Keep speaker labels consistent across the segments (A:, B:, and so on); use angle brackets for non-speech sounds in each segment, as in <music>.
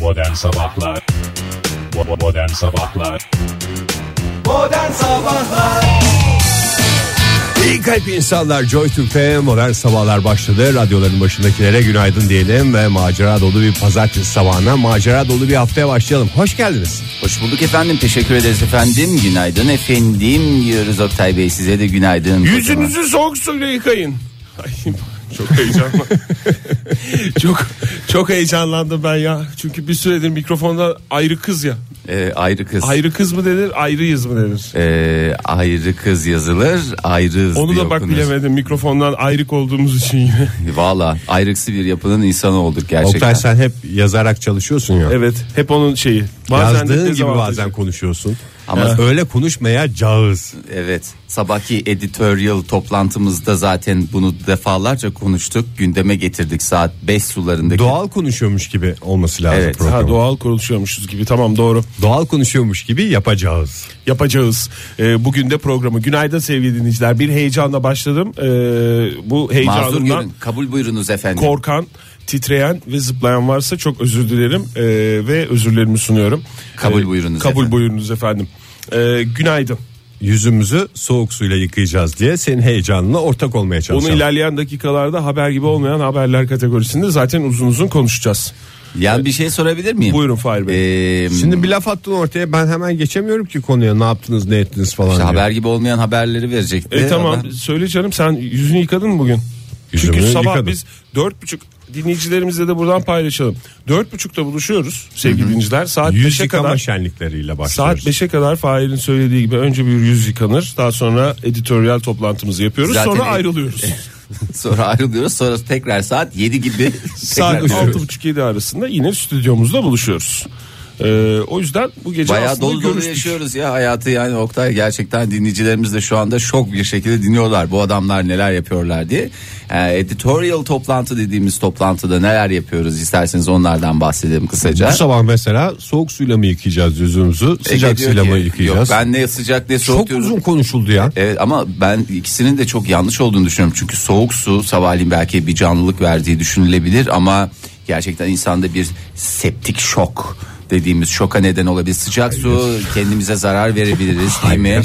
A: Modern Sabahlar Bo- Modern Sabahlar
B: Modern Sabahlar
C: İyi kalp insanlar Joy Türk'te modern sabahlar başladı. Radyoların başındakilere günaydın diyelim ve macera dolu bir pazartesi sabahına, macera dolu bir haftaya başlayalım. Hoş geldiniz.
B: Hoş bulduk efendim teşekkür ederiz efendim Günaydın efendim diyoruz Oktay Bey size de günaydın Kocaman.
D: Yüzünüzü soğuk suyla yıkayın. Ay, çok heyecanlı. çok çok heyecanlandım ben ya. Çünkü bir süredir mikrofonda ayrı kız ya.
B: Ee, ayrı kız
D: Ayrı kız mı denir, ayrıyız mı denir?
B: Ee, ayrı kız yazılır ayrız
D: Onu
B: diye
D: da bak
B: okunur.
D: bilemedim mikrofondan ayrık olduğumuz için yine.
B: Valla ayrıksı bir yapının insanı olduk gerçekten
C: Oktay sen hep yazarak çalışıyorsun
B: E,
C: ya.
D: evet hep onun şeyi. de
C: Yazdığın gibi
D: dezavantajı.
C: bazen konuşuyorsun.
B: Ama-
C: Ama öyle konuşmaya cağız.
B: Evet sabahki editorial toplantımızda zaten bunu defalarca konuştuk gündeme getirdik saat 5 sularındaki
C: Doğal konuşuyormuş gibi olması lazım
B: Evet.
C: programın.
D: Ha
C: doğal.
D: doğal konuşuyormuşuz gibi tamam doğru
C: konuşuyormuş gibi yapacağız.
D: yapacağız Ee, bugün de programı günaydın sevgili dinleyiciler bir heyecanla başladım Ee, bu
B: mazur
D: heyecanımdan
B: görün kabul buyurunuz efendim
D: korkan, titreyen ve zıplayan varsa çok özür dilerim Ee, ve özürlerimi sunuyorum.
B: Kabul
D: Ee,
B: buyurunuz
D: Kabul
B: efendim.
D: buyurunuz efendim. Ee, günaydın.
C: Yüzümüzü soğuk suyla yıkayacağız diye senin heyecanına ortak olmaya
D: Onu
C: çalışacağım.
D: ilerleyen dakikalarda haber gibi olmayan haberler kategorisinde zaten uzun uzun konuşacağız.
B: yani bir şey sorabilir miyim
D: Buyurun Fahir Bey.
B: Ee,
C: Şimdi bir laf attın ortaya ben hemen geçemiyorum ki konuya ne yaptınız ne ettiniz falan
B: İşte
C: diye.
B: haber gibi olmayan haberleri verecekti.
D: E, tamam
B: Ama
D: söyle canım sen yüzünü yıkadın mı bugün?
C: Yüzümü
D: Çünkü sabah
C: yıkadım.
D: biz dört buçuk dinleyicilerimizle de buradan paylaşalım. Dört buçukta buluşuyoruz sevgili dinleyiciler. Saat
C: Yüz
D: 5'e
C: yıkama
D: kadar
C: şenlikleriyle
D: Saat
C: başlıyoruz.
D: 5'e kadar Fahir'in söylediği gibi önce bir yüz yıkanır. Daha sonra editoryal toplantımızı yapıyoruz.
B: Zaten
D: sonra
B: e-
D: ayrılıyoruz.
B: Sonra ayrılıyoruz. Sonra tekrar saat 7 gibi.
D: <laughs>
C: <laughs>
D: Saat
B: tekrar görüşürüz.
D: 6.30-7 arasında yine stüdyomuzda buluşuyoruz. Ee, o yüzden bu gece
B: Bayağı
D: aslında
B: dolu dolu
D: görüştük.
B: yaşıyoruz ya hayatı yani Oktay gerçekten dinleyicilerimiz de şu anda şok bir şekilde dinliyorlar bu adamlar neler yapıyorlar diye. Ee, editorial toplantı dediğimiz toplantıda neler yapıyoruz isterseniz onlardan bahsedelim kısaca.
C: Bu sabah mesela soğuk suyla mı yıkayacağız yüzümüzü
B: Ege
C: sıcak
B: diyor
C: suyla
B: ki,
C: mı yıkayacağız?
B: Yok, ben ne sıcak ne soğuk
C: Çok
B: diyorum.
C: uzun konuşuldu ya.
B: Evet ama ben ikisinin de çok yanlış olduğunu düşünüyorum. Çünkü soğuk su sabahleyin belki bir canlılık verdiği düşünülebilir ama gerçekten insanda bir septik şok dediğimiz şoka neden olabilir. Sıcak su kendimize zarar verebiliriz değil mi?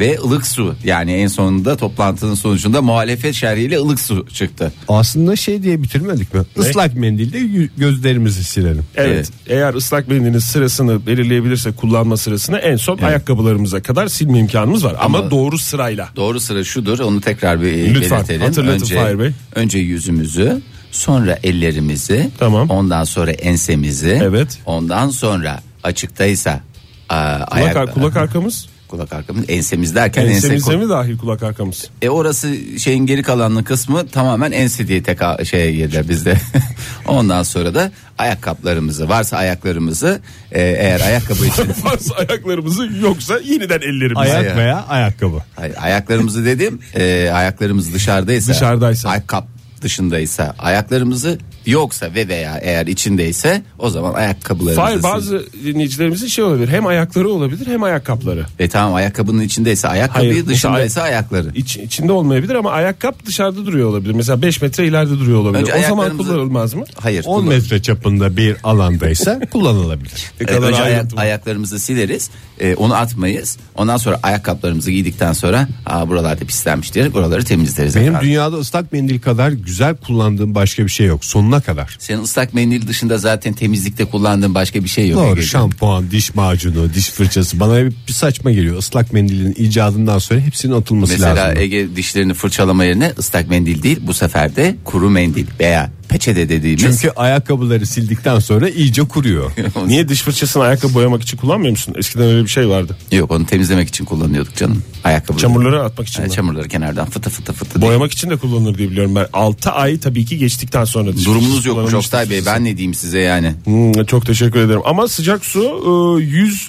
B: Ve ılık su yani en sonunda toplantının sonucunda muhalefet şerhiyle ılık su çıktı.
C: Aslında şey diye bitirmedik mi? Islak mendilde yü- gözlerimizi silelim.
D: Evet,
B: Evet.
D: Eğer ıslak mendilin sırasını belirleyebilirsek kullanma sırasını en son ayakkabılarımıza kadar silme imkanımız var. Ama,
B: Ama-
D: doğru sırayla.
B: Doğru sıra şudur onu tekrar bir e,
D: Lütfen,
B: belirtelim.
D: hatırlatın Fahir
B: önce,
D: Bey.
B: önce yüzümüzü sonra ellerimizi
D: Tamam.
B: ondan sonra ensemizi
D: Evet.
B: ondan sonra açıktaysa a,
D: Kulak,
B: ayak,
D: ar- kulak arkamız.
B: kulak arkamız ensemiz derken ense
D: Ensemize
B: kol-
D: mi dahil
B: <laughs>
D: kulak arkamız?
B: e orası şeyin geri kalanlı kısmı tamamen ense diye teka şeye girdi bizde. <laughs> ondan sonra da ayakkabılarımızı varsa ayaklarımızı e, eğer ayakkabı
D: <laughs>
B: için
D: Varsa ayaklarımızı yoksa yeniden ellerimizi.
C: Ayak
B: Ayak.
C: veya ayakkabı.
B: Hayır, ayaklarımızı dedim. e, ayaklarımız dışarıdaysa.
D: Dışarıdaysa.
B: Ayakkabı dışındaysa. Ayaklarımızı yoksa ve veya eğer içindeyse o zaman ayakkabılarımızı.
D: Fahir bazı dinleyicilerimizin şey olabilir. Hem ayakları olabilir hem ayakkabıları.
B: E tamam ayakkabının içindeyse ayakkabıyı
D: Hayır, mesela
B: dışındaysa ayakları.
D: İç, içinde olmayabilir ama ayakkabı dışarıda duruyor olabilir. Mesela 5 metre ileride duruyor olabilir.
B: Önce
D: o zaman
B: ayaklarımızı-
D: kullanılmaz mı?
B: Hayır.
C: 10
B: kullan-
C: metre çapında bir <laughs> alandaysa kullanılabilir.
B: E, önce ayak- ayaklarımızı sileriz. e, onu atmayız. Ondan sonra ayakkabılarımızı giydikten sonra Aa, buralarda pislenmiş diye buraları temizleriz.
C: Benim
B: efendim.
C: dünyada ıslak mendil kadar güzel kullandığım başka bir şey yok. Sonuna kadar.
B: Senin ıslak mendil dışında zaten temizlikte kullandığın başka bir şey yok.
C: Doğru
B: Ege'ciğim.
C: şampuan, diş macunu, diş fırçası bana bir, bir saçma geliyor. Islak mendilin icadından sonra hepsinin atılması
B: Mesela e-
C: lazım.
B: Ege dişlerini fırçalama yerine ıslak mendil değil bu sefer de kuru mendil veya peçete dediğimiz.
C: Çünkü ayakkabıları sildikten sonra iyice kuruyor.
D: Niye diş fırçasını ayakkabı boyamak için kullanmıyor musun? Eskiden öyle bir şey vardı.
B: Yok onu temizlemek için kullanıyorduk canım. Ayakkabı.
D: Çamurları atmak için.
B: Yani
D: de.
B: çamurları kenardan fıtı fıtı fıtı. diye.
D: Boyamak için de kullanılır diye biliyorum ben. 6 ay tabii ki geçtikten sonra. diş
B: Durumunuz
D: fırçası
B: yok
D: kullanılmış
B: Oktay
D: diş
B: Bey
D: fırçası.
B: ben ne diyeyim size yani.
D: Hmm, çok teşekkür ederim. Ama sıcak su e, yüz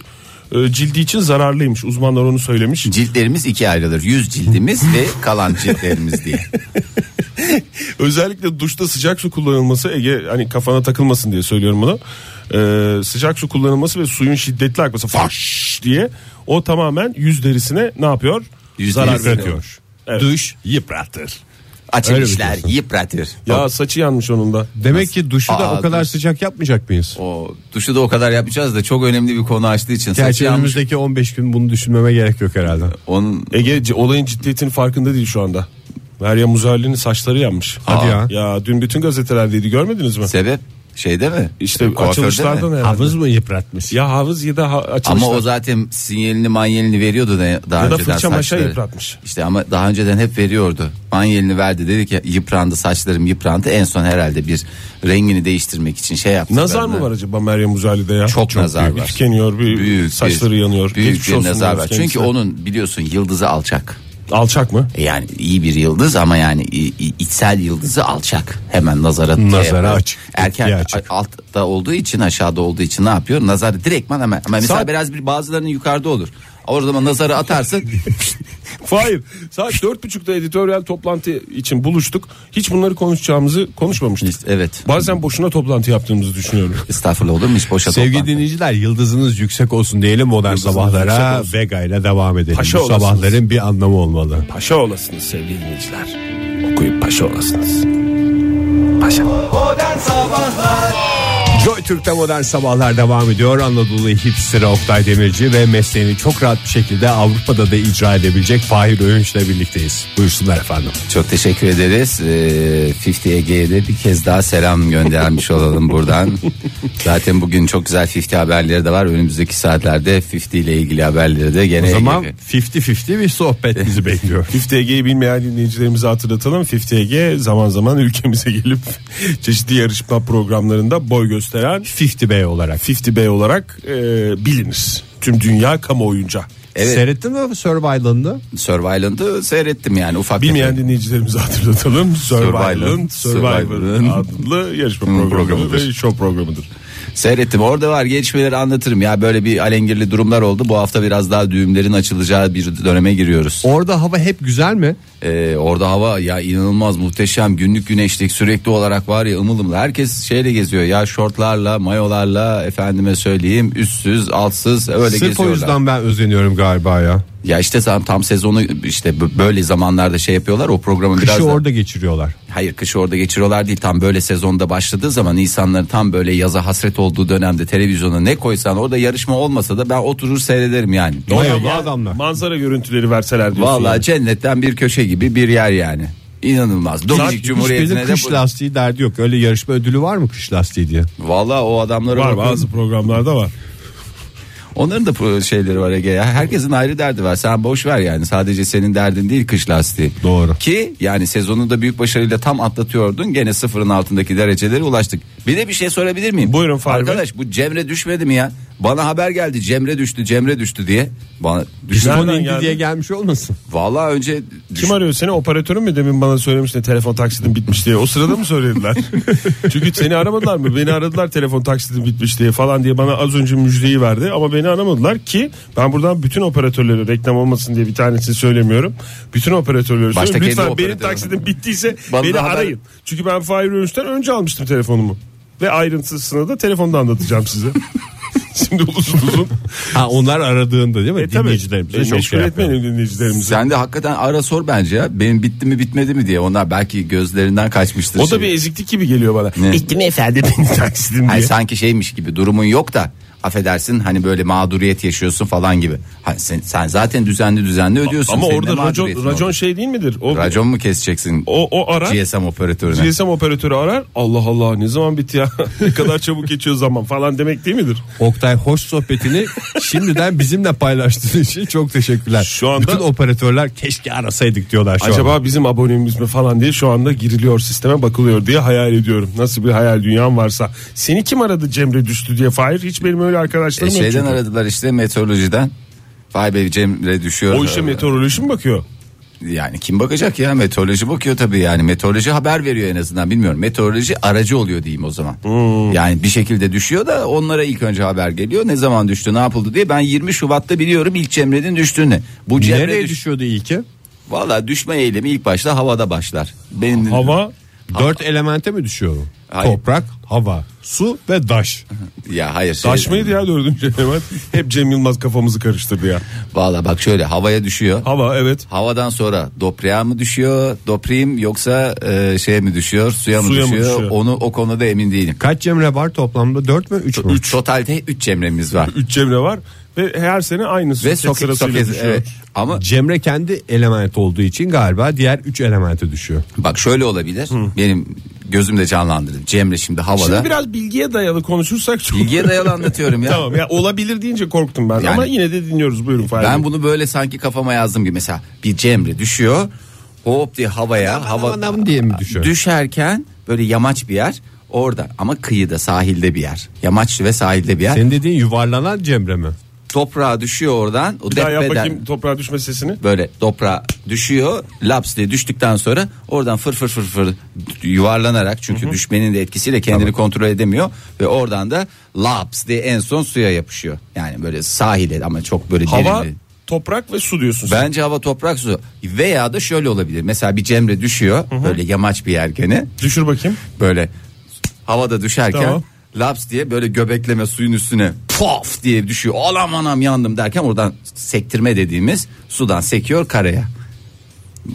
D: e, cildi için zararlıymış. Uzmanlar onu söylemiş.
B: Ciltlerimiz ikiye ayrılır. Yüz cildimiz ve kalan ciltlerimiz
D: <laughs>
B: diye.
D: Özellikle duşta sıcak su kullanılması Ege hani kafana takılmasın diye söylüyorum bunu. Ee, sıcak su kullanılması ve suyun şiddetli akması faş diye o tamamen yüz derisine ne yapıyor?
B: Yüz
D: Zarar
B: derisine.
D: veriyor. Evet.
C: Duş yıpratır.
B: açılışlar
C: diyorsun?
B: yıpratır.
D: şey Ya saçı yanmış onun da.
C: Demek ki duşu da
B: Aa,
C: o kadar
B: duş.
C: sıcak yapmayacak mıyız?
B: O duşu da o kadar yapacağız da çok önemli bir konu açtığı için. Saçı
C: Gerçi
B: yanmış.
C: önümüzdeki 15 gün bunu düşünmeme gerek yok herhalde.
B: Onun
D: Ege c- olayın ciddiyetinin farkında değil şu anda. Meryem Uzerli'nin saçları yanmış.
C: Hadi ya.
D: Ya dün bütün gazetelerdeydi görmediniz mi?
B: sebep şeyde mi?
D: İşte
B: Kuaförde mi?
D: açılışlardan herhalde.
C: Havuz mu yıpratmış?
D: Ya havuz ya da ha- açılışlar.
B: Ama o zaten sinyalini manyelini veriyordu da daha
D: Ya da
B: önceden
D: fırça maşa
B: saçları.
D: yıpratmış.
B: İşte ama daha önceden hep veriyordu. Manyelini verdi dedi ki yıprandı saçlarım yıprandı. En son herhalde bir rengini değiştirmek için şey yaptı.
D: Nazar mı var acaba Meryem Uzerli'de ya?
B: Çok nazar
D: büyük.
B: var.
D: Tükeniyor, bir
B: Büyük bir-
D: saçları yanıyor.
B: Büyük
D: Geçmiş
B: bir
D: olsun
B: nazar
D: diyoruz
B: var. Çünkü
D: kendisine.
B: onun biliyorsun yıldızı alçak.
D: Alçak
B: <laughs>
D: mı?
B: E Yani iyi bir yıldız ama yani i- i- içsel yıldızı alçak. Hemen nazara şey
C: Nazara
B: yapıyor.
C: açık,
B: Erken
C: tepkiye açık.
B: a- altta olduğu için aşağıda olduğu için ne yapıyor? Nazar direktman hemen. Ama mesela
D: Saat-
B: biraz bir bazılarının yukarıda olur. Orada zaman nazarı
C: <laughs>
B: atarsın.
D: Hayır. Saat dört buçukta editoryal toplantı için buluştuk. Hiç bunları konuşacağımızı konuşmamıştık.
B: evet.
D: Bazen boşuna toplantı yaptığımızı düşünüyorum.
B: Estağfurullah olur mu hiç boşa
C: Sevgili
B: toplantı.
C: dinleyiciler yıldızınız yüksek olsun diyelim modern
D: Yıldızınız yüksek
C: sabahlara
D: olsun.
C: Vega ile devam edelim.
D: Paşa
C: Bu
D: olasınız.
C: sabahların bir anlamı olmalı.
D: Paşa olasınız sevgili dinleyiciler. Okuyup paşa olasınız.
C: Joy Türk'te modern sabahlar devam ediyor. Anadolu hipsteri Oktay Demirci ve mesleğini çok rahat bir şekilde Avrupa'da da icra edebilecek Fahir Öğünç ile birlikteyiz. Buyursunlar efendim.
B: Çok teşekkür ederiz. Ee, 50 Ege'ye de bir kez daha selam göndermiş olalım
C: <laughs>
B: buradan. Zaten bugün çok güzel 50 haberleri de var. Önümüzdeki saatlerde 50 ile ilgili haberleri de gene
C: O zaman
B: Ege-
C: 50-50 bir sohbet bizi <laughs> bekliyor.
D: 50 Ege'yi bilmeyen dinleyicilerimize hatırlatalım. 50 Ege zaman zaman ülkemize <laughs> gelip çeşitli yarışma programlarında boy gösteren
C: 50 Bey olarak.
D: 50 Bey olarak e, bilinir. Tüm dünya kamuoyunca.
B: Evet.
C: Seyrettin mi Survivor'ını?
B: Survivor'ı seyrettim yani ufak
D: Bilmeyen
B: tefek.
D: dinleyicilerimize hatırlatalım.
B: Survivor'ın
D: Survivor'ın Survivor'ın adlı yarışma programı
B: programıdır.
D: ve show programıdır.
B: Seyrettim orada var gelişmeleri anlatırım ya böyle bir alengirli durumlar oldu bu hafta biraz daha düğümlerin açılacağı bir döneme giriyoruz
C: Orada hava hep güzel mi?
B: Ee, orada hava ya inanılmaz muhteşem günlük güneşlik sürekli olarak var ya ımıl ımıl herkes şeyle geziyor ya şortlarla mayolarla efendime söyleyeyim üstsüz altsız öyle
C: Sırf o
B: geziyorlar.
C: yüzden ben özeniyorum galiba ya.
B: Ya işte tam, tam sezonu işte b- böyle zamanlarda şey yapıyorlar o programı
C: Kışı
B: biraz da-
C: orada geçiriyorlar.
B: Hayır kışı orada geçiriyorlar değil tam böyle sezonda başladığı zaman insanların tam böyle yaza hasret olduğu dönemde televizyona ne koysan orada yarışma olmasa da ben oturur seyrederim yani.
C: Mayolu
D: Ya,
C: adamlar.
D: Manzara görüntüleri verseler diyorsun.
B: Vallahi
D: yani.
B: cennetten bir köşe gibi bir yer yani. İnanılmaz. Dominik Cumhuriyeti'ne
C: Hiçbirinin
B: de
C: kış lastiği derdi yok. Öyle yarışma ödülü var mı kış lastiği diye?
B: Valla o adamlara
D: var
B: bakın.
D: bazı programlarda var.
B: Onların da pro- şeyleri var Ege ya. Herkesin ayrı derdi var. Sen boş ver yani. Sadece senin derdin değil kış lastiği.
C: Doğru.
B: Ki yani sezonu da büyük başarıyla tam atlatıyordun. Gene sıfırın altındaki dereceleri ulaştık. Bir de bir şey sorabilir miyim?
D: Buyurun Fahri Bey.
B: Arkadaş bu Cemre düşmedi mi ya? Bana haber geldi Cemre düştü Cemre düştü diye. Bana düştü.
D: Nereden
C: Düşman indi
D: geldi?
C: diye gelmiş olmasın?
B: Valla önce düş-
D: Kim arıyor seni operatörün mü demin bana söylemişti telefon taksidim bitmiş diye o sırada
B: <laughs>
D: mı söylediler? Çünkü seni aramadılar mı beni aradılar telefon taksidim bitmiş diye falan diye bana az önce müjdeyi verdi ama beni aramadılar ki ben buradan bütün operatörlere reklam olmasın diye bir tanesini söylemiyorum. Bütün operatörlere
B: Başta
D: söylüyorum
B: kendi
D: lütfen benim
B: operatörüne.
D: taksidim bittiyse
B: Bana
D: beni
B: da haber-
D: arayın. Çünkü ben Fahir Öğünç'ten önce almıştım telefonumu ve ayrıntısını da telefonda anlatacağım size. <laughs> Şimdi uzun uzun.
C: Ha onlar aradığında değil mi?
D: E, tabii,
C: Dinleyicilerimize
D: e,
C: çok
D: meşgul
C: şey yapmayalım.
D: etmeyelim dinleyicilerimizi.
B: sen de hakikaten ara sor bence ya. Benim bitti mi bitmedi mi diye. Onlar belki gözlerinden kaçmıştır.
D: O da
B: şey.
D: bir eziklik gibi geliyor bana.
B: Ne?
D: Bitti mi efendim
C: <laughs>
D: benim taksidim
B: Hani
D: diye.
B: sanki şeymiş gibi durumun yok da affedersin hani böyle mağduriyet yaşıyorsun falan gibi. Ha, sen, sen zaten düzenli düzenli ödüyorsun.
D: Ama
B: Senin ne
D: orada racon,
B: mağduriyetin
D: racon
B: olur?
D: şey değil midir? O,
B: racon mu keseceksin
D: o, o arar.
B: GSM operatörüne?
D: GSM operatörü arar. Allah Allah ne zaman bitti ya? <laughs> ne kadar çabuk geçiyor zaman falan demek değil midir?
C: Oktay
D: <laughs>
C: hoş sohbetini şimdiden bizimle paylaştığın için çok teşekkürler.
D: Şu anda-
C: Bütün operatörler keşke arasaydık diyorlar şu
D: Acaba
C: anda.
D: bizim abonemiz mi falan diye şu anda giriliyor sisteme bakılıyor diye hayal ediyorum. Nasıl bir hayal dünyam varsa. Seni kim aradı Cemre düştü diye Fahir? Hiç benim öyle
B: E,
D: arkadaşlarım yok.
B: şeyden
D: çünkü.
B: aradılar işte meteorolojiden. Vay be Cemre düşüyor.
D: O işe meteoroloji mi bakıyor?
B: Yani kim bakacak ya meteoroloji bakıyor tabii yani meteoroloji haber veriyor en azından bilmiyorum meteoroloji aracı oluyor diyeyim o zaman
D: Hmm.
B: yani bir şekilde düşüyor da onlara ilk önce haber geliyor ne zaman düştü ne yapıldı diye ben 20 Şubat'ta biliyorum ilk Cemre'nin düştüğünü bu Cemre
C: Nereye
B: düş-
C: düşüyordu ilki?
B: Valla düşme eylemi ilk başta havada başlar. Benim
D: Hava
C: Dört elemente mi düşüyor? o?
B: Hayır.
C: toprak, hava, su ve taş.
B: Ya hayır. şey-
D: Taş mıydı ya dördüncü <laughs> element? Hep Cem Yılmaz kafamızı karıştırdı ya.
B: Valla bak şöyle havaya düşüyor.
D: Hava evet.
B: Havadan sonra dopraya mı düşüyor, dopreyim yoksa e, şeye mi düşüyor, suya mı,
D: Suya mı
B: düşüyor?
D: düşüyor?
B: Onu o konuda emin değilim.
C: Kaç cemre var toplamda? 4 mü 3 mü?
B: Totalde 3 cemremiz var.
D: Üç Cemre var ve her sene aynısı.
B: Ve
D: Tek
B: soket
D: sırasıyla
B: soket
D: düşüyor.
B: evet. ama
C: Cemre kendi element olduğu için galiba diğer 3 elemente düşüyor.
B: bak şöyle olabilir. Benim gözümde canlandırdım. Cemre şimdi havada.
D: Şimdi biraz bilgiye dayalı konuşursak çok...
B: Bilgiye dayalı anlatıyorum ya.
D: <laughs> Tamam ya olabilir deyince korktum ben
B: Yani-
D: ama yine de dinliyoruz buyurun Fahri.
B: Ben bunu böyle sanki kafama yazdım gibi mesela bir Cemre düşüyor. Hop diye havaya hava
C: anam diye mi düşüyor?
B: Düşerken böyle yamaç bir yer orada ama kıyıda sahilde bir yer. Yamaç ve sahilde bir yer.
C: Senin dediğin yuvarlanan cemre mi?
B: Toprağa düşüyor oradan. O
D: Bir daha yap
B: depreden-
D: bakayım toprağa düşme sesini.
B: böyle toprağa düşüyor. Laps diye düştükten sonra oradan fır fır fır fır yuvarlanarak çünkü düşmenin de etkisiyle kendini kontrol edemiyor ve oradan da laps diye en son suya yapışıyor. Yani böyle sahile ama çok böyle
D: Hava,
B: derin.
D: toprak ve su diyorsun. sen.
B: Bence hava toprak su veya da şöyle olabilir. Mesela bir Cemre düşüyor böyle yamaç bir yer gene
D: Düşür bakayım.
B: böyle havada düşerken
D: Tamam.
B: laps diye böyle göbekleme suyun üstüne pof diye düşüyor. Alam anam yandım derken oradan sektirme dediğimiz sudan sekiyor karaya.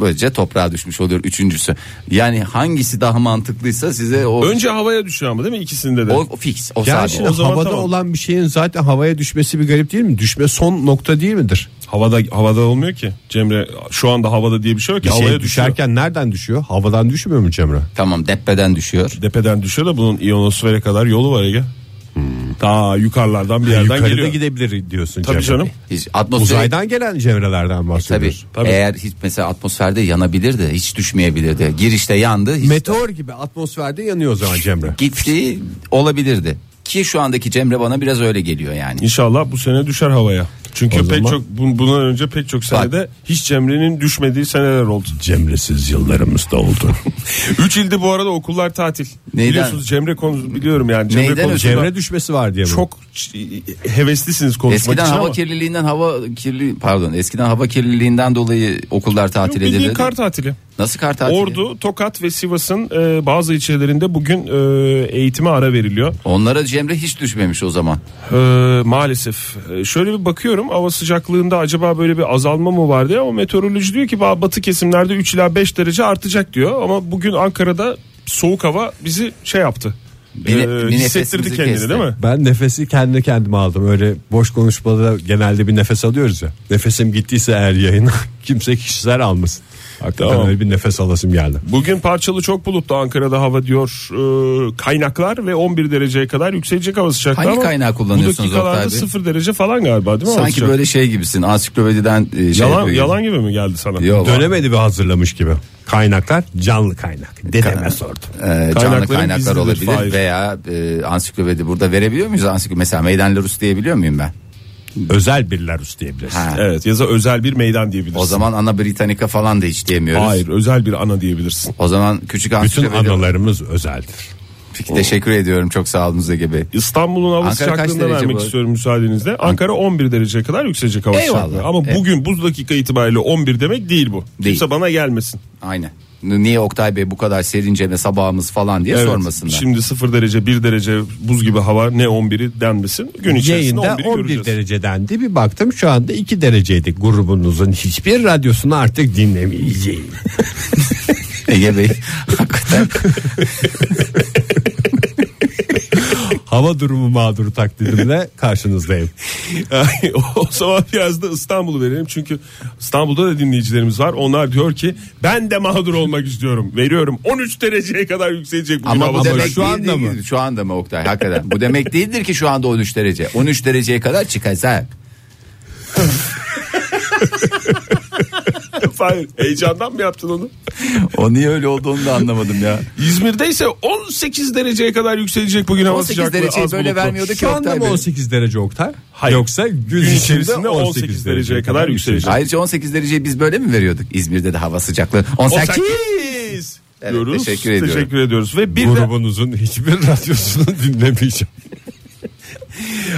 B: Böylece toprağa düşmüş oluyor üçüncüsü. Yani hangisi daha mantıklıysa size o
D: Önce havaya düşüyor ama değil mi ikisinde de?
B: o, o fix o
C: Yani
B: sade,
C: şimdi
B: o-
D: o zaman
C: havada
D: tamam.
C: olan bir şeyin zaten havaya düşmesi bir garip değil mi? Düşme son nokta değil midir?
D: Havada havada olmuyor ki. Cemre şu anda havada diye bir şey yok ki.
C: Bir
D: havaya
C: şey
D: düşerken
C: düşerken nereden düşüyor? Havadan düşmüyor mu cemre?
B: Tamam depreden düşüyor.
D: depeden düşüyor da bunun iyonosfere kadar yolu var Ege. Daha yukarılardan bir yerden
C: Yukarıda
D: geliyor.
C: gidebilir diyorsun
D: Tabii
C: cemre. E,
D: canım.
B: Hiç atmosfer
C: Uzaydan gelen cemrelerden
B: Tabii.
C: bahsediyorsun.
D: Tabii.
B: Eğer hiç mesela atmosferde yanabilirdi, hiç düşmeyebilirdi. Girişte yandı, hiç
C: Meteor gibi atmosferde yanıyor o zaman cemre.
B: gitti olabilirdi. Ki şu andaki Cemre bana biraz öyle geliyor yani.
D: İnşallah bu sene düşer havaya. Çünkü
C: O
D: pek
C: zaman-
D: çok bun- bundan önce pek çok senede hiç Cemre'nin düşmediği seneler oldu.
C: Cemresiz yıllarımız da oldu.
D: <laughs> Üç ilde bu arada okullar tatil.
B: Neyden?
D: Biliyorsunuz Cemre konusu biliyorum yani Cemre
B: Neyden
D: konusunda
C: Cemre düşmesi var diye mi?
D: çok ç- heveslisiniz konuşmak
B: Eskiden
D: için
B: hava
D: ama.
B: kirliliğinden hava kirli pardon eskiden hava kirliliğinden dolayı okullar
D: Yok,
B: tatil
D: bildiğin
B: edildi.
D: kar tatili.
B: Nasıl kar tatili?
D: Ordu, Tokat ve Sivas'ın e, bazı ilçelerinde bugün e, eğitime ara veriliyor.
B: Onlara Cemre hiç düşmemiş o zaman.
D: E, maalesef. E, şöyle bir bakıyorum hava sıcaklığında acaba böyle bir azalma mı var diye ama meteoroloji diyor ki ba- batı kesimlerde 3 ila 5 derece artacak diyor. Ama bugün Ankara'da soğuk hava bizi şey yaptı.
B: Bir ne- bir
D: Ee, hissettirdi
B: nefesimizi
D: kendini
B: kesti.
D: değil mi?
C: Ben nefesi kendi kendime aldım. Öyle boş konuşmada genelde bir nefes alıyoruz ya. Nefesim gittiyse eğer yayına <laughs> kimse kişisel almasın. Hakikaten
D: Tamam.
C: öyle bir nefes alasım geldi.
D: Bugün parçalı çok bulutlu Ankara'da hava diyor e, kaynaklar ve 11 dereceye kadar yükselecek hava sıcaklığı
B: Hangi
D: ama
B: kaynağı kullanıyorsunuz
D: Bu
B: Oktay
D: dakikalarda
B: Bey?
D: 0 derece falan galiba değil mi? hava
B: Sanki
D: sıcaklığı?
B: böyle şey gibisin ansiklopediden e, şey
D: yalan,
B: yapıyor gibi.
D: yalan gibi mi geldi sana?
B: Yok.
C: Dönemedi bir hazırlamış gibi. Kaynaklar canlı kaynak. Dedeme sordu.
B: E, canlı
D: Kaynakların
B: kaynaklar
D: gizlidir,
B: olabilir
D: Fahir.
B: veya e, ansiklopedi burada verebiliyor muyuz ansiklopedi mesela meydanlar Rus diyebiliyor muyum ben?
C: Özel birler üst diyebilirsin.
B: Ha.
D: Evet yaza özel bir meydan diyebilirsin.
B: O zaman ana Britannica falan da hiç diyemiyoruz.
D: Hayır özel bir ana diyebilirsin.
B: O zaman küçük
C: Bütün
B: ansiklopedi.
C: analarımız özeldir.
B: Peki, Teşekkür ediyorum çok sağ olun gibi.
D: İstanbul'un hava
B: Ankara kaç
D: sıcaklığını
B: derece
D: vermek
B: bu?
D: istiyorum müsaadenizle. Ankara 11 dereceye kadar yükselecek hava
B: Eyvallah.
D: sıcaklığı. Ama
B: Evet.
D: bugün bu dakika itibariyle 11 demek değil bu. Kimse bana gelmesin.
B: Aynen. Niye Oktay Bey bu kadar serince ve sabahımız falan diye
D: Evet.
B: sormasınlar.
D: Şimdi 0 derece 1 derece buz gibi hava ne 11'i denmesin. Gün içerisinde
C: Yayında
D: 11'i
C: 11
D: göreceğiz.
C: dereceden de bir baktım şu anda 2 dereceydik grubunuzun hiçbir radyosunu artık dinlemeyeceğim.
B: Ege
D: <laughs>
B: Bey hakikaten
C: <laughs> Hava durumu mağduru <laughs> taklidimle karşınızdayım.
D: Yani <laughs> o zaman biraz da İstanbul'u verelim. Çünkü İstanbul'da da dinleyicilerimiz var. Onlar diyor ki ben de mağdur olmak istiyorum. Veriyorum 13 dereceye kadar yükselecek bugün
B: ama
D: hava
B: bu
D: sıcaklığı.
B: demek
C: şu anda
D: <laughs>
B: değildir-
C: mı?
B: Şu anda mı Oktay hakikaten? bu demek değildir ki şu anda 13 derece. 13 dereceye kadar çıkacak.
D: Hayır, heyecandan mı yaptın onu?
B: O niye öyle oldu onu da anlamadım ya.
D: İzmir'de ise 18 dereceye kadar yükselecek bugün hava
B: 18
D: sıcaklığı.
B: dereceyi
D: az
B: böyle
D: bulutlu.
B: vermiyordu ki
C: Şu anda
B: Oktay
C: mı
B: Bey.
C: 18 derece Oktay?
D: Hayır.
C: Yoksa gün,
D: Gün
C: içerisinde
D: içerisinde
C: 18,
D: 18
C: dereceye
D: dereceye
C: kadar
D: kadar
C: yükselecek.
D: yükselecek.
B: Ayrıca 18 dereceyi biz böyle mi veriyorduk? İzmir'de de hava sıcaklığı 18.
D: 18
B: Evet,
D: diyoruz.
B: teşekkür ediyorum.
D: Teşekkür ediyoruz. Ve bir de
C: Grubunuzun hiçbir <laughs> radyosunu dinlemeyeceğim.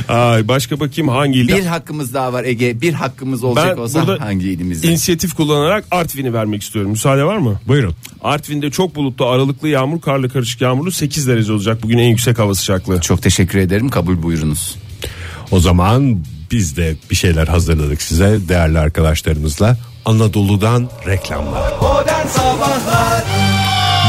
D: Ay, başka bakayım hangi ilde?
B: Bir hakkımız daha var Ege. Bir hakkımız olacak
D: Ben
B: olsa
D: burada
B: hangi ilimizde?
D: İnisiyatif kullanarak Artvin'i vermek istiyorum. Müsaade var mı?
C: Buyurun.
D: Artvin'de çok bulutlu aralıklı yağmur karlı karışık yağmurlu 8 derece olacak bugün en yüksek hava sıcaklığı.
B: Çok teşekkür ederim kabul buyurunuz.
C: O zaman biz de bir şeyler hazırladık size değerli arkadaşlarımızla. Anadolu'dan reklamlar.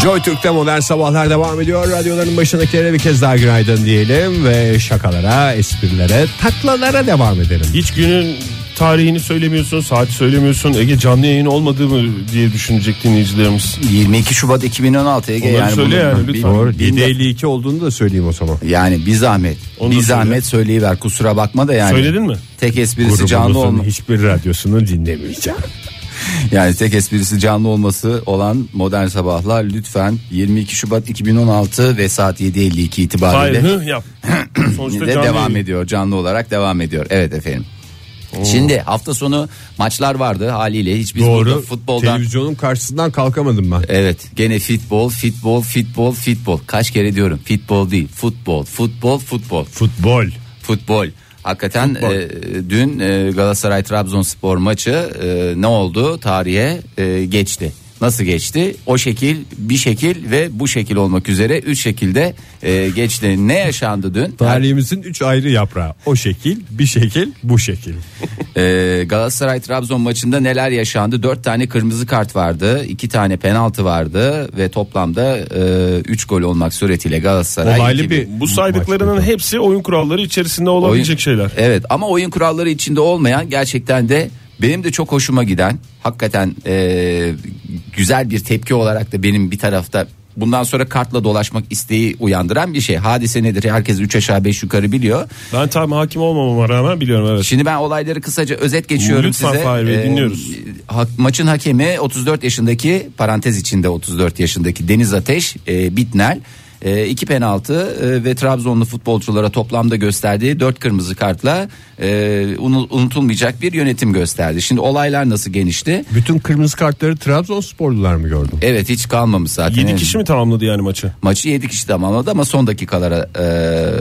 C: Joy Türk'te modern sabahlar devam ediyor. Radyoların başındakilere bir kez daha günaydın diyelim ve şakalara, esprilere, taklalara devam edelim.
D: Hiç günün tarihini söylemiyorsun, saati söylemiyorsun. Ege canlı yayın olmadı mı diye düşünecek dinleyicilerimiz.
B: 22 Şubat 2016 Ege
D: Onları
B: yani
D: söyle
B: bunu-
D: yani,
B: bir-
D: lütfen.
C: Doğru.
B: bin-
C: 752 olduğunu da söyleyeyim o zaman.
B: yani bir zahmet.
D: Onu da
B: bir
D: söyle.
B: zahmet söyleyiver kusura bakma da yani.
D: Söyledin mi?
B: Tek esprisi canlı olma.
C: Grubumuzun hiçbir radyosunu dinlemeyeceğim.
B: Yani tek esprisi canlı olması olan modern sabahlar lütfen 22 Şubat 2016 ve saat 7.52
D: Hayır,
B: itibariyle
D: hı
B: <clears throat>
D: yap. Sonuçta
B: de
D: canlı
B: devam
D: yayın.
B: ediyor canlı olarak devam ediyor. Evet efendim. Şimdi hafta sonu maçlar vardı haliyle hiç biz burada
C: Doğru.
B: futboldan
C: Televizyonun karşısından kalkamadım ben.
B: Evet gene futbol futbol futbol futbol kaç kere diyorum futbol değil futbol futbol futbol
C: Futbol.
B: futbol. Hakikaten e, dün e, Galatasaray Trabzonspor maçı e, ne oldu? Tarihe e, geçti. Nasıl geçti? O şekil, bir şekil ve bu şekil olmak üzere üç şekilde e, geçti. Ne yaşandı dün?
C: Tarihimizin üç ayrı yaprağı. O şekil, bir şekil, bu şekil.
B: Ee, Galatasaray Trabzon maçında neler yaşandı? 4 tane kırmızı kart vardı, 2 tane penaltı vardı ve toplamda 3 gol olmak suretiyle Galatasaray
C: Olaylı
B: 2000
C: bir
D: Bu saydıklarının hepsi oyun kuralları içerisinde olabilecek şeyler.
B: Evet ama oyun kuralları içinde olmayan gerçekten de benim de çok hoşuma giden hakikaten e, güzel bir tepki olarak da benim bir tarafta bundan sonra kartla dolaşmak isteği uyandıran bir şey. Hadise nedir? Herkes 3 aşağı 5 yukarı biliyor.
D: Ben tam hakim olmamama rağmen biliyorum evet.
B: Şimdi ben olayları kısaca özet geçiyorum
D: Lütfen
B: size.
D: Fahir Bey,
B: Ee,
D: dinliyoruz.
B: ha- maçın hakemi 34 yaşındaki parantez içinde 34 yaşındaki Deniz Ateş e, Bitnel. E, iki penaltı e, ve Trabzonlu futbolculara toplamda gösterdiği dört kırmızı kartla e, unu- unutulmayacak bir yönetim gösterdi. Şimdi olaylar nasıl gelişti?
C: Bütün kırmızı kartları Trabzonsporlular mı gördüm?
B: Evet hiç kalmamış zaten.
D: 7
B: Evet.
D: kişi mi tamamladı yani maçı?
B: Maçı 7 kişi tamamladı ama son dakikalara e,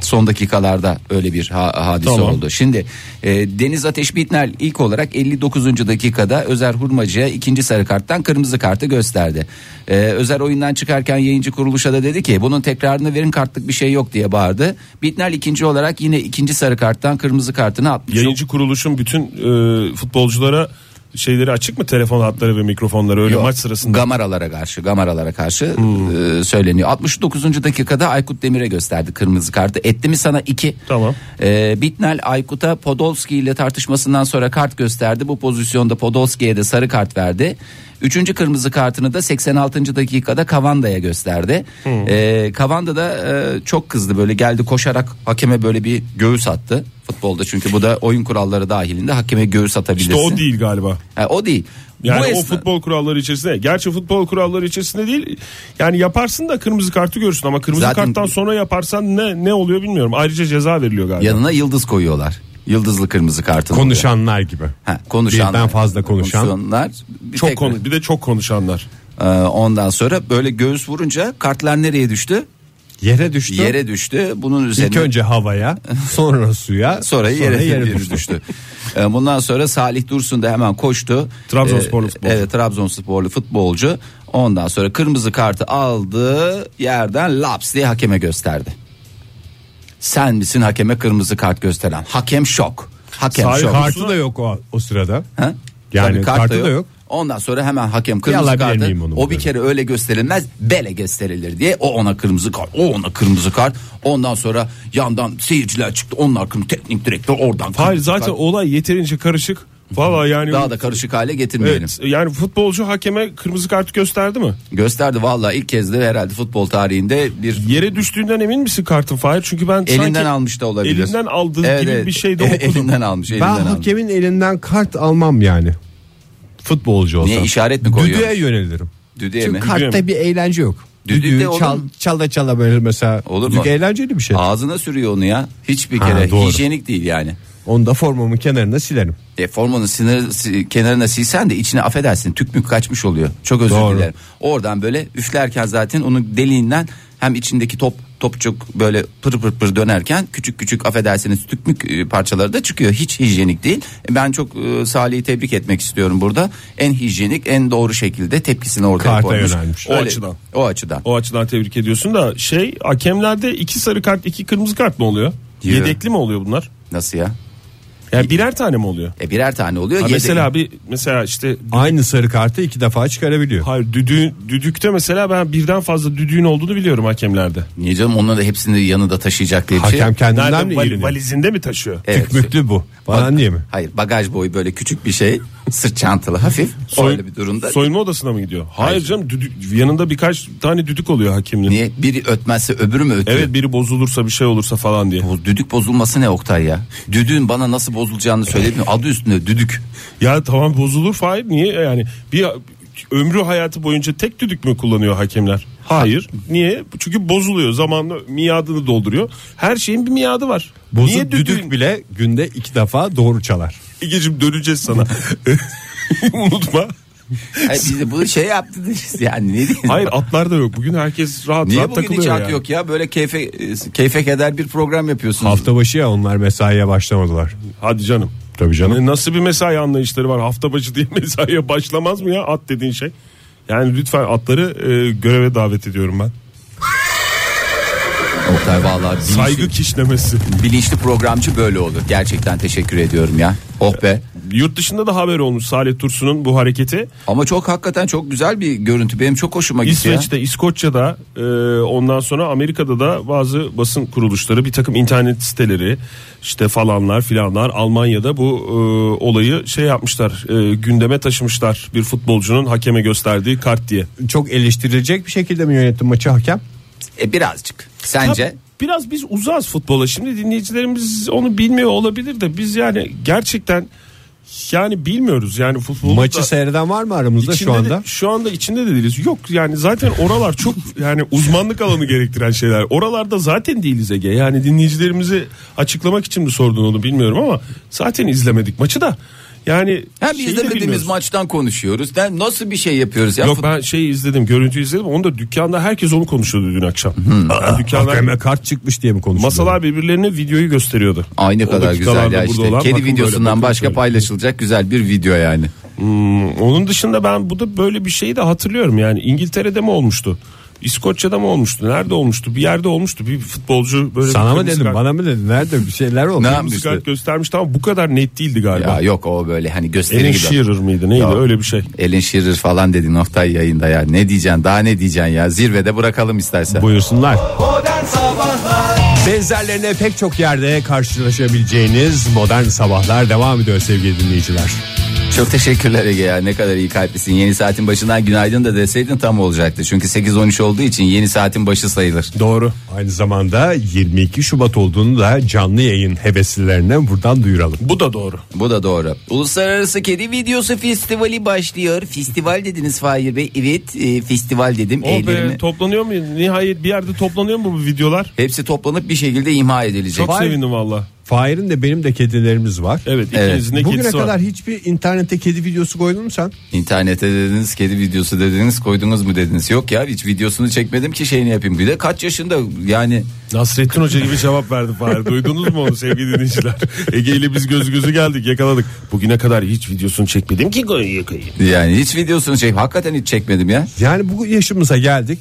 B: son dakikalarda öyle bir ha- hadise
D: Tamam.
B: oldu. Şimdi e, Deniz Ateş Bitner ilk olarak 59. dakikada Özer Hurmacı'ya ikinci sarı karttan kırmızı kartı gösterdi. E, Özer oyundan çıkarken yayıncı kuruluşa da dedi ki bunun tekrarını verin kartlık bir şey yok diye bağırdı. Bitner ikinci olarak yine ikinci sarı karttan kırmızı kartını atmış.
D: Yayıncı kuruluşun bütün e, futbolculara şeyleri açık mı telefon hatları ve mikrofonları öyle
B: Yok.
D: maç sırasında? Hmm.
B: Gamaralara karşı, Gamaralara karşı e, söyleniyor. 69. dakikada Aykut Demir'e gösterdi kırmızı kartı. Etti mi sana 2.
D: Tamam.
B: Bitnel Aykut'a Podolski ile tartışmasından sonra kart gösterdi. Bu pozisyonda Podolski'ye de sarı kart verdi. Üçüncü kırmızı kartını da 86. dakikada Kavanda'ya gösterdi.
D: Hmm.
B: E, Kavanda da e, çok kızdı böyle geldi koşarak hakeme böyle bir göğüs attı. Futbolda çünkü bu da oyun kuralları dahilinde hakeme göğüs atabilirsin.
D: İşte o değil galiba.
B: Ha, o değil.
D: Yani
B: Bu
D: o
B: esna-
D: futbol kuralları içerisinde. Gerçi futbol kuralları içerisinde değil. Yani yaparsın da kırmızı kartı görürsün ama kırmızı
B: Zaten-
D: karttan sonra yaparsan ne ne oluyor bilmiyorum. Ayrıca ceza veriliyor galiba.
B: Yanına yıldız koyuyorlar. Yıldızlı kırmızı kartı.
C: Konuşanlar gibi.
B: Ha, konuşanlar.
C: Birden fazla konuşan.
B: Konuşanlar. Bir
D: çok
B: tek-
D: konu bir de çok konuşanlar.
B: Ee, ondan sonra böyle göğüs vurunca kartlar nereye düştü?
C: Yere düştü.
B: Yere düştü. Bunun üzerine
C: İlk
B: <laughs>
C: önce havaya, sonra suya,
B: sonra <laughs> yere, düştü. Ee, Bundan sonra Salih Dursun da hemen koştu.
D: Trabzonsporlu
B: Ee,
D: futbolcu.
B: Evet, Trabzonsporlu futbolcu. Ondan sonra kırmızı kartı aldı. Yerden laps diye hakeme gösterdi. Sen misin hakeme kırmızı kart gösteren? Hakem şok. Hakem
D: Salih
B: şok.
C: Kartı da yok o, o sırada.
B: Ha?
C: Yani
B: Tabii
C: kartı da yok.
B: Ondan sonra hemen hakem kırmızı
C: alabilir
B: kartı.
C: miyim onu
B: O bir
C: böyle?
B: kere öyle gösterilmez, bele gösterilir diye. O ona kırmızı kart, o ona kırmızı kart. Ondan sonra yandan seyirciler çıktı. Onlar kırmızı teknik direktör oradan.
D: Hayır
B: kırmızı
D: zaten
B: kart.
D: olay yeterince karışık. Valla yani
B: daha da karışık hale getirmeyelim.
D: Evet, yani futbolcu hakeme kırmızı kartı gösterdi mi?
B: Gösterdi vallahi ilk kez de herhalde futbol tarihinde bir
D: Yere düştüğünden emin misin kartın Fahir? Çünkü ben
B: elinden
D: sanki
B: almış da olabilir.
D: Elinden aldığı gibi
B: <laughs>
D: bir şey de
B: E-
D: okudum.
B: Elinden almış, elinden
C: Ben
B: almış.
C: hakemin elinden kart almam yani. Futbolcu olsam.
B: Niye işaret mi koyuyor?
C: Düdüğe yönelirim.
B: Düdüğe
C: Çünkü
B: mi?
D: Düdüğe
C: kartta bir eğlence yok.
B: Düdüğü
C: Düdüğü
B: de olur
C: çal,
B: mu?
C: çala çala böyle mesela.
B: Olur
C: Düdük
B: mu?
C: eğlenceli bir şey.
B: Ağzına sürüyor onu ya. Hiçbir
C: Ha,
B: kere
C: doğru.
B: hijyenik değil yani.
C: Onu da formamın kenarına silerim.
B: E, formanın sinir, si- kenarına silsen de içine affedersin tükmük kaçmış oluyor. Çok özür
C: Doğru.
B: dilerim. Oradan böyle üflerken zaten onun deliğinden hem içindeki top topçuk böyle pır pır pır dönerken küçük küçük affedersiniz tükmük e, parçaları da çıkıyor. Hiç hijyenik değil. E, Ben çok e, Salih'i tebrik etmek istiyorum burada. En hijyenik, en doğru şekilde tepkisini ortaya
C: Karta
B: koymuş.
C: yönelmiş.
D: O
B: Öyle-
D: açıdan.
B: O açıdan.
D: O açıdan tebrik ediyorsun da şey hakemlerde iki sarı kart iki kırmızı kart mı oluyor?
B: Yo.
D: Yedekli mi oluyor bunlar?
B: Nasıl ya?
D: Yani birer tane mi oluyor?
B: E birer tane oluyor.
D: Ha,
B: Yedek-
D: mesela bir mesela işte
C: Aynı sarı kartı iki defa çıkarabiliyor.
D: hayır düdüğün düdükte mesela ben birden fazla düdüğün olduğunu biliyorum hakemlerde.
B: Niye canım onların da hepsini yanında taşıyacak diye bir şey.
C: Hakem kendinden
D: Nerede
C: mi
D: val-
C: iğreniyor?
D: valizinde mi taşıyor?
B: Evet.
C: Tükmüklü bu. Falan diye mi?
B: Hayır bagaj boyu böyle küçük bir şey. Sırt çantalı hafif.
D: <laughs> Soy-
B: öyle bir durumda.
D: Soyunma odasına mı gidiyor? Hayır,
B: Hayır.
D: canım düdük, yanında birkaç tane düdük oluyor hakemin.
B: Niye? Biri ötmezse öbürü mü ötüyor?
D: Evet biri bozulursa bir şey olursa falan diye.
B: Bu düdük bozulması ne Oktay ya? Düdüğün bana nasıl bozulacağını söyledin. mi? Adı üstünde
D: <laughs>
B: düdük.
D: Ya tamam bozulur Fahir niye E, yani bir ömrü hayatı boyunca tek düdük mü kullanıyor hakemler? Hayır. Niye? Çünkü bozuluyor. Zamanla miadını dolduruyor. Her şeyin bir miadı var.
C: Bozuk
D: niye
C: düdük
D: düdüğün-
C: bile günde iki defa doğru çalar.
D: Egeciğim
B: <laughs>
D: döneceğiz sana. Unutma.
B: Hayır, biz de bunu şey yaptınız yani ne diyeyim?
D: Hayır atlar da yok. Bugün herkes rahat
B: Niye
D: rahat
B: bugün hiç
D: takılıyor
B: hak
D: yani.
B: yok ya? Böyle keyfe, e, keyfe keder bir program yapıyorsunuz.
C: Hafta başı ya onlar mesaiye başlamadılar.
D: Hadi canım.
C: Tabii canım.
D: Ne- Hani Nasıl bir mesai anlayışları var? Hafta başı diye <laughs> mesaiye başlamaz mı ya at dediğin şey? Yani lütfen atları e, göreve davet ediyorum ben.
B: Oktay vallahi bilinçli,
D: Saygı kişnemesi.
B: bilinçli programcı böyle olur. Gerçekten teşekkür ediyorum ya. Oh be.
D: Yurt dışında da haber olmuş Salih Tursun'un bu hareketi.
B: Ama çok hakikaten çok güzel bir görüntü. Benim çok hoşuma gitti ya.
D: İsveç'te, İskoçya'da, e, ondan sonra Amerika'da da bazı basın kuruluşları, bir takım internet siteleri, işte falanlar filanlar Almanya'da bu e, olayı şey yapmışlar, e, gündeme taşımışlar bir futbolcunun hakeme gösterdiği kart diye.
C: Çok eleştirilecek bir şekilde mi yönetti maçı hakem?
B: E, birazcık. Sence?
D: Ya Biraz biz uzağız futbola. Şimdi dinleyicilerimiz onu bilmiyor olabilir de biz yani gerçekten yani bilmiyoruz yani futbolu.
C: Maçı
D: da-
C: seyreden var mı aramızda
D: İçinde
C: şu anda?
D: de- şu anda içinde de değiliz. Yok yani zaten oralar çok yani uzmanlık alanı gerektiren şeyler. Oralarda zaten değiliz Ege. Yani dinleyicilerimizi açıklamak için mi sordun onu bilmiyorum ama zaten izlemedik maçı da. Yani
B: Hem
D: şeyi de
B: izlemediğimiz
D: bilmiyoruz.
B: maçtan konuşuyoruz. Ne- Nasıl bir şey yapıyoruz ya?
D: Yok
B: Fut-
D: ben şey izledim, görüntü izledim. Onu da dükkanda herkes onu konuşuyordu dün akşam. Yani dükkanda
C: Hakeme kart çıkmış diye mi konuşuyor?
D: masalar birbirlerine videoyu gösteriyordu.
B: Ay ne
D: O
B: kadar güzel
D: dakikalarda
B: ya
D: burada
B: işte.
D: olan,
B: Kedi
D: bakın
B: videosundan
D: böyle, bakın
B: başka
D: şöyle.
B: paylaşılacak güzel bir video yani.
D: Onun dışında ben bu da böyle bir şeyi de hatırlıyorum yani İngiltere'de mi olmuştu? İskoçya'da mı olmuştu? Nerede olmuştu? Bir yerde olmuştu. Bir futbolcu böyle
C: Sana
D: bir
C: mı
D: kırmızı
C: dedim
D: kart-
C: bana mı dedin nerede bir şeyler oldu.
B: Ne
D: kırmızı
B: yapmıştı?
D: kart göstermişti ama bu kadar net değildi
B: Ya
D: galiba.
B: yok o böyle hani gösteri
D: Erin
B: gibi.
D: Shearer mıydı neydi
B: Ya.
D: öyle bir şey.
B: Elin Shearer falan dedin Oktay yayında ya. Ne diyeceksin daha ne diyeceksin ya. Zirvede bırakalım istersen.
C: Buyursunlar. Benzerlerine pek çok yerde karşılaşabileceğiniz modern sabahlar devam ediyor sevgili dinleyiciler.
B: Çok teşekkürler Ege ya. Ne kadar iyi kalplisin. Yeni saatin başından günaydın da deseydin tam olacaktı. Çünkü 8-13 olduğu için yeni saatin başı sayılır.
C: Doğru. Aynı zamanda 22 Şubat olduğunu da canlı yayın heveslilerine buradan duyuralım.
D: Bu da doğru.
B: Bu da doğru. Uluslararası Kedi Videosu Festivali başlıyor. Festival dediniz Fahir Bey. Evet e, festival dedim.
D: O
B: Eğlerimi-
D: be toplanıyor mu? Nihayet bir yerde toplanıyor mu bu videolar?
B: Hepsi toplanıp bir şekilde imha edilecek.
D: Çok sevindim valla.
C: Fahir'in de benim de kedilerimiz var.
D: Evet
B: Evet.
D: ikinizin de
C: Bugüne
D: kedisi
C: kadar
D: var.
C: hiçbir internette kedi videosu koydun mu sen?
B: İnternete dediniz kedi videosu dediniz koydunuz mu dediniz. Yok ya hiç videosunu çekmedim ki şeyini yapayım. Bir de kaç yaşında yani
D: Nasrettin Hoca gibi cevap verdi Fahir. Duydunuz mu onu
B: <laughs>
D: sevgili dinleyiciler? Ege ile biz göz gözü geldik yakaladık. Bugüne kadar hiç videosunu çekmedim ki koyayım.
B: yani hiç videosunu çek hakikaten hiç çekmedim ya.
C: Yani bu yaşımıza geldik.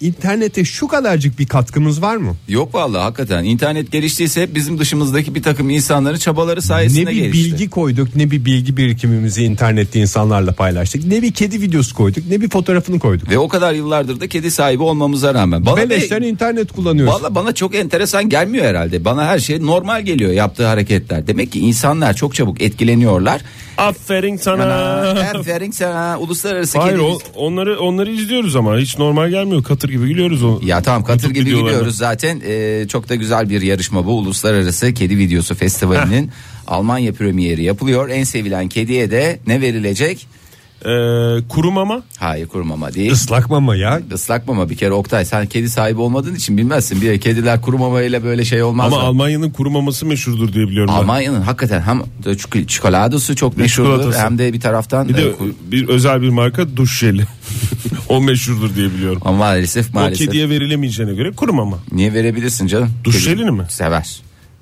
C: İnternete şu kadarcık bir katkımız var mı?
B: Yok vallahi hakikaten internet geliştiyse hep bizim dışımızdaki bir takım insanların çabaları sayesinde
C: Ne bir
B: gelişti.
C: bilgi koyduk, ne bir bilgi birikimimizi internette insanlarla paylaştık. Ne bir kedi videosu koyduk, ne bir fotoğrafını koyduk.
B: Ve o kadar yıllardır da kedi sahibi olmamıza rağmen. Bana be-
C: Beleşten internet kullanıyoruz.
B: Valla bana çok enteresan gelmiyor herhalde. Bana her şey normal geliyor yaptığı hareketler. Demek ki insanlar çok çabuk etkileniyorlar.
D: Aferin sana.
B: Aferin sana uluslararası
D: Hayır
B: kedi
D: o- onları onları izliyoruz ama hiç normal gelmiyor. Katır gibi gülüyoruz o.
B: Ya tamam katır
D: YouTube
B: gibi
D: videolarına.
B: gidiyoruz zaten. Ee, çok da güzel bir yarışma bu. Uluslararası Kedi Videosu Festivali'nin Almanya premieri yapılıyor. En sevilen kediye de ne verilecek?
D: Ee, kuru mama.
B: Hayır kurumama değil.
C: Islak mama ya.
B: Islak mama bir kere Oktay sen kedi sahibi olmadığın için bilmezsin. Bir de kediler kuru mamayla böyle şey olmaz.
D: Ama
B: da.
D: Almanya'nın kuru maması meşhurdur diye biliyorum ben.
B: Almanya'nın hakikaten hem de çik- çikoladası çok meşhurdur
D: çikolatası.
B: hem de bir taraftan
D: Bir de
B: e, kur-
D: bir özel bir marka duş jeli. <laughs> O meşhurdur diye biliyorum.
B: Ama maalesef maalesef.
D: O kediye verilemeyeceğine göre kurumama.
B: Niye verebilirsin canım?
D: Duş
B: Kedi-
D: jelini mi?
B: Sever.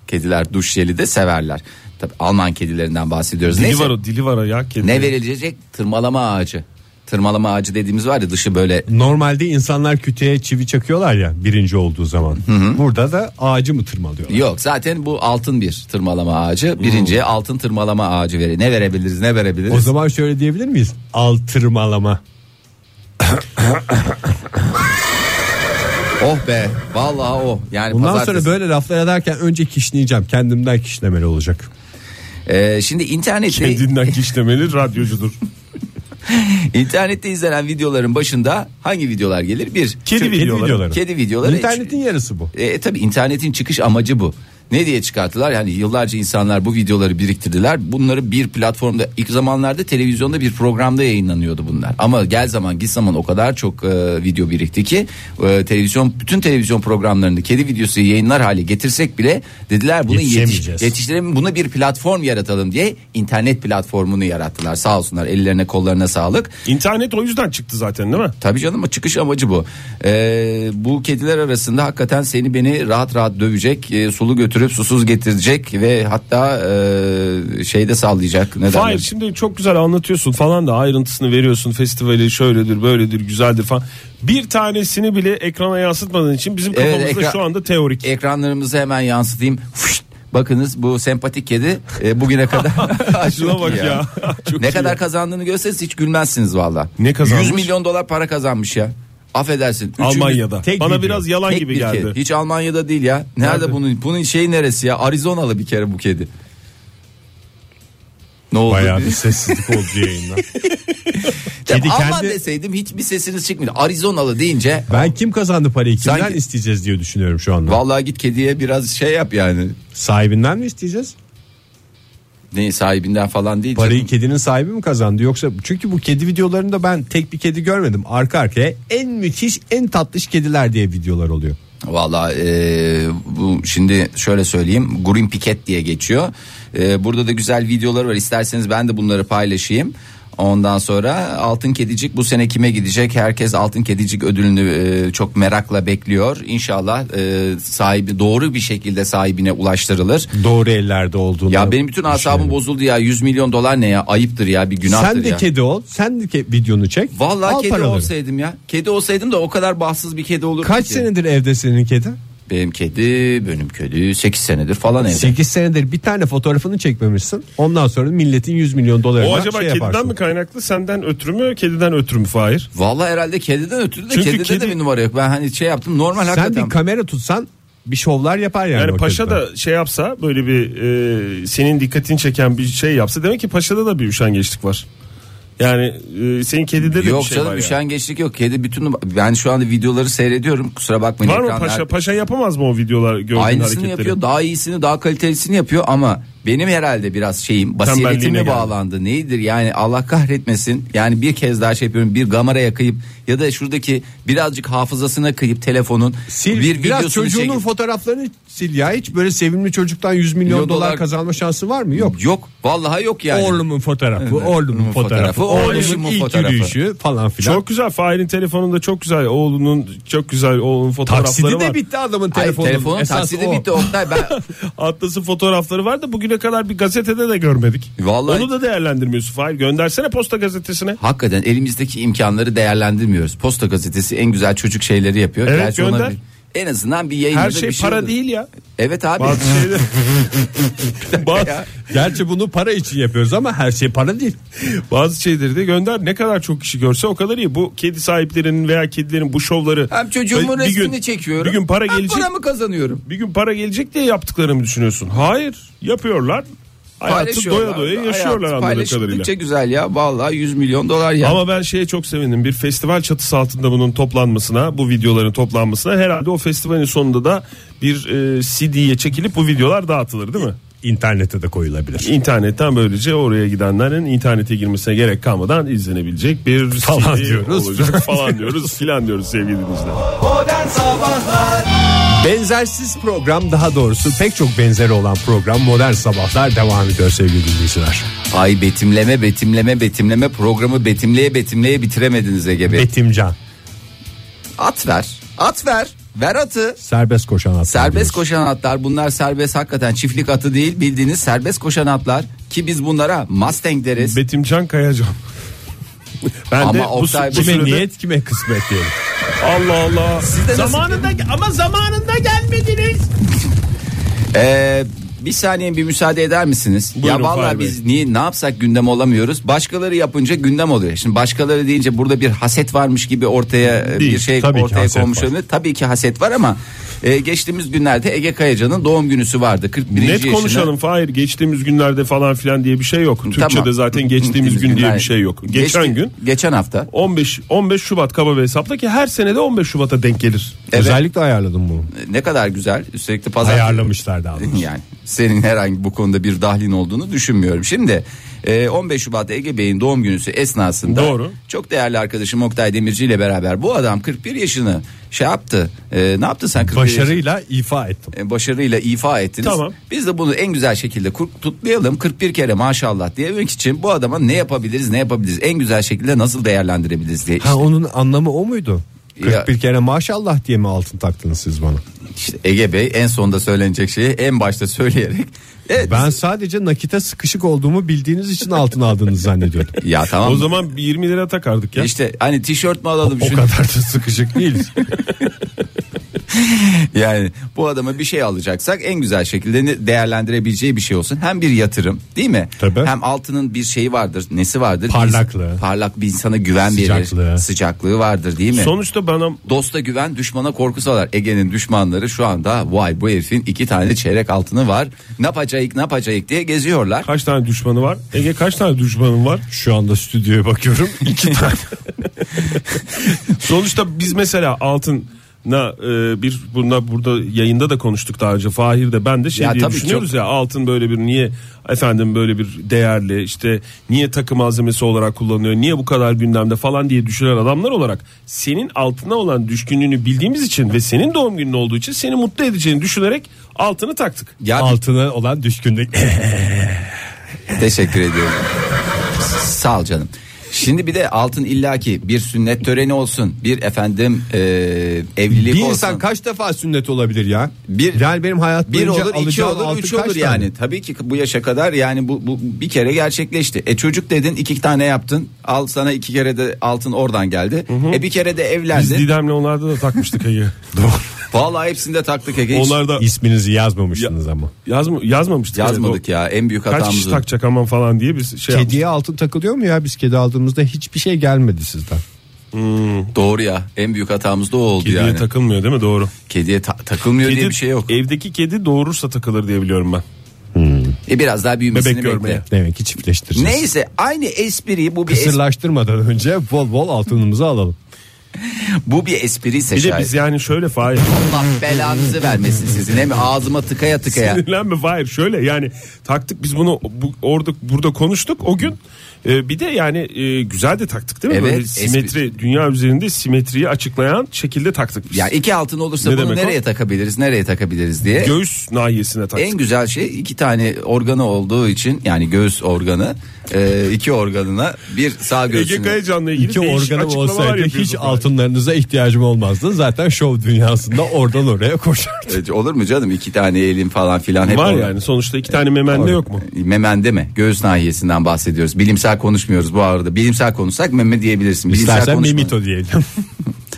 B: Kediler duş jeli de severler. Tabii Alman kedilerinden bahsediyoruz.
D: Dili
B: Neyse.
D: var o dili var o ya kedi.
B: Ne verilecek? Tırmalama ağacı. Tırmalama ağacı dediğimiz var ya dışı böyle
C: Normalde insanlar kütüğe çivi çakıyorlar ya birinci olduğu zaman. Burada da ağacı mı tırmalıyorlar?
B: Yok zaten bu altın bir tırmalama ağacı. Birinciye altın tırmalama ağacı verir. Ne verebiliriz ne verebiliriz?
C: Hmm. O zaman şöyle diyebilir miyiz? Al tırmalama.
B: Oh be vallahi oh. Yani
C: Bundan
B: pazartesi-
C: sonra böyle laflar ederken önce kişneyeceğim. Kendimden kişnemeli olacak.
B: Ee, şimdi internette
D: Kendinden kişnemeli radyocudur.
B: internette izlenen videoların başında hangi videolar gelir? Bir
D: Kedi
C: Kedi
D: videoları.
C: videoları.
B: Kedi videoları.
C: İnternetin yarısı bu.
B: E, tabii internetin çıkış amacı bu. Ne diye çıkarttılar? Yani yıllarca insanlar bu videoları biriktirdiler. Bunları bir platformda ilk zamanlarda televizyonda bir programda yayınlanıyordu bunlar. Ama gel zaman git zaman o kadar çok e, video birikti ki e, televizyon bütün televizyon programlarını kedi videosu yayınlar hale getirsek bile dediler bunu yetiş,
C: Yetişemeyeceğiz.
B: yetiştirelim bunu bir platform yaratalım diye internet platformunu yarattılar. Sağ olsunlar ellerine kollarına sağlık.
D: İnternet o yüzden çıktı zaten değil mi?
B: Tabii canım o çıkış amacı bu. Ee, bu kediler arasında hakikaten seni beni rahat rahat dövecek, e, sulu götürüp susuz getirecek ve hatta e, şeyde sallayacak. Ne
D: Hayır
B: derler?
D: şimdi çok güzel anlatıyorsun falan da ayrıntısını veriyorsun festivali şöyledir böyledir güzeldir falan. Bir tanesini bile ekrana yansıtmadığın için bizim
B: Evet,
D: kafamızda
B: ekran-
D: şu anda teorik.
B: Ekranlarımızı hemen yansıtayım. Fışt! Bakınız bu sempatik kedi e, bugüne kadar
D: <laughs> Şuna
B: Çok iyi <laughs>
D: bak ya. Çok
B: ne
D: iyi.
B: kadar kazandığını görseniz hiç gülmezsiniz valla.
D: Ne kazanmış?
B: 100 milyon dolar para kazanmış ya. Affedersin. Üçüncü-
D: Almanya'da.
C: Tek
D: Bana
C: video.
D: biraz yalan
B: Tek
D: gibi
B: bir
D: geldi.
B: Kedi. Hiç Almanya'da değil ya. Nerede,
D: Nerede?
B: bunun? Bunun şeyi neresi ya? Arizonalı bir kere bu kedi. Ne oldu?
C: Bayağı bir sessizlik
B: <laughs>
C: oldu yayında.
B: Ya
C: kedi
B: Alman
C: kendi-
B: deseydim hiçbir sesiniz çıkmıyor. Arizonalı deyince
C: Ben kim kazandı parayı kimden
B: Sanki-
C: isteyeceğiz diye düşünüyorum şu anda.
B: vallahi git kediye biraz şey yap yani.
C: Sahibinden mi isteyeceğiz?
B: Ne sahibinden falan değil.
C: Parayı
B: canım.
C: kedinin sahibi mi kazandı yoksa çünkü bu kedi videolarında ben tek bir kedi görmedim. Arka arkaya en müthiş en tatlış kediler diye videolar oluyor.
B: Vallahi e, bu şimdi şöyle söyleyeyim. Green Piket diye geçiyor. E, burada da güzel videolar var. İsterseniz ben de bunları paylaşayım. Ondan sonra Altın Kedicik bu sene kime gidecek? Herkes Altın Kedicik ödülünü e, çok merakla bekliyor. İnşallah e, sahibi doğru bir şekilde sahibine ulaştırılır.
C: Doğru ellerde olduğunu.
B: Ya benim bütün asabım
C: düşünüyorum.
B: bozuldu ya. 100 milyon dolar ne ya? Ayıptır ya bir günahtır
C: şey Sen de
B: ya.
C: kedi ol. Sen de ke- videonu çek.
B: Vallahi
C: al
B: kedi
C: paraları.
B: olsaydım ya. Kedi olsaydım da o kadar bahtsız bir kedi olur.
C: Kaç senedir evde senin kedi?
B: Benim kedi, benim kedi 8 senedir falan evde.
C: 8 senedir bir tane fotoğrafını çekmemişsin. Ondan sonra milletin 100 milyon dolarına
D: O acaba
C: şey
D: kediden
C: yaparsın.
D: mi kaynaklı senden ötürü mü kediden ötürü mü Fahir?
B: Vallahi herhalde kediden ötürü de
D: Çünkü
B: kedide de
D: kedi-
B: bir numara yok. Ben hani şey yaptım normal
C: Sen
B: hakikaten.
C: bir kamera tutsan bir şovlar yapar yani.
D: Yani
C: o
D: paşa
C: kediden.
D: da şey yapsa böyle bir e, senin dikkatini çeken bir şey yapsa demek ki paşada da bir üşengeçlik var. Yani e, senin kedide de
B: yok
D: bir şey
B: canım
D: var. yani.
B: üşengeçlik yok. Kedi bütün numara- ben şu anda videoları seyrediyorum. Kusura bakmayın
D: Var mı
B: ekranlar.
D: paşa? Paşa yapamaz mı o videolar gördüğün
B: Aynısını
D: hareketleri?
B: yapıyor, daha iyisini, daha kalitelisini yapıyor ama benim herhalde biraz şeyim basiretim
D: Tembelliğine
B: mi
D: geldi.
B: bağlandı neyidir yani Allah kahretmesin yani bir kez daha şey yapıyorum bir kameraya kıyıp ya da şuradaki birazcık hafızasına kıyıp telefonun
C: Sil,
B: bir
C: biraz
B: videosunu
C: çocuğunun
B: çekip-
C: fotoğraflarını sil ya. Hiç böyle sevimli çocuktan 100 milyon
B: Milyon
C: dolar,
B: dolar-
C: kazanma şansı var mı? Yok.
B: yok vallahi yok yani
C: Oğlumun fotoğrafı, oğlumun
B: Oğlumun
C: fotoğrafı,
B: fotoğrafı,
C: oğlumun
B: oğlumun
C: ilk
B: fotoğrafı.
C: yürüyüşü falan filan.
D: Çok güzel. Fahir'in telefonunda çok güzel. Oğlunun çok güzel oğlunun fotoğrafları
C: taksidi
D: var.
C: de bitti adamın
B: Hayır,
C: telefonunun.
B: telefonun
C: Esas
B: taksidi
C: o.
B: bitti Oktay ben
D: <laughs> Atlas'ın fotoğrafları var da bugüne kadar bir gazetede de görmedik.
B: Vallahi-
D: Onu da değerlendirmiyorsun Fahir. Göndersene posta gazetesine.
B: <laughs> Hakikaten elimizdeki imkanları değerlendirmiyoruz. Posta gazetesi en güzel çocuk şeyleri yapıyor.
D: Evet,
B: ona
D: gönder.
B: bir- en azından bir yayın.
D: Her şey para değil ya.
B: Evet abi.
D: Bazı
B: <laughs>
D: şeyler. <laughs> bazı,
C: Gerçi bunu para için yapıyoruz ama her şey para değil.
D: bazı şeyleri de gönder. Ne kadar çok kişi görse o kadar iyi. Bu kedi sahiplerinin veya kedilerin bu şovları.
B: Hem çocuğumun
D: Bir gün-
B: resmini çekiyorum.
D: Bir gün para
B: hem
D: gelecek.
B: para mı kazanıyorum?
D: Bir gün para gelecek diye yaptıklarını mı düşünüyorsun? Hayır. Yapıyorlar. Hayatı
B: Paylaşıyorlar.
D: doya doya yaşıyorlar
B: Hayatı
D: anladığım kadarıyla.
B: Paylaşıldıkça güzel ya. Vallahi 100 milyon dolar ya.
D: Ama ben şeye çok sevindim. Bir festival çatısı altında bunun toplanmasına, bu videoların toplanmasına herhalde o festivalin sonunda da bir e, CD'ye çekilip bu videolar dağıtılır değil mi?
C: İnternete de koyulabilir.
D: İnternetten böylece oraya gidenlerin internete girmesine gerek kalmadan izlenebilecek bir
C: Falan
D: CD
C: diyoruz.
D: olacak falan diyoruz filan diyoruz sevgili dinleyiciler.
C: Benzersiz program daha doğrusu pek çok benzeri olan program Modern Sabahlar devam ediyor sevgili dinleyiciler.
B: Ay betimleme betimleme betimleme programı betimleye betimleye bitiremediniz Ege Bey.
C: Betimcan.
B: At ver. At ver. Ver atı.
C: Serbest koşan atlar.
B: Serbest
C: diyoruz.
B: koşan atlar bunlar serbest hakikaten çiftlik atı değil bildiğiniz serbest koşan atlar ki biz bunlara Mustang deriz.
D: Betimcan Kayacan. ben
B: Ama
D: de bu,
B: Oktay
D: bu
B: Bey-
C: Kime
D: sırada-
C: niyet kime kısmet diyelim.
D: Allah Allah.
B: Siz de nasıl-
D: zamanında ama zamanında gelmediniz.
B: <laughs> Ee, bir saniye bir müsaade eder misiniz?
D: Buyurun
B: ya vallahi
D: Fahri Bey.
B: biz niye ne yapsak gündem olamıyoruz. Başkaları yapınca gündem oluyor. Şimdi başkaları deyince burada bir haset varmış gibi ortaya e,
C: Değil,
B: bir şey
C: tabii ki
B: ortaya
C: haset
B: konmuş
C: var.
B: olabilir. Tabii ki haset var ama e, geçtiğimiz günlerde Ege Kayacan'ın doğum günüsü vardı. 41.
D: Net
B: yaşına-
D: konuşalım Fahir. Geçtiğimiz günlerde falan filan diye bir şey yok. Türkçe'de
B: Tamam.
D: zaten geçtiğimiz gün diye bir şey yok. Geçen
B: Geçti-
D: gün
B: geçen hafta.
D: 15 15 Şubat kaba bir hesapla ki her senede 15 Şubat'a denk gelir.
B: Evet.
C: Özellikle ayarladım bunu.
B: Ne kadar güzel. Üstelik de pazar
C: Ayarlamışlar daha
B: <laughs>
C: doğrusu.
B: Yani senin herhangi bu konuda bir dahlin olduğunu düşünmüyorum. Şimdi e, 15 Şubat Ege Bey'in doğum günüsü esnasında
D: Doğru.
B: çok değerli arkadaşım Oktay Demirci ile beraber bu adam 41 yaşını şey yaptı. E, ne yaptın sen 41 yaşını?
C: Başarıyla ifa ettim.
B: E, başarıyla ifa ettiniz.
D: Tamam.
B: Biz de bunu en güzel şekilde kur- kutlayalım. 41 kere maşallah diyemek için bu adama ne yapabiliriz ne yapabiliriz en güzel şekilde nasıl değerlendirebiliriz diye.
C: Ha onun anlamı o muydu?
B: Ya-
C: 41 kere maşallah diye mi altın taktınız siz bana?
B: İşte Ege Bey en sonda söylenecek şeyi en başta söyleyerek. "E, Evet,
C: Ben sadece nakite sıkışık olduğumu bildiğiniz için altın aldığınızı zannediyordum.
B: <laughs> Ya tamam.
D: O zaman bir 20 lira takardık ya.
B: İşte hani tişört mü alalım
C: O
B: şunu-
C: kadar da sıkışık değiliz.
B: <laughs> Yani bu adama bir şey alacaksak en güzel şekilde ne- değerlendirebileceği bir şey olsun. Hem bir yatırım değil mi?
C: Tabii.
B: Hem altının bir şeyi vardır. Nesi vardır?
C: Parlaklığı.
B: Bir- parlak bir insana güven
C: Sıcaklığı.
B: verir. Sıcaklığı vardır değil mi?
D: Sonuçta bana
B: Dosta güven düşmana korku salar. Ege'nin düşmanları şu anda vay bu herifin iki tane çeyrek altını var. Ne yapacağız ne yapacağız diye geziyorlar.
D: kaç tane düşmanı var? Ege kaç tane düşmanın var?
C: Şu anda stüdyoya bakıyorum. <laughs> İki tane.
D: <laughs> Sonuçta biz mesela altına e, bir bunlar burada yayında da konuştuk daha önce Fahir de ben de şey
B: Ya
D: diye
B: tabii
D: düşünüyoruz
B: çok-
D: ya altın böyle bir niye efendim böyle bir değerli işte niye takım malzemesi olarak kullanıyor niye bu kadar gündemde falan diye düşünen adamlar olarak senin altına olan düşkünlüğünü bildiğimiz için ve senin doğum günün olduğu için seni mutlu edeceğini düşünerek altını taktık.
B: Ya
C: Altına olan düşkünlük.
B: Teşekkür ediyorum. Sağ ol canım. Şimdi bir de altın illaki bir sünnet töreni olsun. Bir efendim e, evlilik
C: <laughs> bir
B: olsun.
C: insan kaç defa sünnet olabilir ya?
B: Bir-
C: yani benim hayat
B: bir
C: boyunca
B: olur, iki
C: alacağım
B: olur,
C: altın
B: üç
C: kaç
B: olur
C: tane?
B: yani. Tabii ki bu yaşa kadar yani bu, bu bir kere gerçekleşti. E çocuk dedin iki tane yaptın. Al sana iki kere de altın oradan geldi. E bir kere de
D: Biz
B: evlendin.
D: Didem'le onlarda da takmıştık Ege.
B: <laughs>
D: <laughs>
B: Vallahi hepsinde taktık Ege. Hiç
D: Onlar da
C: İsminizi yazmamışsınız ama.
D: yazma, yazmamıştık.
B: yazmadık ya en büyük
D: Kaç kişi
B: hatamız. o.
D: takacak aman falan diye biz şey yapmıştık.
C: Kediye altın takılıyor mu ya? Biz kedi aldığımızda hiçbir şey gelmedi sizden.
B: Doğru ya en büyük hatamız da o oldu
D: Kediye
B: yani.
D: takılmıyor değil mi doğru?
B: Kediye ta- takılmıyor diye bir şey yok.
D: Evdeki kedi doğurursa takılır diye biliyorum ben.
B: E biraz daha büyümesini
D: Bebek görmeye.
B: bekle.
C: Demek ki çiftleştireceğiz.
B: Neyse aynı espriyi bu bir es-
C: Kısırlaştırmadan önce bol bol altınımızı alalım.
B: bu bir espri ise
D: Bir de
B: şayet.
D: biz yani şöyle Fahir. <laughs>
B: Allah belanızı vermesin sizin hem ağzıma tıkaya tıkaya.
D: Sinirlenme Fahir şöyle yani taktık biz bunu bu, orada burada konuştuk o gün. Ee, bir de yani e, güzel de taktık değil mi?
B: Evet,
D: Böyle simetri dünya üzerinde simetriyi açıklayan şekilde taktık biz.
B: Ya iki altın olursa
D: Ne
B: bunu
D: demek o?
B: nereye takabiliriz nereye takabiliriz diye.
D: Göğüs nahiyesine taktık.
B: en güzel şey iki tane organı olduğu için yani göğüs organı e, iki organına bir sağ
D: Ege
B: göğsüne.
D: Kayacan'la ilgili
C: İki
D: değişik
C: organım
D: açıklamalar
C: olsaydı hiç
D: yapıyorsun Fahir.
C: altınlarınıza ihtiyacım olmazdı. Zaten şov dünyasında oradan oraya koşardım.
B: E, Olur mu canım iki tane elin falan filan hep
D: Var
B: olur.
D: yani sonuçta iki tane memende yok mu?
B: Memende mi? Göğüs nahiyesinden bahsediyoruz. Bilimsel konuşmuyoruz bu arada. Bilimsel konuşsak meme diyebilirsin. Bilimsel
C: İstersen
B: konuşma-
C: mimito diyelim.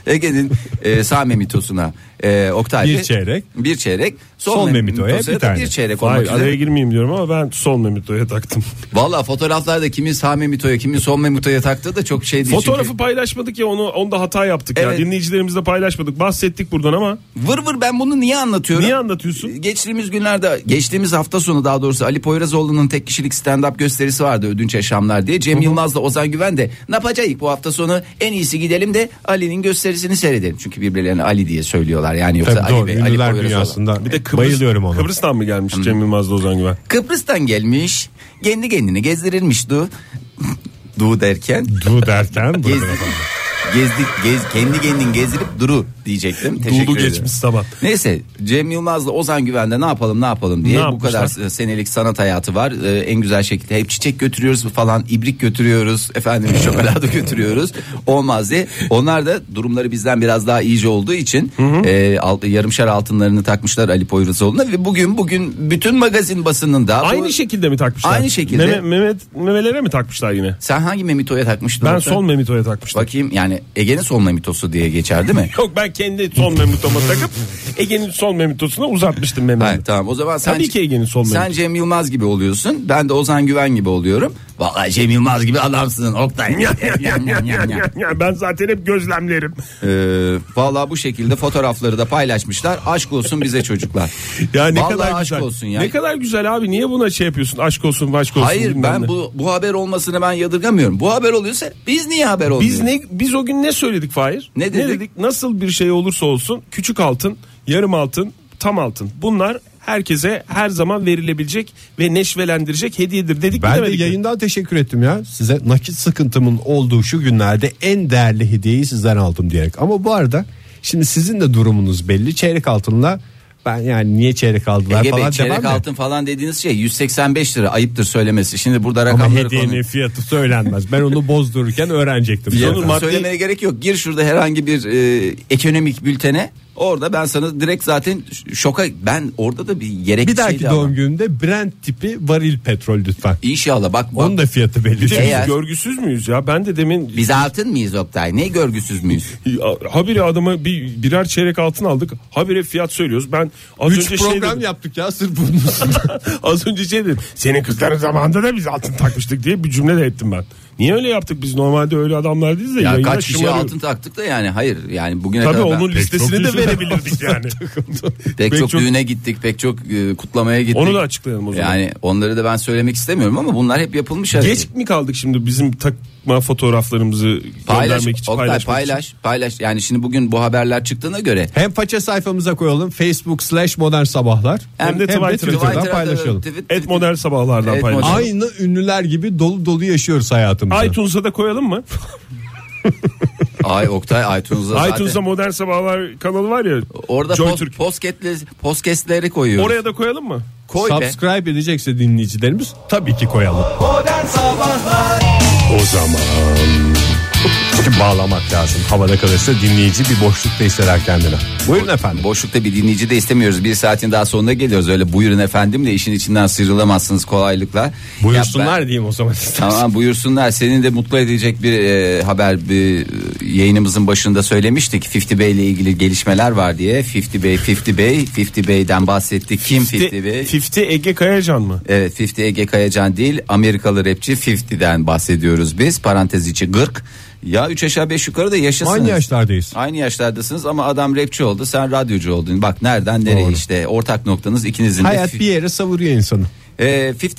B: Ege'nin e, sağ memitosuna e, Oktay
C: Bir
B: Bey-
C: çeyrek.
B: bir çeyrek sol,
C: Sol
B: memitosuna
C: memitoya bir
B: da
C: tane.
B: bir çeyrek olmak
D: Fahir
B: üzere.
D: araya girmeyeyim diyorum ama ben sol memitoya <laughs> taktım.
B: Valla fotoğraflarda kimin sağ memitoya kimin sol memitoya taktığı da çok şey değil.
D: Fotoğrafı
B: Çünkü
D: paylaşmadık ya onu onda hata yaptık
B: Evet.
D: ya. Dinleyicilerimizle paylaşmadık. Bahsettik buradan ama
B: vır vır ben bunu niye anlatıyorum?
D: niye anlatıyorsun?
B: Geçtiğimiz günlerde geçtiğimiz hafta sonu daha doğrusu Ali Poyrazoğlu'nun tek kişilik stand-up gösterisi vardı Ödünç Yaşamlar diye. Cem Yılmaz'la Ozan Güven de ne yapacağız bu hafta sonu en iyisi gidelim de Ali'nin gösterisini seyredelim. Çünkü birbirlerine Ali diye söylüyorlar yani yoksa
C: Tabii
B: Ali
C: doğru
B: Bey, Ali
C: ünlüler
B: Poyrazoğlu.
C: dünyasında.
D: Bir de Kıbrıs,
C: Bayılıyorum ona.
D: Kıbrıs'tan mı gelmiş Cem Yılmaz'la Ozan Güven?
B: Kıbrıs'tan gelmiş. Kendi kendini gezdirilmiş Du. Du derken
C: Du derken
B: gezdi, gez, kendi kendini gezdirip duru diyecektim. Teşekkür
D: Doğulu
B: ederim.
D: geçmiş zaman.
B: Neyse Cem Yılmaz'la Ozan Güven'de ne yapalım ne yapalım diye
D: Ne
B: bu
D: yapmışlar?
B: kadar e, senelik sanat hayatı var. Ee, en güzel şekilde hep çiçek götürüyoruz falan, ibrik götürüyoruz,
D: <laughs>
B: efendim şokolada götürüyoruz. Olmaz diye. Onlar da durumları bizden biraz daha iyice olduğu için e, al- yarımşar altınlarını takmışlar Ali Poyrazoğlu'na ve bugün bugün bütün magazin basınında bu-
D: Aynı şekilde mi takmışlar?
B: Aynı şekilde.
D: Meme, Mehmet, memelere mi takmışlar yine?
B: Sen hangi memitoya takmıştın?
D: Ben
B: Oktay?
D: son memitoya takmıştım.
B: Bakayım yani Ege'nin son memitosu diye geçer değil
D: <laughs>
B: mi?
D: Yok ben kendi son memitoma takıp Ege'nin son memitosuna uzatmıştım
B: Hayır
D: <laughs> mememi.
B: tamam o zaman sen
D: Tabii ki Ege'nin son
B: Sen
D: memitosu.
B: Cem Yılmaz gibi oluyorsun. Ben de Ozan Güven gibi oluyorum. Vallahi Cem Yılmaz gibi adamsın Oktay.
D: <laughs> Ya ben zaten hep gözlemlerim.
B: Ee, vallahi bu şekilde fotoğrafları da paylaşmışlar. Aşk olsun bize çocuklar.
D: <laughs> Ya ne
B: vallahi
D: kadar
B: aşk
D: güzel.
B: olsun ya.
D: Ne kadar güzel abi niye buna şey yapıyorsun? Aşk olsun, aşk olsun.
B: Hayır
D: bilmem
B: ben
D: ne.
B: bu bu haber olmasını ben yadırgamıyorum. Bu haber oluyorsa biz niye haber olmuyoruz?
D: biz ne biz o gün ne söyledik Fahir?
B: Ne dedik?
D: Nasıl bir şey olursa olsun küçük altın, yarım altın, tam altın. Bunlar herkese her zaman verilebilecek ve neşvelendirecek hediyedir dedik mi
C: <laughs> Ben de
D: demedik mi?
C: yayından teşekkür ettim ya. Size nakit sıkıntımın olduğu şu günlerde en değerli hediyeyi sizden aldım diyerek. Ama bu arada şimdi sizin de durumunuz belli. Çeyrek altınla ben yani niye çeyrek aldılar
B: Ege Bey,
C: falan
B: çeyrek
C: demem de.
B: altın falan dediğiniz şey 185 lira ayıptır söylemesi. Şimdi burada
C: Ama
B: rakamları
C: hediyenin
B: konu-
C: fiyatı söylenmez. Ben onu
B: <laughs>
C: bozdururken öğrenecektim.
B: Ya,
C: Sonra maddi-
B: Söylemeye gerek yok. Gir şurada herhangi bir e, ekonomik bültene. Orada ben sana direkt zaten ş- şoka ben orada da bir yere
D: Şey
C: bir dahaki doğum günümde Brent tipi varil petrol lütfen.
B: İnşallah bak bak.
C: Onun da fiyatı
D: Bir
C: belli. Şey
D: de biz
C: değil.
B: Eğer-
D: görgüsüz müyüz ya? Ben de demin
B: Biz altın mıyız Oktay? Ne görgüsüz müyüz?
D: Ya, Habire adama bir birer çeyrek altın aldık. Habire fiyat söylüyoruz. Ben az önce
C: Üç
D: şey
C: program
D: dedim.
C: yaptık ya sırf bunun üstüne.
D: <laughs> az önce şey dedim. Senin kızların zamanında da biz altın takmıştık diye bir cümle de ettim ben. Niye öyle yaptık biz normalde öyle adamlar değiliz de.
B: Ya
D: yayına
B: kaç kişi
D: şımarıyoruz.
B: altın taktık da yani hayır yani bugüne
D: Tabii
B: kadar ben-
D: onun listesini de
B: <laughs>
C: kişi-
D: verebilirdik yani.
B: pek,
D: pek
B: çok,
D: çok-
B: düğüne gittik, pek çok e, kutlamaya gittik.
D: Onu da açıklayalım o zaman.
B: Yani onları da ben söylemek istemiyorum ama bunlar hep yapılmış. şey. hareket.
D: Geç mi kaldık şimdi bizim takma fotoğraflarımızı
B: paylaş,
D: göndermek için
B: Oktay,
D: paylaşmak
B: paylaş, paylaş. Yani şimdi bugün bu haberler çıktığına göre
C: Hem faça sayfamıza koyalım Facebook slash modern sabahlar.
D: Hem de Twitter'dan
B: Twitter'da-
C: paylaşalım.
B: Twi-
D: için? Et model sabahlardan
B: Et
D: paylaş.
B: model.
C: Aynı ünlüler gibi dolu dolu yaşıyoruz hayatımızı.
D: iTunes'a da koyalım mı?
B: Ay Oktay
D: <laughs>
B: iTunes'da <laughs> zaten.
D: iTunes'da modern sabahlar kanalı var ya.
B: Orada
D: Joy
B: pos,
D: Türk.
B: posketli- posketleri koyuyoruz.
D: Oraya da koyalım mı?
B: Koy be.
C: Subscribe edecekse dinleyicilerimiz tabii ki koyalım. O zaman Çünkü bağlamak lazım. Havada kalırsa dinleyici bir boşlukta hisseder kendini. Buyurun efendim.
B: Boşlukta bir dinleyici de istemiyoruz. Bir saatin daha sonuna geliyoruz. Öyle buyurun efendim de işin içinden sıyrılamazsınız kolaylıkla. Ya
C: Buyursunlar
B: ben-
C: diyeyim o zaman.
B: Tamam buyursunlar. Senin de mutlu edecek bir e, haber bir e, yayınımızın başında söylemiştik. 50 Bey ile ilgili gelişmeler var diye. 50 Bey, 50 Bey, 50 Bey'den bahsettik. Kim 50 Bey?
D: 50 Ege Kayacan mı?
B: Evet 50 Ege Kayacan değil Amerikalı rapçi 50'den bahsediyoruz biz. Parantez içi 40. Ya 3 aşağı 5 yukarı da yaşasınız.
C: Aynı yaşlardayız.
B: Aynı yaşlardasınız ama adam rapçi oldu sen radyocu oldun. Bak nereden nereye
C: Doğru.
B: işte ortak noktanız ikinizin de.
C: Hayat bir yere savuruyor insanı.
B: Ee,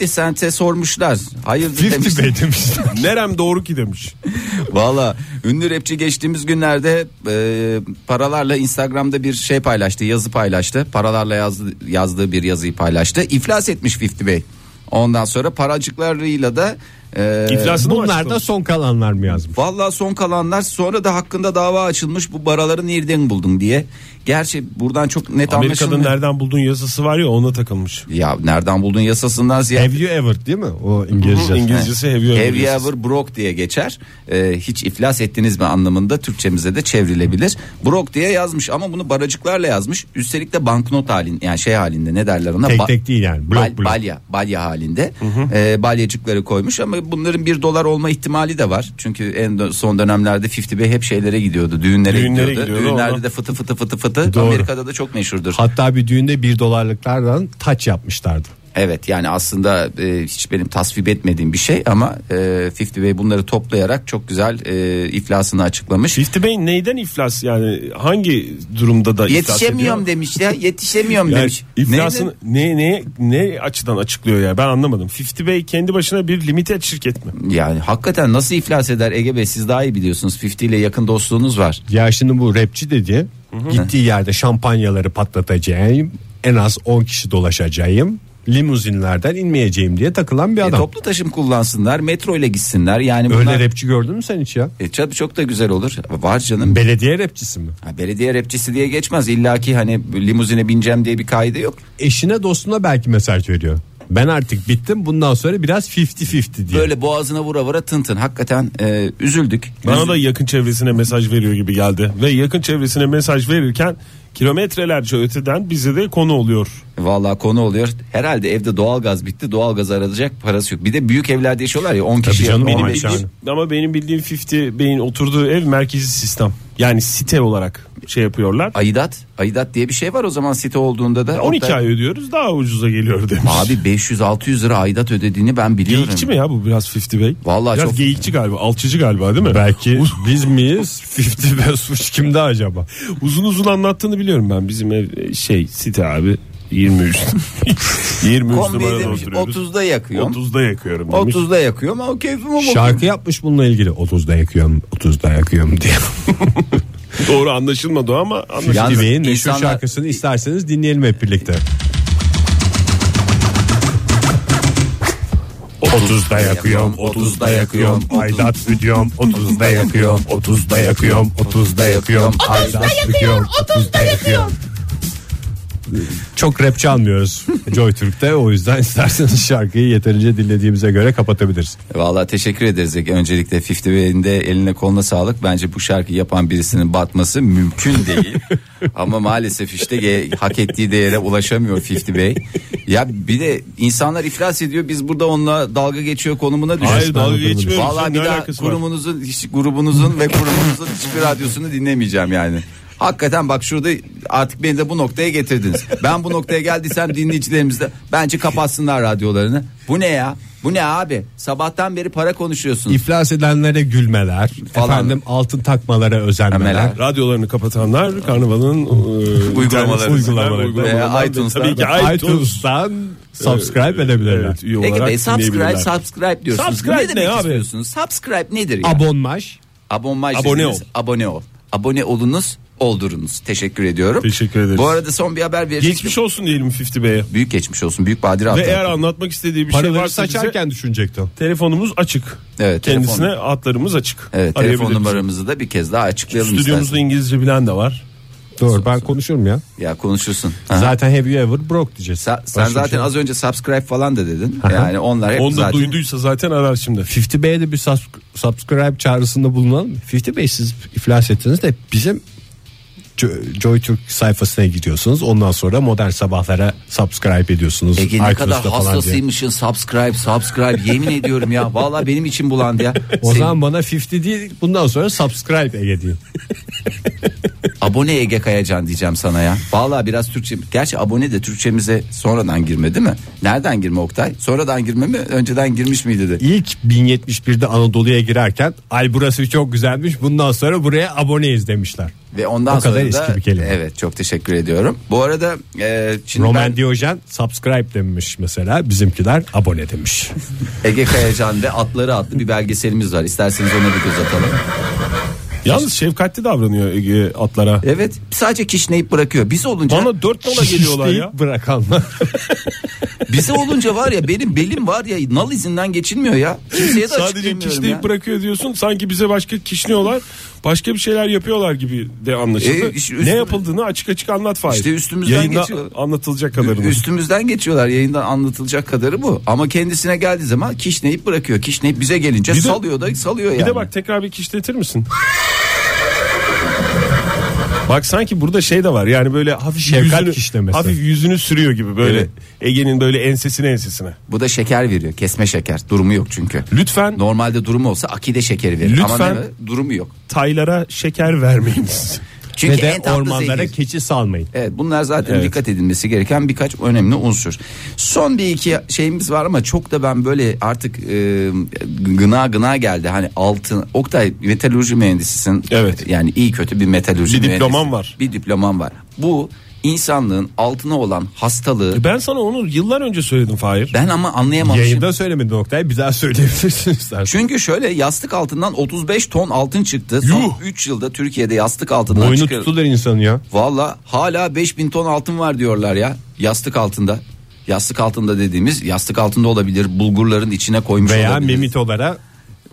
B: 50 Cent'e sormuşlar. Hayırdır
C: 50 <laughs>
B: demiş.
C: Bey demişler.
D: Nerem doğru ki demiş.
B: <laughs> Valla ünlü rapçi geçtiğimiz günlerde e, paralarla Instagram'da bir şey paylaştı yazı paylaştı. Paralarla yazdı, yazdığı bir yazıyı paylaştı. İflas etmiş 50 Bey. Ondan sonra paracıklarıyla da e,
D: İflasını mı
C: Ee, Bunlar da
D: açıklamış?
C: son kalanlar mı yazmış?
B: Vallahi son kalanlar sonra da hakkında dava açılmış bu paraları nereden buldun diye. Gerçi buradan çok net
D: Amerika'da
B: anlaşılmıyor.
D: nereden buldun yazısı var ya ona takılmış.
B: Ya nereden buldun yasasından ziyade.
C: Have you ever değil mi? O İngilizce.
D: İngilizcesi have you ever
B: Have you
D: yazısı.
B: ever broke diye geçer. Ee, hiç iflas ettiniz mi anlamında Türkçemize de çevrilebilir. Broke diye yazmış ama bunu baracıklarla yazmış. Üstelik de banknot halin yani şey halinde ne derler ona?
C: Tek
B: Ba-
C: tek değil yani. Blok
B: Bal-
C: blok.
B: balya balya halinde Ee, balyacıkları koymuş ama bunların bir dolar olma ihtimali de var çünkü en dö- son dönemlerde 50 Bey hep şeylere gidiyordu düğünlere,
D: Düğünlere
B: gidiyordu,
D: gidiyordu,
B: düğünlerde
D: ona.
B: de fıtı fıtı fıtı fıtı
C: Doğru.
B: Amerika'da da çok meşhurdur
C: Hatta bir düğünde bir dolarlıklardan taç yapmışlardı.
B: evet yani aslında e, hiç benim tasvip etmediğim bir şey ama e, 50 Bey bunları toplayarak çok güzel e, iflasını açıklamış
D: 50 Bey neyden iflas yani hangi durumda da iflas
B: yetişemiyorum
D: ediyor?
B: demiş ya yetişemiyorum
D: <laughs> Yani
B: demiş
D: iflasını ne, ne, ne açıdan açıklıyor ya ben anlamadım. 50 Bey kendi başına bir limited şirket mi?
B: Neydi? yani hakikaten nasıl iflas eder Ege Bey siz daha iyi biliyorsunuz 50 ile yakın dostluğunuz var
C: Ya şimdi bu rapçi dedi. Gittiği yerde şampanyaları patlatacağım. En az 10 kişi dolaşacağım. limuzinlerden inmeyeceğim diye takılan bir
B: E,
C: adam.
B: toplu taşım kullansınlar, metro ile gitsinler. Yani bunlar
C: Öyle rapçi gördün mü sen hiç ya?
B: E, çok- çok da güzel olur. Var canım.
C: Belediye rapçisi mi?
B: Ha, belediye rapçisi diye geçmez. İlla ki hani limuzine bineceğim diye bir kaydı yok.
C: Eşine dostuna belki mesaj veriyor. Ben artık bittim bundan sonra biraz 50-50 diye.
B: Böyle boğazına vura vura tın tın. Hakikaten e, üzüldük.
D: Bana
B: Üzü-
D: da yakın çevresine mesaj veriyor gibi geldi. Ve yakın çevresine mesaj verirken kilometrelerce öteden bize de konu oluyor.
B: Vallahi konu oluyor. Herhalde evde doğalgaz bitti. Doğalgaz aranacak parası yok. Bir de büyük evlerde yaşıyorlar ya 10 kişi.
C: canım,
B: benim
C: o
D: Benim
C: imkanı.
D: bildiğim- ama benim bildiğim 50 Bey'in oturduğu ev merkezi sistem. Yani site olarak şey yapıyorlar.
B: Aidat. Aidat diye bir şey var o zaman site olduğunda da.
D: 12
B: Orada-
D: ay ödüyoruz daha ucuza geliyor demiş.
B: Abi 500-600 lira aidat ödediğini ben biliyorum.
D: Geyikçi mi ya bu biraz 50 Bey?
B: Vallahi
D: biraz
B: çok-
D: geyikçi galiba, alçıcı galiba değil mi?
C: Belki biz miyiz? 50 ve suç kimde acaba?
D: Uzun uzun anlattığını biliyorum ben. Bizim ev şey site abi 23. 23
B: Kombiyi
D: numarada
B: demiş
D: oturuyoruz.
B: 30'da yakıyorum.
D: 30'da yakıyorum demiş.
B: 30'da yakıyorum ama keyfime bakıyorum.
C: Şarkı yapmış bununla ilgili. 30'da yakıyorum, 30'da yakıyorum diye.
D: Doğru anlaşılmadı o ama anlaşıldı.
B: Yalnız
C: Yalnız Bey'in meşhur
B: insanlar-
C: şarkısını isterseniz dinleyelim hep birlikte.
B: 30'da yakıyorum, 30'da yakıyorum,
C: Aydat ödüyorum, 30'da yakıyorum, 30'da yakıyorum, 30'da yakıyorum, aydat ödüyorum, 30'da yakıyorum. Çok rap çalmıyoruz <laughs> Joy Türk'te o yüzden <laughs> isterseniz şarkıyı yeterince dinlediğimize göre kapatabiliriz.
B: Valla teşekkür ederiz. Öncelikle 50 Bey'in de eline koluna sağlık. Bence bu şarkıyı yapan birisinin batması mümkün
D: <laughs>
B: değil. Ama maalesef işte ge- hak ettiği değere ulaşamıyor 50 Bey. Ya bir de insanlar iflas ediyor. Biz burada onunla dalga geçiyor konumuna düşüyoruz.
D: Hayır dalga geçmiyoruz.
B: Valla
D: Vallahi
B: bir
D: ne
B: daha
D: alakası var?
B: grubunuzun, hiç, grubunuzun ve kurumunuzun hiçbir radyosunu dinlemeyeceğim yani. Hakikaten bak şurada artık beni de bu noktaya getirdiniz. Ben bu noktaya geldiysem dinleyicilerimiz de bence kapatsınlar radyolarını. Bu ne ya? Bu ne abi? Sabahtan beri para konuşuyorsunuz.
C: İflas edenlere gülmeler,
B: Falan.
C: efendim altın takmalara özenmeler.
B: Emeler.
D: Radyolarını kapatanlar karnavalın e,
B: <laughs> Uygulamaları.
D: uygulamaları.
B: Veya iTunes'tan
D: Tabii ki
B: da-
D: iTunes.
C: iTunes'tan subscribe edebilirler.
D: Evet, üye
B: Peki
D: olarak
B: be, subscribe,
D: dinleyebilirler.
B: subscribe diyorsunuz.
D: Subscribe
B: ne demek
D: ne abi?
B: istiyorsunuz? Subscribe nedir ya?
C: Abonmaş.
B: Abonmaj
D: Abone
B: dediniz,
D: ol.
B: Abone ol. Abone olunuz, oldurunuz. Teşekkür ediyorum.
D: Teşekkür ederiz.
B: Bu arada son bir haber verecek.
D: Geçmiş olsun diyelim 50 Bey'e.
B: Büyük geçmiş olsun. Büyük badire
D: Ve
B: atlattı.
D: eğer anlatmak istediği bir şey
C: Paraları
D: varsa bize
C: saçarken düşünecektim.
D: telefonumuz açık.
B: Evet,
D: Kendisine
B: telefon-
D: hatlarımız açık.
B: Evet, telefon
D: Arayabilir.
B: numaramızı da bir kez daha açıklayalım
D: Stüdyomuzda
B: istersen.
D: İngilizce bilen de var.
C: Doğru ben konuşurum ya.
B: Ya konuşursun. Ha.
C: Zaten have you ever broke diyeceğiz.
B: Sa- sen
C: Başka bir
B: zaten
C: şey yok.
B: az önce subscribe falan da dedin. Yani onlar hep
D: Onu da
B: zaten
D: duyduysa zaten arar şimdi.
C: 50 Bey'e de bir subs- subscribe çağrısında bulunalım. 50 Bey siz iflas ettiniz de bizim Jo- Joy Türk sayfasına gidiyorsunuz. Ondan sonra modern sabahlara subscribe ediyorsunuz.
B: Ege "E, ne kadar
C: iTunes'ta falan diye.
B: hastasıymışsın subscribe subscribe yemin ediyorum ya. Vallahi benim için bulandı ya.
C: <laughs> O
B: Sen-
C: zaman bana 50 değil bundan sonra subscribe Ege deyin.
B: abone Ege Kayacan diyeceğim sana ya. Vallahi biraz Türkçe. Gerçi abone de Türkçemize sonradan girme değil mi? Nereden girme Oktay? Sonradan girme mi? Önceden girmiş miydi de?
C: İlk 1071'de Anadolu'ya girerken ay burası çok güzelmiş bundan sonra buraya aboneyiz demişler.
B: Ve ondan
C: O kadar
B: sonra da
C: eski bir kelime.
B: evet çok teşekkür ediyorum. Bu arada e, şimdi
C: Roman
B: ben-
C: Diyojen subscribe demiş mesela bizimkiler
D: <laughs>
C: abone demiş.
B: Ege Kayacan ve Atları adlı bir belgeselimiz var. İsterseniz ona bir göz atalım.
D: Yalnız şefkatli davranıyor Ege atlara.
B: Evet sadece kişneyip bırakıyor. Biz olunca
D: Bana 4 dola geliyorlar ya.
C: İşleyip bırakanlar.
B: <laughs> bize olunca var ya benim belim var ya nal izinden geçilmiyor ya. Kimseye de
D: Sadece
B: açıklayamıyorum
D: kişneyip
B: ya.
D: bırakıyor diyorsun. Sanki bize başka kişniyorlar. Başka bir şeyler yapıyorlar gibi de anlaşıldı.
B: E, işte
D: ne
B: üstüme-
D: yapıldığını açık açık anlat Fahir.
B: İşte üstümüzden
D: Yayında
B: geçiyor.
D: anlatılacak kadarını.
B: Üstümüzden geçiyorlar yayından anlatılacak kadarı bu. Ama kendisine geldiği zaman kişneyip bırakıyor. Kişneyip bize gelince
D: Bir de-
B: salıyor da salıyor yani.
D: Bir de bak tekrar bir kişletir misin? Bak sanki burada şey de var yani böyle hafif
C: Şefkat
D: yüzünü,
C: kişnemesi.
D: hafif yüzünü sürüyor gibi böyle
B: Evet.
D: Ege'nin böyle ensesine ensesine.
B: Bu da şeker veriyor. Kesme şeker. Durumu yok çünkü.
D: Lütfen
B: Normalde durumu olsa akide şekeri verir. Ama
D: Lütfen-
B: ne- durumu yok.
D: taylara şeker vermeyiniz.
B: Çünkü
C: Ve de
B: en tatlı
C: ormanlara
B: zehir.
C: keçi salmayın.
B: Evet bunlar zaten dikkat edilmesi gereken birkaç önemli unsur. Son bir iki şeyimiz var ama çok da ben böyle artık e, gına gına geldi. Hani altın Oktay metalurji mühendisisin.
D: Evet.
B: Yani iyi kötü bir metalurji
D: Bir diplomam
B: mühendisi.
D: var.
B: Bir diplomam var. Bu insanlığın altına olan hastalığı
D: E, ben sana onu yıllar önce söyledim Fahir.
B: ben ama anlayamamışım.
C: Yayında söylemedi noktayı bir daha söyleyebilirsiniz.
B: Çünkü şöyle yastık altından 35 ton altın çıktı. Son
D: Yuh!
B: 3 yılda Türkiye'de yastık altından
C: Boynu
B: çıkıyor.
C: tutulur insanı ya.
B: Valla hala 5000 ton altın var diyorlar ya yastık altında. yastık altında dediğimiz yastık altında olabilir. Bulgurların içine koymuş
C: Veya
B: olabilir.
C: memitolara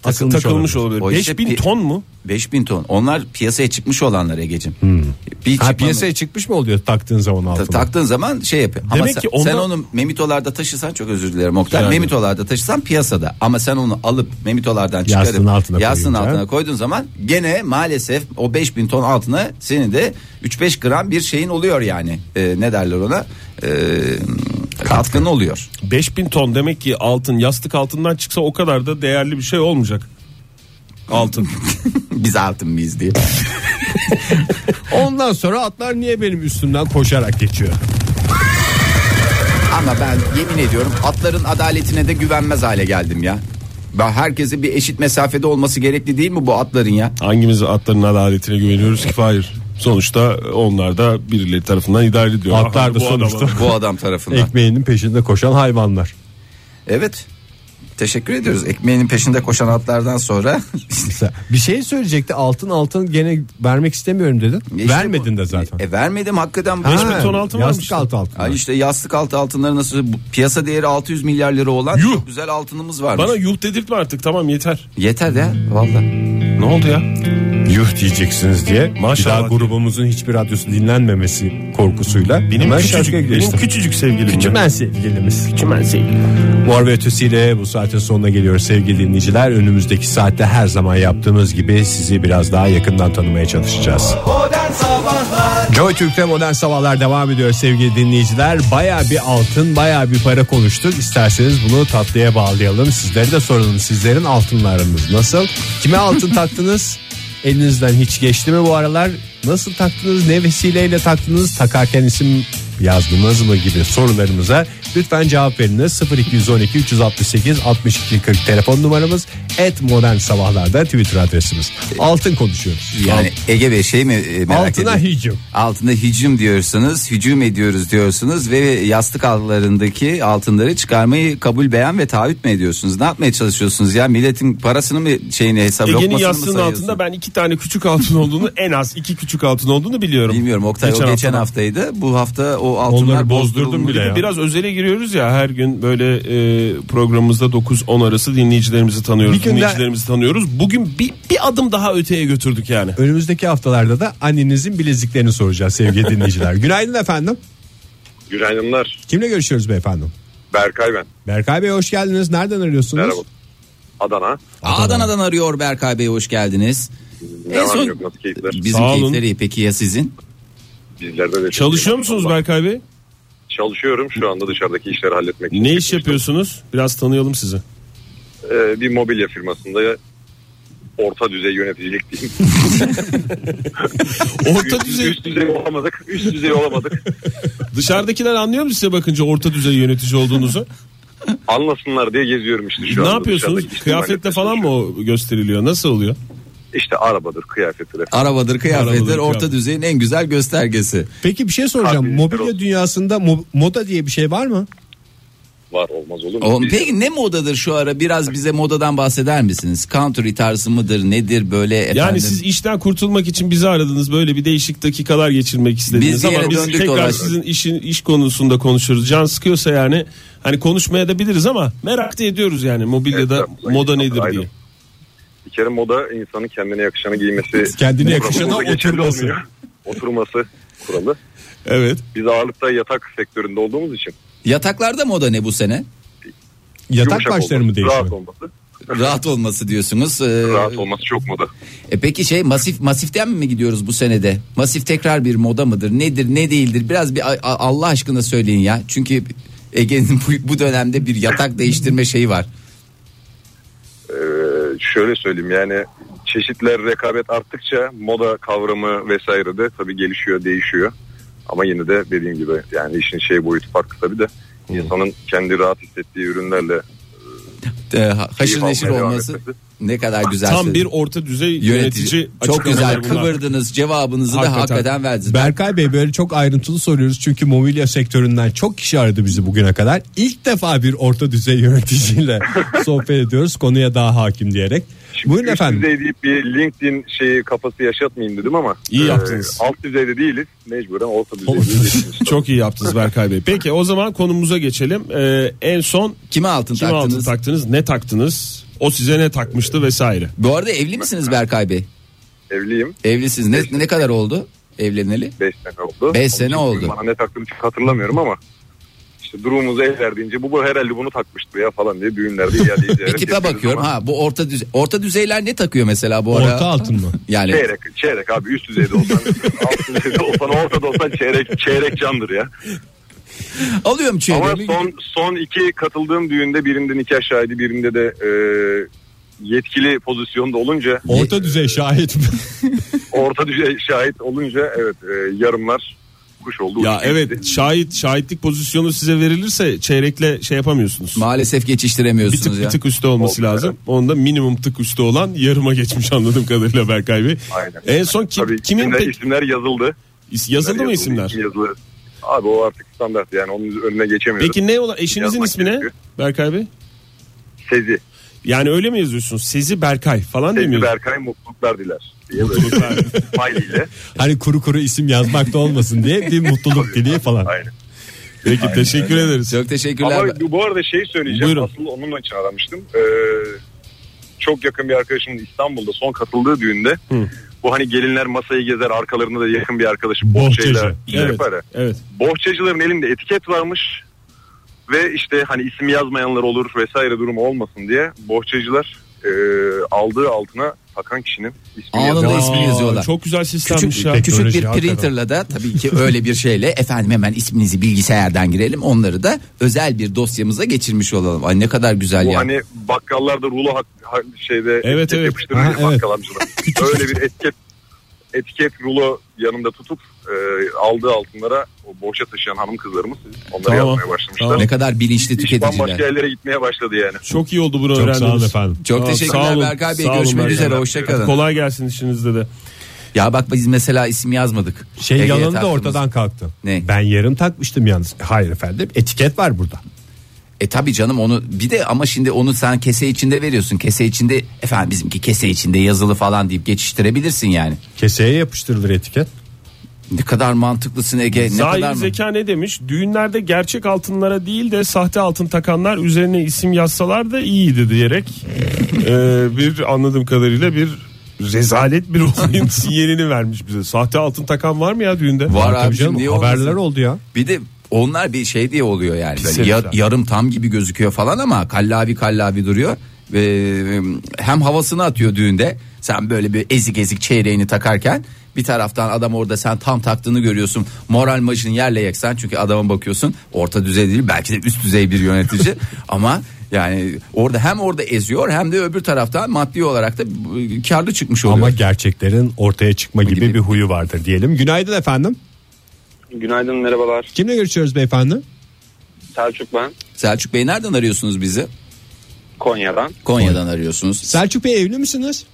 C: takılmış,
D: takılmış
C: olabilir.
D: olabilir.
B: O işte
D: 5000
B: pi-
D: ton mu?
B: 5000 ton. Onlar piyasaya çıkmış olanlar Ege'cim. Bir
C: Hmm. Ha
B: çıkma-
C: piyasaya çıkmış mı oluyor taktığın zaman
B: Ta-
C: altına?
B: taktığın zaman şey yapıyor. Ama
D: Demek
B: sen,
D: ki onda-
B: sen onu memitolarda taşısan çok özür dilerim Oktay.
D: Yani.
B: Memitolarda taşısan piyasada ama sen onu alıp memitolardan çıkarıp
C: Yastığın altına
B: yastığın
C: koyunca.
B: altına koyduğun zaman gene maalesef o 5000 ton altına senin de 3-5 gram bir şeyin oluyor yani. Ee, ne derler ona? Ee, katkın oluyor. <laughs>
D: 5000 ton demek ki altın yastık altından çıksa o kadar da değerli bir şey olmayacak.
B: <laughs>
D: Altın.
B: Biz altın mıyız diye.
C: Ondan sonra atlar niye benim üstümden koşarak geçiyor?
B: Ama ben yemin ediyorum atların adaletine de güvenmez hale geldim ya. Ben herkese bir eşit mesafede olması gerekli değil mi bu atların ya?
D: Hangimiz atların adaletine güveniyoruz ki? Hayır. Sonuçta onlar da birileri tarafından idare ediyor.
C: Atlar da
D: Bu adama-
C: sonuçta.
D: <laughs>
B: Bu adam tarafından.
C: Ekmeğinin peşinde koşan hayvanlar.
B: Evet. Teşekkür ediyoruz. Ekmeğinin peşinde koşan atlardan sonra
C: Mesela bir şey söyleyecekti altın altın gene vermek istemiyorum dedin.
B: İşte
C: Vermedin
B: bu-
C: de
B: <laughs>
C: zaten.
B: E, vermedim hakikaten. bu-
D: Ha. ton altın varmış.
C: yastık altı altın.
B: Ay işte yastık altı altınları nasıl bu piyasa değeri 600 milyar lira olan
D: Yuh.
B: çok güzel altınımız var.
D: Bana yuh dedirtme artık tamam yeter.
B: Yeter ya valla.
D: Ne oldu ya?
C: Yuh diyeceksiniz diye.
D: Maşallah
C: Bir daha grubumuzun hiçbir radyosu dinlenmemesi korkusuyla.
D: Benim
C: hemen
D: küçücük,
C: şarkıya
D: benim
C: geçtim.
D: küçücük sevgilim. ya.
C: Küçümen sevgilimiz. Küçümen sevgilim. Mor ve Ötesi'yle bu saatin sonuna geliyor sevgili dinleyiciler. Önümüzdeki saatte her zaman yaptığımız gibi sizi biraz daha yakından tanımaya çalışacağız. Joy Türk'te modern sabahlar devam ediyor sevgili dinleyiciler. Baya bir altın baya bir para konuştuk. İsterseniz bunu tatlıya bağlayalım. Sizlere de soralım sizlerin altınlarınız nasıl? Kime altın
B: <laughs>
C: taktınız? Elinizden hiç geçti mi bu aralar? Nasıl taktınız? Ne vesileyle taktınız? Takarken isim yazdınız mı gibi sorularımıza lütfen cevap veriniz. 0212 368 62 40 telefon numaramız. Et modern sabahlarda Twitter adresimiz. Altın konuşuyoruz.
B: Yani Ege Bey şey mi e, merak
C: Altına
B: ediyorum.
C: hicim.
B: Altına hicim diyorsunuz, hücum ediyoruz diyorsunuz ve yastık altlarındaki altınları çıkarmayı kabul beyan ve taahhüt mü ediyorsunuz? Ne yapmaya çalışıyorsunuz ya? Milletin parasını mı şeyini hesap
D: Ege'nin
B: lokmasını mı
D: yastığının
B: sayıyorsun?
D: altında ben iki tane küçük altın olduğunu en az iki küçük altın olduğunu biliyorum.
B: Bilmiyorum Oktay
D: Geçen
B: o geçen
D: haftadan.
B: haftaydı. Bu hafta o altınlar
C: Onları bozdurdum
B: bozdurulmuş.
C: bile ya.
D: Biraz özele giriyoruz ya her gün böyle e, programımızda 9-10 arası dinleyicilerimizi tanıyoruz.
C: Bir gün de-
D: dinleyicilerimizi tanıyoruz. Bugün bir, bir adım daha öteye götürdük yani.
C: Önümüzdeki haftalarda da annenizin bileziklerini soracağız sevgili
E: <laughs>
C: dinleyiciler. Günaydın efendim.
E: Günaydınlar.
C: Kimle görüşüyoruz beyefendi?
E: Berkay ben.
C: Berkay Bey hoş geldiniz. Nereden arıyorsunuz?
E: Merhaba. Adana.
B: Adana'dan Adana'dan arıyor Berkay Bey hoş geldiniz.
E: Devam ediyor. Nasıl keyifler?
B: bizim
D: Sağ olun.
B: keyifleri iyi. peki ya sizin?
E: Bizlerde de
D: Çalışıyor musunuz Berkay Bey?
E: Çalışıyorum. Şu anda dışarıdaki işleri halletmek için.
D: Ne iş yapıyorsunuz? Biraz tanıyalım sizi.
E: Ee, bir mobilya firmasında orta düzey yöneticilik diyeyim.
D: <laughs> Orta
E: Üst-
D: düzey.
E: Üst düzey olamadık. Üst
D: <laughs>
E: düzey olamadık.
D: Dışarıdakiler anlıyor mu size bakınca orta düzey yönetici olduğunuzu?
E: Anlasınlar diye geziyorum işte şu
D: ne
E: anda.
D: yapıyorsunuz?
E: dışarıdaki işleri
D: Kıyafetle
E: halletmeye
D: falan mı
E: çalışıyorum.
D: o gösteriliyor? Nasıl oluyor?
E: İşte arabadır, kıyafettir.
B: Arabadır kıyafetler
D: Arabadır,
B: orta
D: kıyafet.
B: düzeyin en güzel göstergesi.
C: Peki bir şey soracağım.
E: Abi,
C: Mobilya
E: olsun.
C: dünyasında mo- moda diye bir şey var mı?
E: Var olmaz olur mu?
B: O,
E: Biz-
B: peki ne modadır şu ara biraz bize modadan bahseder misiniz? Country tarzı mıdır nedir böyle efendim?
D: Yani siz işten kurtulmak için bizi aradınız. Böyle bir değişik dakikalar geçirmek istediniz
B: Biz bir yere
D: ama biz
B: döndük
D: tekrar
B: dolaştık.
D: sizin işin iş konusunda konuşuruz. Can sıkıyorsa yani hani konuşmaya da biliriz ama merak da ediyoruz yani mobilyada
E: Evet, tabii.
D: moda nedir
E: Aynen.
D: diye.
E: Bir kere moda insanın kendine yakışanı giymesi.
C: Kendine
E: Bu
C: yakışana
E: kuralımızda geçerli
C: oturması.
E: olmuyor. Oturması kuralı.
D: Evet.
E: Biz ağırlıkta yatak sektöründe olduğumuz için
B: Yataklarda moda ne bu sene?
C: Yatak
E: yumuşak
C: başları mı
E: olması,
C: değişiyor?
E: Rahat olması.
B: Rahat olması diyorsunuz. Ee,
E: Rahat olması çok moda.
B: E peki şey masif masiften mi gidiyoruz bu senede? Masif tekrar bir moda mıdır? Nedir ne değildir? Biraz bir a- a- Allah aşkına söyleyin ya. Çünkü Ege'nin bu, bu dönemde bir yatak değiştirme şeyi var.
E: Ee, şöyle söyleyeyim yani çeşitler rekabet arttıkça moda kavramı vesaire de tabii gelişiyor değişiyor. Ama yine de dediğim gibi yani işin şey boyutu farklı tabii de insanın kendi rahat hissettiği ürünlerle
B: E, ha- haşır
E: keyif
B: neşir
E: almaya devam
B: olması.
E: etmesi.
B: Ne kadar güzel.
D: Tam
B: söyledin.
D: bir orta düzey
B: yönetici.
D: yönetici
B: Çok güzel
D: açıklamalar bunlar.
B: kıvırdınız cevabınızı da
D: Hakikaten.
B: hakikaten verdiniz.
C: Berkay Bey böyle çok ayrıntılı soruyoruz çünkü mobilya sektöründen çok kişi aradı bizi bugüne kadar. İlk defa bir orta düzey
E: <laughs>
C: yöneticiyle sohbet ediyoruz konuya daha hakim diyerek. Buyurun
E: üst
C: efendim.
E: düzey deyip bir LinkedIn şeyi kafası yaşatmayayım dedim ama. e,
D: İyi yaptınız.
E: alt düzeyde değiliz. Mecburen orta düzeyde. geçmişiz.
D: <laughs> Çok iyi yaptınız Berkay Bey. Peki o zaman konumuza geçelim. Ee, en son
B: Kime altın
D: kim
B: taktınız?
D: altın taktınız? Ne taktınız? O size ne takmıştı vesaire.
B: Bu arada evli misiniz Berkay Bey?
E: Evliyim.
B: Evlisiniz. Ne, ne kadar oldu evleneli?
E: 5 sene oldu.
B: Beş sene
E: Onun için
B: oldu.
E: Bana ne taktığını çok hatırlamıyorum ama. işte durumumuza el verdiğince bu, bu herhalde bunu takmıştı ya falan diye düğünlerde
B: <laughs>
E: iade ediyoruz.
B: Ekipe bakıyorum. Ha bu orta düzey, orta düzeyler ne takıyor mesela bu ara?
C: Orta altın
E: <laughs>
C: mı?
B: Yani
E: Çeyrek, çeyrek abi üst düzeyde olsan, alt düzeyde olsan, ortada olsan çeyrek, çeyrek candır ya.
B: alıyorum
E: Ama
B: çeyreğimi.
E: son son iki katıldığım düğünde birinde nikah şahidi birinde de e, yetkili pozisyonda olunca
C: Orta düzey şahit mi?
E: orta düzey şahit olunca evet e, yarımlar kuş oldu.
D: Ya
E: uçtu
D: evet
E: gitti.
D: şahit şahitlik pozisyonu size verilirse çeyrekle şey yapamıyorsunuz.
B: Maalesef
D: bir tık
B: geçiştiremiyorsunuz
D: bir
B: ya.
D: tık üstte olması
E: Oldu,
D: lazım. Onda minimum tık üstte olan yarıma geçmiş anladığım kadarıyla Berkay Bey.
E: Aynen.
D: En son kim-
E: Tabii
D: kimin
E: isimler,
D: pek-
E: isimler yazıldı.
D: is- yazıldı mı
E: İsim
D: isimler?
E: Yazılı. Abi o artık standart yani onun önüne geçemiyoruz.
D: Peki ne olan eşinizin
E: Yazmak
D: ismi ne
E: gerekiyor.
D: Berkay Bey?
E: Sezi.
D: Yani öyle mi yazıyorsunuz? Sezi Berkay falan
E: Sezi
D: demiyorsunuz.
E: Berkay mutluluklar diler. Diye böyle <laughs> smiley ile.
C: Hani kuru kuru isim yazmak da olmasın diye bir mutluluk dileği falan.
E: Aynen.
D: Peki teşekkür ederiz.
B: Çok teşekkürler.
E: Ama bu- bu arada şey söyleyeceğim.
D: Buyurun.
E: Asıl onunla için aramıştım. Ee, çok yakın bir arkadaşımın İstanbul'da son katıldığı düğünde bu hani gelinler masayı gezer arkalarında da yakın bir arkadaşı
C: Bohçacı.
E: bohçayla şey
D: Evet.
E: yapar ya.
D: Evet.
E: Bohçacıların elinde etiket varmış ve işte hani isim yazmayanlar olur vesaire durumu olmasın diye bohçacılar e, aldığı altına takan kişinin ismi
B: Anında
E: yazıyor.
B: ismini
D: Aa,
B: yazıyorlar.
D: Çok güzel sistemmiş
B: Küçük,
D: ya.
B: küçük
C: Teknoloji
B: bir
C: hakikaten.
B: printerla da tabii ki öyle bir şeyle efendim hemen isminizi bilgisayardan girelim onları da özel bir dosyamıza geçirmiş olalım. Ay ne kadar güzel
E: Bu
B: ya.
E: hani bakkallarda rulo hak, ha- şeyde
D: Evet,
E: etiket
D: evet.
E: yapıştırılır
C: Ha, evet.
E: bakkal amcalar.
B: <laughs>
E: Öyle bir etiket etiket rulo yanında tutup e, aldığı altınlara o boşa taşıyan hanım kızlarımız onları
D: Tamam.
E: yazmaya başlamışlar.
D: Tamam.
B: Ne kadar bilinçli
E: İş bambaşka
B: tüketiciler.
E: yerlere gitmeye başladı yani.
D: Çok iyi oldu bunu
C: Çok
D: öğrendiğiniz.
C: sağ olun efendim.
B: Çok
D: Aa,
B: teşekkürler
D: sağ olun.
B: Berkay Bey.
D: Sağ olun
B: Görüşmek
D: Berkay
B: üzere.
D: Bey.
B: Hoşçakalın.
D: Kolay gelsin işinizde de.
B: Ya bak biz mesela isim yazmadık.
C: Şey
B: Ege
C: yalanı da
B: taktığımız-
C: ortadan kalktı.
B: Ne?
C: Ben yarım takmıştım yalnız. Hayır efendim etiket var burada.
B: E tabi canım onu bir de ama şimdi onu sen kese içinde veriyorsun. Kese içinde efendim bizimki kese içinde yazılı falan deyip geçiştirebilirsin yani.
C: Keseye yapıştırılır etiket.
B: Ne kadar mantıklısın Ege. Ne kadar
D: Zahir
B: mı?
D: Zeka ne demiş? Düğünlerde gerçek altınlara değil de sahte altın takanlar üzerine isim yazsalar da
B: <laughs>
D: iyiydi diyerek eee, bir anladığım kadarıyla bir rezalet bir <laughs> olayın sinyalini vermiş bize. Sahte altın takan var mı ya düğünde?
B: Var
C: Tabii
B: abi
C: canım,
B: şimdi
C: haberler oldu ya.
B: Bir de onlar bir şey diye oluyor yani. Böyle
D: herifler.
B: ya- yarım tam gibi gözüküyor falan ama kallavi kallavi duruyor. Ve e, hem havasını atıyor düğünde. Sen böyle bir ezik ezik çeyreğini takarken bir taraftan adam orada sen tam taktığını görüyorsun. Moral maçını yerle yeksen çünkü adama bakıyorsun orta düzey değil belki de üst düzey bir yönetici ama yani orada hem orada eziyor hem de öbür taraftan maddi olarak da e, karlı çıkmış oluyor.
C: Ama gerçeklerin ortaya çıkma gibi,
B: Gibi.
C: bir huyu vardır diyelim. Günaydın efendim.
F: Günaydın merhabalar.
C: Kimle görüşüyoruz beyefendi?
F: Selçuk ben
B: Selçuk Bey nereden arıyorsunuz bizi?
F: Konya'dan.
B: Konya'dan arıyorsunuz.
C: Selçuk Bey evli misiniz?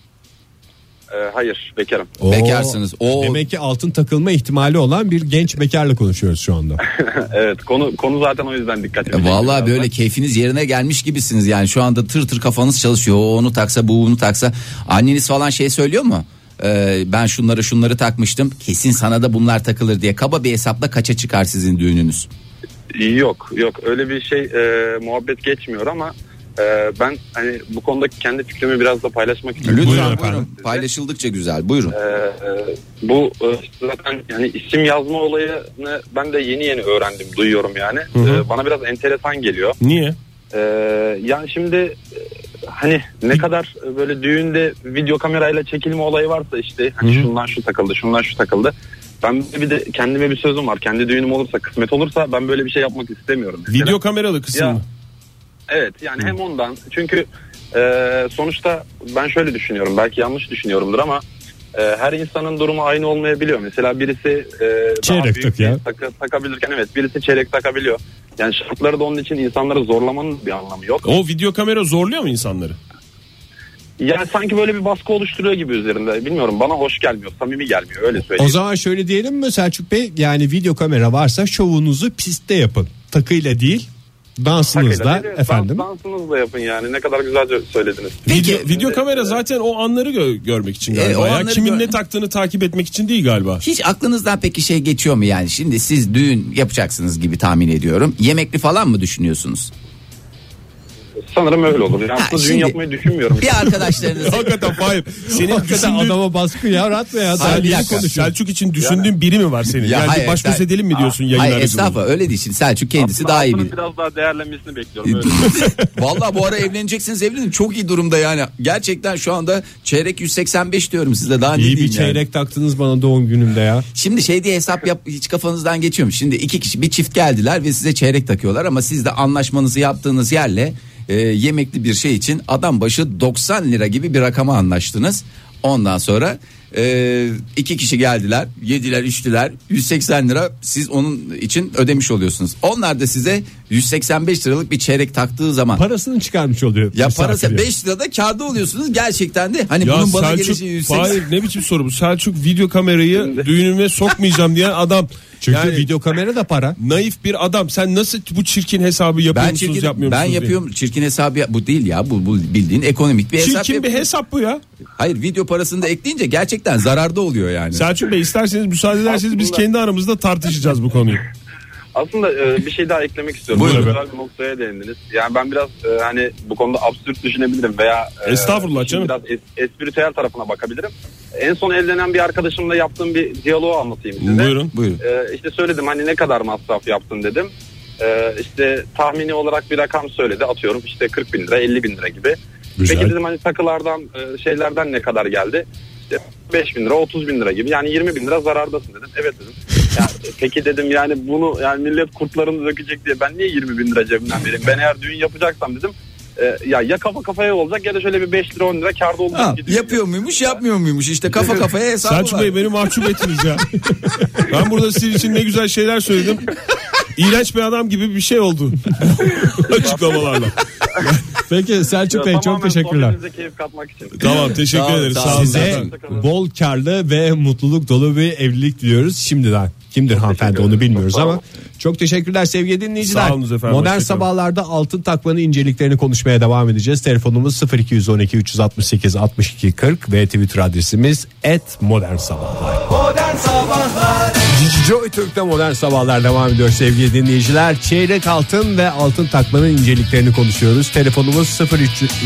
F: Ee, hayır bekarım.
B: Bekarsınız. Oo.
C: Demek ki altın takılma ihtimali olan bir genç bekarla konuşuyoruz şu anda.
F: evet konu konu zaten o yüzden dikkat
B: Ya
F: edin.
B: E, Vallahi böyle keyfiniz yerine gelmiş gibisiniz yani şu anda tır tır kafanız çalışıyor o onu taksa bu onu taksa anneniz falan şey söylüyor mu? Ee, ben şunları şunları takmıştım kesin sana da bunlar takılır diye kaba bir hesapla kaça çıkar sizin düğününüz?
F: Yok yok öyle bir şey e, muhabbet geçmiyor ama e, ben hani bu konudaki kendi fikrimi biraz da paylaşmak istiyorum.
C: buyurun efendim.
B: paylaşıldıkça güzel buyurun.
F: Ee, e, bu e, zaten yani isim yazma olayını ben de yeni yeni öğrendim duyuyorum yani. Ee, bana biraz enteresan geliyor.
D: Niye?
F: Ee, yani şimdi e, hani ne kadar böyle düğünde video kamerayla çekilme olayı varsa işte hani şundan şu takıldı şundan şu takıldı. Ben bir de kendime bir sözüm var. Kendi düğünüm olursa kısmet olursa ben böyle bir şey yapmak istemiyorum. mesela.
D: Video kameralı kısım
F: Ya.
D: mı?
F: Evet yani hem ondan çünkü e, sonuçta ben şöyle düşünüyorum belki yanlış düşünüyorumdur ama e, her insanın durumu aynı olmayabiliyor. Mesela birisi e,
C: Çeyrek tak
F: bir
C: ya.
F: takı- takabilirken evet birisi çeyrek takabiliyor. Yani şartları da onun için insanları zorlamanın bir anlamı yok.
D: O video kamera zorluyor mu insanları?
E: Yani sanki böyle bir baskı oluşturuyor gibi üzerinde. Bilmiyorum bana hoş gelmiyor, samimi gelmiyor öyle
C: O
E: söyleyeyim.
C: zaman şöyle diyelim mi Selçuk Bey? Yani video kamera varsa şovunuzu pistte yapın. Takıyla değil, dansınızla
E: Hakikaten öyle. Dans-
C: efendim.
E: dansınızla yapın yani ne kadar güzelce söylediniz.
B: Peki.
D: Video, video kamera zaten o anları gö- görmek için
B: E, o
D: galiba. ya.
B: anları
D: Kimin
B: gör-
D: ne taktığını takip etmek için değil galiba.
B: Hiç aklınızdan peki şey geçiyor mu yani? Şimdi siz düğün yapacaksınız gibi tahmin ediyorum. Yemekli falan mı düşünüyorsunuz?
E: Sanırım öyle olur. Yani
B: Ha,
E: aslında düğün
B: şimdi-
E: yapmayı düşünmüyorum.
B: Bir arkadaşlarınızı
D: <laughs> Hakikaten Fahim. Senin
C: Hakikaten
D: düşündüğün,
C: adama baskı ya rahat mı ya?
B: Hayır,
C: Sen
B: bir
C: iyi
B: dakika.
C: konuşuyorsun.
D: Selçuk için düşündüğün biri mi var senin?
B: Ya
D: yani
B: hayır,
D: baş göz
B: sen-
D: edelim mi diyorsun yayın
B: Hayır
D: aracılığıyla?
B: estağfurullah öyle değil. Şimdi Selçuk kendisi daha iyi
E: Altının
B: bilir.
E: Biraz daha değerlenmesini
D: <laughs>
E: bekliyorum. Öyle.
B: <laughs> Vallahi bu ara evleneceksiniz evlenin. Çok iyi durumda yani. Gerçekten şu anda çeyrek 185 diyorum size daha ne
C: İyi bir
B: şey diyeyim yani.
C: çeyrek taktınız bana doğum günümde ya.
B: Şimdi şey diye hesap yap hiç kafanızdan geçiyor mu? Şimdi iki kişi bir çift geldiler ve size çeyrek takıyorlar ama siz de anlaşmanızı yaptığınız yerle e, yemekli bir şey için adam başı 90 lira gibi bir rakama anlaştınız. Ondan sonra e, iki kişi geldiler yediler içtiler 180 lira siz onun için ödemiş oluyorsunuz. Onlar da size 185 liralık bir çeyrek taktığı zaman
C: Parasını çıkarmış oluyor.
B: ya
C: misafir
B: parası
C: ya.
B: 5 lirada kârda oluyorsunuz gerçekten de hani bunun bana geleceği 180
D: Fahir, ne biçim soru bu? Selçuk video kamerayı düğünüme sokmayacağım diyen adam.
C: Çünkü
D: yani
C: video kamera
B: <laughs>
C: da para.
D: naif bir adam. Sen nasıl bu çirkin hesabı yapıyor
B: Ben
D: musunuz
B: çirkin,
D: yapmıyor
B: ben
D: musunuz diye.
B: yapıyorum çirkin hesabı ya- bu değil ya bu, bu bildiğin ekonomik bir hesap.
D: Çirkin bir
B: yapıyorum.
D: hesap bu ya.
B: Hayır video parasını da ekleyince gerçekten zararda oluyor yani.
D: Selçuk Bey isterseniz müsaade ederseniz biz
E: Aslında-
D: kendi aramızda tartışacağız bu konuyu.
E: Aslında e, bir şey daha eklemek istiyorum.
D: Buyurun
E: Çok
D: efendim.
E: güzel bir noktaya değindiniz. Yani ben biraz e, hani bu konuda absürt düşünebilirim veya e,
D: Estağfurullah
E: işin
D: canım.
E: Biraz es, espritüel tarafına bakabilirim. En son evlenen bir arkadaşımla yaptığım bir diyaloğu anlatayım size.
D: Buyurun.
B: Buyurun.
E: E, işte söyledim hani ne kadar masraf yaptın dedim. E, işte tahmini olarak bir rakam söyledi. Atıyorum işte 40 bin lira 50 bin lira gibi.
C: Güzel.
E: Peki dedim hani takılardan e, şeylerden ne kadar geldi? İşte 5 bin lira 30 bin lira gibi yani 20 bin lira zarardasın dedim. Evet dedim. Ya, e, peki dedim yani bunu yani millet kurtlarını dökecek diye ben niye 20 bin lira cebimden vereyim? Ben eğer düğün yapacaksam dedim e, ya ya kafa kafaya olacak ya da şöyle bir 5 lira 10 lira karda olacak.
B: Ha,
E: ki düğün
B: yapıyor muymuş yapmıyor muymuş işte kafa kafaya hesabı
D: Selçuk
B: var.
D: Bey beni mahcup ettiniz ya. ben burada sizin için ne güzel şeyler söyledim. İğrenç bir adam gibi bir şey oldu. Açıklamalarla.
C: Peki Selçuk Bey çok
E: Tamamen
C: teşekkürler.
E: sohbetinize keyif katmak için.
D: Tamam teşekkür
B: Sağ ol,
D: ederiz.
B: sağ ol.
D: Sağ olun.
C: Size
D: efendim.
C: bol karlı ve mutluluk dolu bir evlilik diliyoruz şimdiden. Kimdir hanımefendi onu bilmiyoruz ama çok teşekkürler sevgili dinleyiciler.
D: Sağ olunuz efendim,
C: Modern
D: hoşçakalın.
C: sabahlarda altın takmanın inceliklerini konuşmaya devam edeceğiz. Telefonumuz 0212 368 62 40 ve Twitter adresimiz et modern sabahlar. Joy Türk'te modern sabahlar devam ediyor sevgili dinleyiciler. Çeyrek altın ve altın takmanın inceliklerini konuşuyoruz. Telefonumuz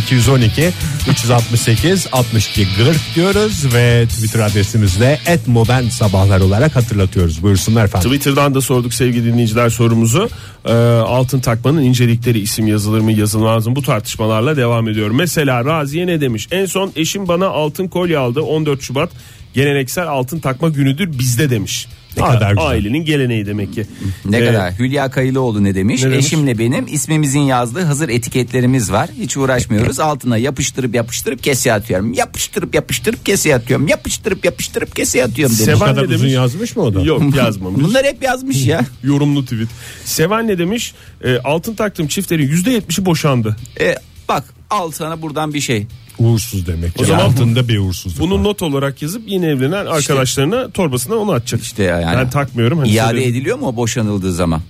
C: 0212 368 62 40 diyoruz ve Twitter adresimizde et modern sabahlar olarak hatırlatıyoruz. Buyursunlar efendim.
D: Twitter'dan da sorduk sevgili dinleyiciler sorumuzu. Ee, altın takmanın incelikleri isim yazılır mı yazılmaz mı bu tartışmalarla devam ediyor. Mesela Raziye ne demiş? En son eşim bana altın kolye aldı 14 Şubat geleneksel altın takma günüdür bizde demiş. Ne
C: kadar güzel.
D: Ailenin geleneği demek ki.
B: Ne
D: Ee,
B: kadar Hülya Kayılıoğlu ne demiş?
D: Ne demiş?
B: Eşimle benim ismimizin yazdığı hazır etiketlerimiz var. Hiç uğraşmıyoruz. Altına yapıştırıp yapıştırıp keseye atıyorum. Yapıştırıp yapıştırıp keseye atıyorum. Yapıştırıp yapıştırıp keseye atıyorum demiş.
C: Bu
D: Sevan
C: kadar
D: ne
C: uzun
D: demiş?
C: yazmış mı o da?
D: Yok
B: <laughs>
D: yazmamış.
B: Bunlar hep yazmış ya.
D: Yorumlu tweet. Seven ne demiş? Ee, altın taktığım çiftlerin %70'i boşandı.
B: E, bak al sana buradan bir şey.
C: Uğursuz demek.
D: O
C: O
D: zaman
C: altında bir uğursuzluk.
D: Bunu
C: var.
D: not olarak yazıp yeni evlenen arkadaşlarına torbasına onu atacak.
B: İşte yani.
D: Ben takmıyorum. Hani
B: İade
D: söyledim.
B: ediliyor mu o boşanıldığı zaman?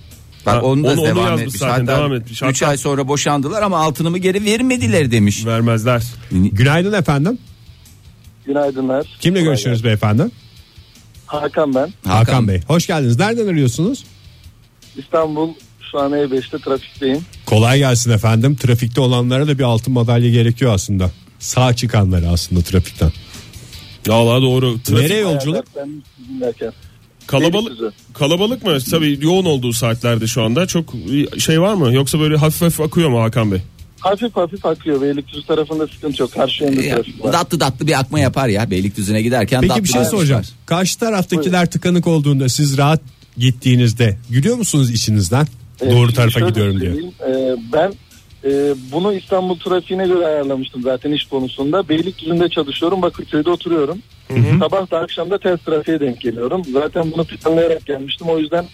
B: Bak
D: Ha,
B: onu da
D: onu- onu
B: devam
D: yazmış
B: etmiş.
D: zaten,
B: Hatta
D: devam etmiş.
B: 3 ay sonra boşandılar ama altınımı geri vermediler demiş.
D: Vermezler.
C: Günaydın efendim.
G: Günaydınlar.
C: Kimle
G: Kolay
C: görüşüyoruz beyefendi? Hakan,
G: gelsin. Hakan ben.
C: Bey. Hoş geldiniz. Nereden arıyorsunuz?
G: İstanbul şu an E5'te trafikteyim.
C: Kolay gelsin efendim. Trafikte olanlara da bir altın madalya gerekiyor aslında. Sağ çıkanlara aslında trafikten.
D: Ya Allah doğru. Trafik
C: Nereye yolculuk?
G: Ben dinlerken.
D: Kalabalık
G: Beylikdüzü.
D: kalabalık mı? Tabii yoğun olduğu saatlerde şu anda çok şey var mı? Yoksa böyle hafif hafif akıyor mu Hakan Bey?
G: Hafif hafif akıyor. Beylikdüzü tarafında sıkıntı yok. Karşı yönde
B: Ya,
G: trafik var.
B: Datlı datlı bir akma yapar ya Beylikdüzü'ne giderken.
C: Peki
B: datlı
C: bir şey
B: datlı
C: soracağım.
B: yapar.
C: Karşı taraftakiler tıkanık olduğunda siz rahat gittiğinizde gülüyor musunuz içinizden?
G: Ee,
C: Doğru
G: şimdi
C: tarafa
G: şöyle
C: gidiyorum diye.
G: söyleyeyim. Ee, ben e, bunu İstanbul trafiğine göre ayarlamıştım zaten iş konusunda. Beylikdüzü'nde çalışıyorum. Bakırköy'de oturuyorum. Sabah da akşam da ters trafiğe denk geliyorum. Zaten bunu planlayarak gelmiştim. O yüzden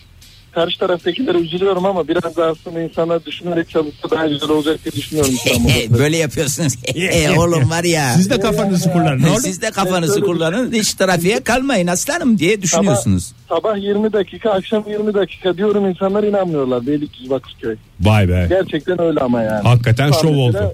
G: karşı taraftakilere üzülüyorum ama biraz da aslında insanlar düşünerek çalışsa daha güzel olacak diye düşünüyorum.
B: <laughs>
G: İstanbul'da.
B: E, Böyle yapıyorsunuz. E, Oğlum var ya. E,
H: Siz de kafanızı kullanın. oğlum.
B: Siz de kafanızı kullanın. Hiç trafiğe kalmayın aslanım diye düşünüyorsunuz.
G: Sabah 20 dakika, akşam 20 dakika diyorum insanlar inanmıyorlar Beylikdüzü Bakırköy.
H: Vay be.
G: Gerçekten öyle ama yani.
H: Hakikaten
G: Şu an
H: şov
G: mesela
H: oldu.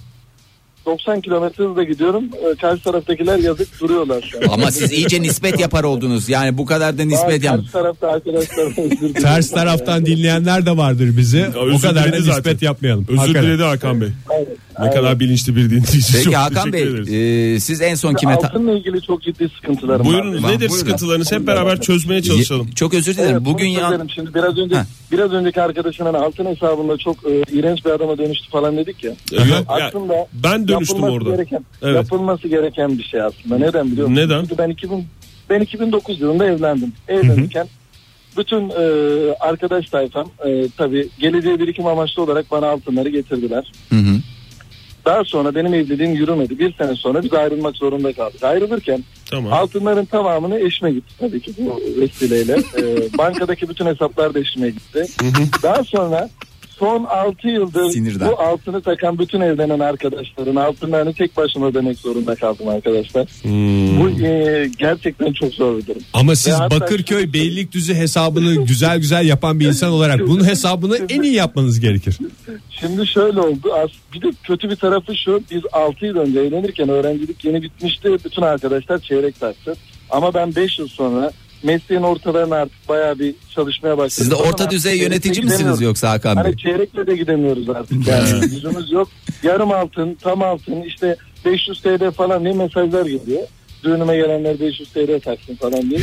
G: 90 kilometre hızla gidiyorum. Ee, Karşı taraftakiler yazık duruyorlar şu an.
B: Ama siz iyice nispet yapar oldunuz. Yani bu kadar da
G: Aa,
B: nispet yap.
G: Karşı tarafta arkadaşlar özür dilerim.
H: Ters taraftan dinleyenler de vardır bizi. o
D: özür
H: kadar da
D: diledi zaten.
H: nispet yapmayalım.
D: Özür
H: Hakikaten.
D: diledi Hakan Bey.
G: Aynen.
D: Ne kadar bilinçli bir dinleyicisi.
B: Peki
D: Çok
B: Hakan Bey
D: teşekkür ederiz.
B: e, siz en son kime... ta-
G: Altınla ilgili çok ciddi sıkıntılarım var.
D: Buyurunuz
B: Tamam,
D: nedir
B: e, buyurun.
D: sıkıntılarınız hep beraber çözmeye çalışalım.
B: Çok özür dilerim.
G: Evet,
B: Bugün
G: bunu
B: ya...
G: söylerim. Şimdi biraz önce
B: Ha.
G: biraz önceki arkadaşın hani altın hesabında çok e, iğrenç bir adama dönüştü falan dedik ya.
D: Ya-
G: Aslında
D: ben dönüştüm
G: yapılması
D: orada.
G: Gereken,
D: Evet.
G: Yapılması gereken bir şey aslında. Neden biliyor musun?
D: Neden?
G: Çünkü ben 2000 ben 2009 yılında evlendim. Evlenirken bütün e, arkadaş tayfam e, tabii geleceğe birikim amaçlı olarak bana altınları getirdiler.
B: Hı hı.
G: Daha sonra benim evliliğim yürümedi. Bir sene sonra biz ayrılmak zorunda kaldık. Ayrılırken
D: Tamam.
G: Altınların tamamını eşime gitti tabii ki bu
B: <laughs>
G: vesileyle. Ee, bankadaki bütün hesaplar da eşime gitti. Daha sonra son 6 yıldır
B: Sinirden.
G: bu altını takan bütün evlenen arkadaşların altınlarını tek başıma ödemek zorunda kaldım arkadaşlar.
H: Hmm.
G: Bu e, gerçekten çok zor bir durum.
H: Ama siz
G: Ve hatta-
H: Bakırköy Beylikdüzü hesabını güzel güzel yapan bir insan olarak bunun hesabını en iyi yapmanız gerekir.
G: Şimdi şöyle oldu. As bir de kötü bir tarafı şu. Biz 6 yıl önce evlenirken öğrencilik yeni bitmişti. Bütün arkadaşlar çeyrek taktı. Ama ben 5 yıl sonra mesleğin ortalarına artık bayağı bir çalışmaya başladım.
B: Siz de
G: Ama
B: orta
G: artık
B: düzey
G: çeyrekle
B: yönetici misiniz
G: gidemiyorum.
B: yoksa Hakan Bey?
G: Hani çeyrekle de gidemiyoruz artık. Yani yüzümüz yok. Yarım altın, tam altın işte 500 TL falan diye mesajlar geliyor. Düğünüme gelenler 500 TL taksın falan diye.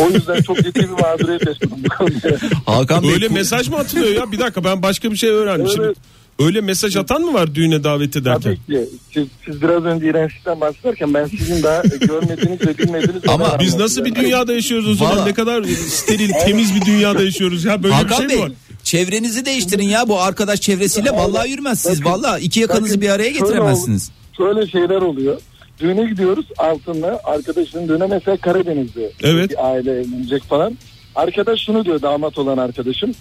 G: O yüzden çok ciddi bir mağduriyet yaşadım <laughs> bu konuda.
B: Hakan Bey
D: Öyle mesaj mı atılıyor ya? Bir dakika ben başka bir şey öğrendim. Şimdi
G: Evet.
D: öyle mesaj atan mı var düğüne davet ederken?
G: Tabii ki. Siz, siz biraz önce iğrençlikten bahsederken ben sizin daha görmediğiniz ve bilmediğiniz...
B: Ama
G: şeyler
D: Biz nasıl bir
G: anlatıyorum.
D: dünyada yaşıyoruz o zaman?
B: Valla.
D: Ne kadar steril, temiz bir dünyada yaşıyoruz ya. Böyle bir
B: Hakan
D: şey mi
B: Bey
D: var?
B: çevrenizi değiştirin ya bu arkadaş çevresiyle vallahi yürümez siz vallahi iki yakanızı
G: Bakın,
B: bir araya
G: şöyle
B: getiremezsiniz.
G: ol- Şöyle şeyler oluyor. Düğüne gidiyoruz altınla. Arkadaşın düğüne mesela Karadeniz'de.
D: Evet.
G: Bir aile evlenecek falan. Arkadaş şunu diyor damat olan arkadaşım.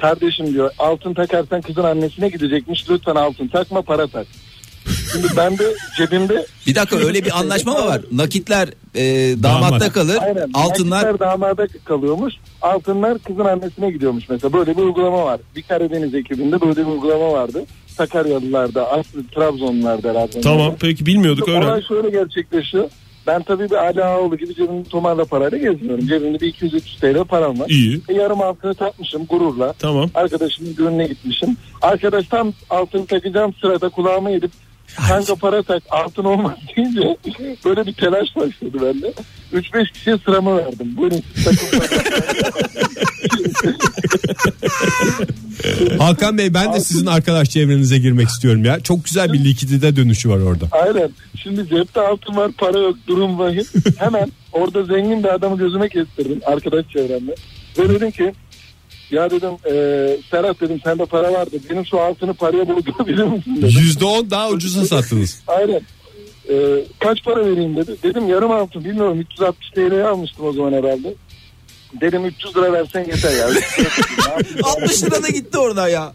G: Kardeşim diyor altın takarsan kızın annesine gidecekmiş. Lütfen altın takma para tak. Şimdi ben de
D: <laughs>
G: cebimde
B: Bir dakika öyle
G: <laughs>
B: bir anlaşma mı var? Nakitler e, damatta
H: Damat.
B: kalır
G: Aynen.
B: altınlar
G: Erkekler damada kalıyormuş. Altınlar kızın annesine gidiyormuş mesela. Böyle bir uygulama var. Bir Karadeniz ekibinde böyle bir uygulama vardı. Sakaryalılarda, Aslı Trabzonlularda herhalde.
D: Tamam peki bilmiyorduk
G: Olay
D: öğrendik.
G: şöyle gerçekleşiyor. Ben tabii bir Ali Ağaoğlu gibi cebimde tomarla parayla gezmiyorum. Cebimde bir 200-300 TL param var.
D: İyi.
G: E, yarım altını takmışım gururla.
D: Tamam.
G: Arkadaşımın düğününe gitmişim. Arkadaş tam altını takacağım sırada kulağıma yedip kanka para tak altın olmaz deyince böyle bir telaş başladı bende. 3-5 kişiye sıramı verdim. Buyurun siz takın para.
H: Hakan Bey ben de sizin arkadaş çevrenize girmek istiyorum ya. Çok güzel bir likidite dönüşü var orada.
G: Aynen. Şimdi cepte altın var para yok durum vahim. Hemen orada zengin bir adamı gözüme kestirdim arkadaş çevremde. Ve dedim ki ya dedim eee Serhat dedim sende para vardı. Benim şu altını paraya bulutabilir <laughs> misin dedim.
H: %10 daha ucuza sattınız.
G: Aynen. Ee, kaç para vereyim dedi. Dedim yarım altın bilmiyorum 360 TL'ye almıştım o zaman herhalde. Dedim 300 lira versen yeter ya. <laughs>
B: 60 lira da gitti orada ya.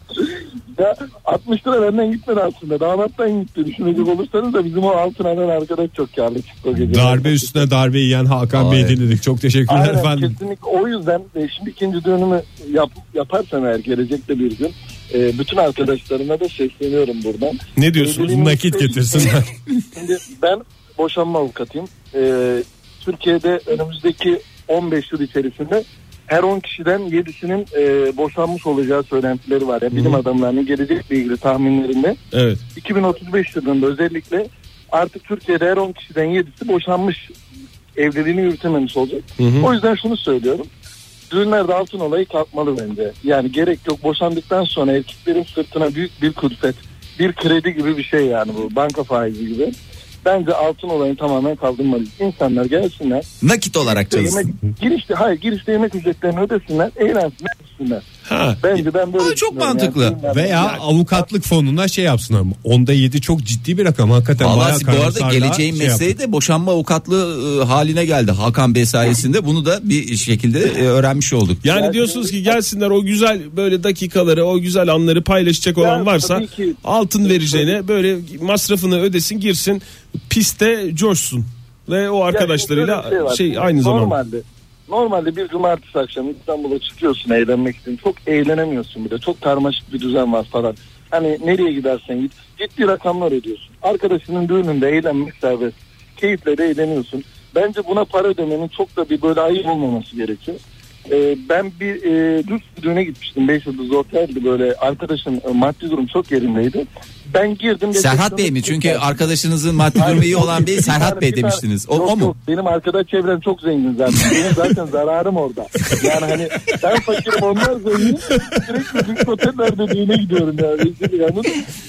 G: ya 60 lira benden gitmedi aslında. Damattan gitti. Düşünecek olursanız da bizim o altın alan arkadaş çok karlı çıktı o gece.
H: Darbe üstüne darbe yiyen Hakan Bey
B: Ay.
H: dinledik. Çok teşekkürler
G: Aynen
H: efendim.
G: kesinlikle. O yüzden e, şimdi ikinci düğünümü yap, yaparsam eğer gelecekte bir gün e, bütün arkadaşlarıma da sesleniyorum buradan.
H: Ne diyorsunuz?
G: Evliliğimiz-
H: Nakit getirsinler.
G: <laughs> Şimdi ben boşanma avukatıyım. Ee, Türkiye'de önümüzdeki 15 yıl içerisinde her 10 kişiden 7'sinin e, boşanmış olacağı söylentileri var. ya bilim adamlarının gelecekle ilgili tahminlerinde
D: Evet.
G: 2035 yılında özellikle artık Türkiye'de her 10 kişiden 7'si boşanmış evliliğini yürütememiş olacak. O yüzden şunu söylüyorum. Düğünlerde altın olayı kalkmalı bence. Yani gerek yok. Boşandıktan sonra erkeklerin sırtına büyük bir külfet, bir kredi gibi bir şey yani bu. Banka faizi gibi. Bence altın olayını tamamen kaldırmalıyız. İnsanlar gelsinler.
B: Nakit olarak çalışsın.
G: Yemek, girişte, hayır girişte yemek ücretlerini ödesinler. Eğlensinler. ödesinler.
D: Ha.
G: Bence ben böyle
B: Aa, çok
G: düşünüyorum
B: mantıklı.
G: Düğünlerde-
H: Veya avukatlık fonuna şey yapsın ama onda yedi çok ciddi bir rakam hakikaten. bayağı
B: Vallahi bu arada
H: karamsarlığa
B: geleceğin
H: şey
B: mesleği de boşanma avukatlığı e, haline geldi. Hakan Bey sayesinde bunu da bir şekilde e, öğrenmiş olduk.
D: Yani diyorsunuz ki gelsinler o güzel böyle dakikaları, o güzel anları paylaşacak olan
G: Ya,
D: varsa
G: tabii ki.
D: altın vereceğine böyle masrafını ödesin, girsin, piste coşsun ve o
G: Yani
D: arkadaşlarıyla
G: şöyle bir
D: şey,
G: var.
D: aynı zamanda.
G: Normalde, normalde bir cumartesi akşamı İstanbul'a çıkıyorsun eğlenmek için. Çok eğlenemiyorsun bile. Çok karmaşık bir düzen var falan. Hani nereye gidersen git. Ciddi rakamlar ödüyorsun. Arkadaşının düğününde eğlenmek serbest. Keyifle de eğleniyorsun. Bence buna para ödemenin çok da bir böyle ayıp olmaması gerekiyor. Ee, ben bir e, lüks bir düğüne gitmiştim. Beş yıldızlı oteldi böyle. Arkadaşım e, maddi durum çok yerindeydi. Ben girdim.
B: Serhat
G: resepsiyona
B: Bey mi? Çünkü
G: çıktım.
B: arkadaşınızın maddi durumu iyi olan bey
G: Bir tane-
B: Serhat Bey
G: bir tane-
B: demiştiniz. O,
G: Yok,
B: o mu?
G: yok. benim arkadaş çevrem çok zengin zaten. Benim zaten zararım orada. Yani hani ben fakirim onlar zengin. Sürekli lüks otellerde düğüne gidiyorum yani. Rezil yani.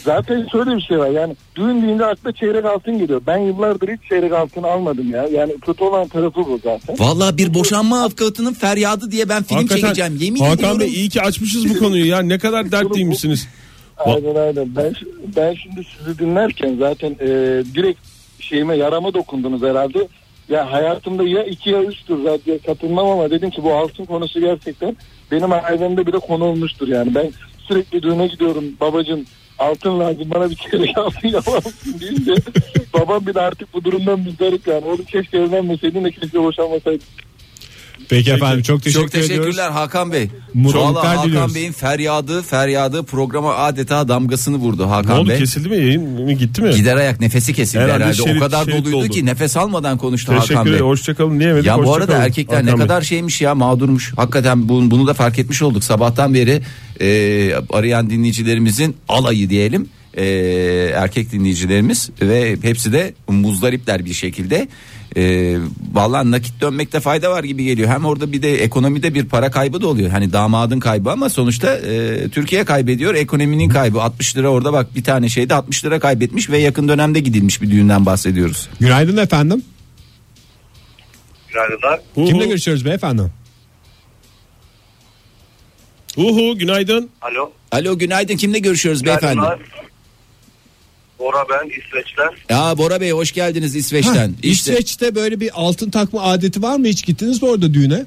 G: Zaten şöyle bir şey var yani düğün deyince akla çeyrek altın geliyor. Ben yıllardır hiç çeyrek altın almadım ya. Yani kötü olan tarafı bu zaten.
B: Vallahi bir boşanma avukatının feryadı diye ben film
D: Hakikaten
B: çekeceğim. Yemin
D: Hakan
B: ediyorum.
D: Bey iyi ki açmışız bu konuyu ya ne kadar dertliymişsiniz.
G: Aynen aynen. Ben, ben şimdi sizi dinlerken zaten e, direkt şeyime yarama dokundunuz herhalde. Ya hayatımda ya iki ya üçtür zaten katılmam ama dedim ki bu altın konusu gerçekten benim ailemde bile konu olmuştur yani. Ben sürekli düğüne gidiyorum babacığım altın lazım bana bir kere altın yapar mısın deyince babam bile artık bu durumdan müzdarip yani. Oğlum keşke evlenmeseydin de keşke boşanmasaydın.
H: Peki efendim çok teşekkür
B: Çok teşekkürler
H: ediyoruz.
B: Hakan Bey.
H: Mutluluklar
B: Vallahi Hakan
H: diliyoruz.
B: Bey'in feryadı feryadı programa adeta damgasını vurdu
D: Ne
B: Hakan
D: oldu
B: Bey.
D: kesildi mi yayın mı gitti mi?
B: Gider ayak nefesi kesildi herhalde.
D: Herhalde şerit-
B: o kadar
D: şerit
B: doluydu
D: oldu.
B: ki nefes almadan konuştu Hakan
D: Teşekkür
B: Bey.
D: ederim. Hoşçakalın diyemedik.
B: Ya bu
D: hoşça
B: arada
D: kalın.
B: erkekler ne
D: Hakan Bey.
B: kadar şeymiş ya mağdurmuş. Hakikaten bunu, bunu da fark etmiş olduk. Sabahtan beri e, arayan dinleyicilerimizin alayı diyelim. E, erkek dinleyicilerimiz ve hepsi de muzdaripler bir şekilde. E, Valla nakit dönmekte fayda var gibi geliyor. Hem orada bir de ekonomide bir para kaybı da oluyor. Hani damadın kaybı ama sonuçta e, Türkiye kaybediyor. Ekonominin kaybı 60 lira orada bak bir tane şeyde 60 lira kaybetmiş ve yakın dönemde gidilmiş bir düğünden bahsediyoruz.
H: Günaydın efendim.
E: Günaydınlar.
H: Kimle
D: Uhu,
H: görüşüyoruz beyefendi?
D: uhu günaydın.
E: Alo.
B: Alo günaydın kimle görüşüyoruz beyefendi?
E: Bora ben İsveç'ten.
B: Ya Bora Bey hoş geldiniz İsveç'ten.
H: Heh,
B: işte
H: İsveç'te böyle bir altın takma adeti var mı? Hiç gittiniz mi orada düğüne?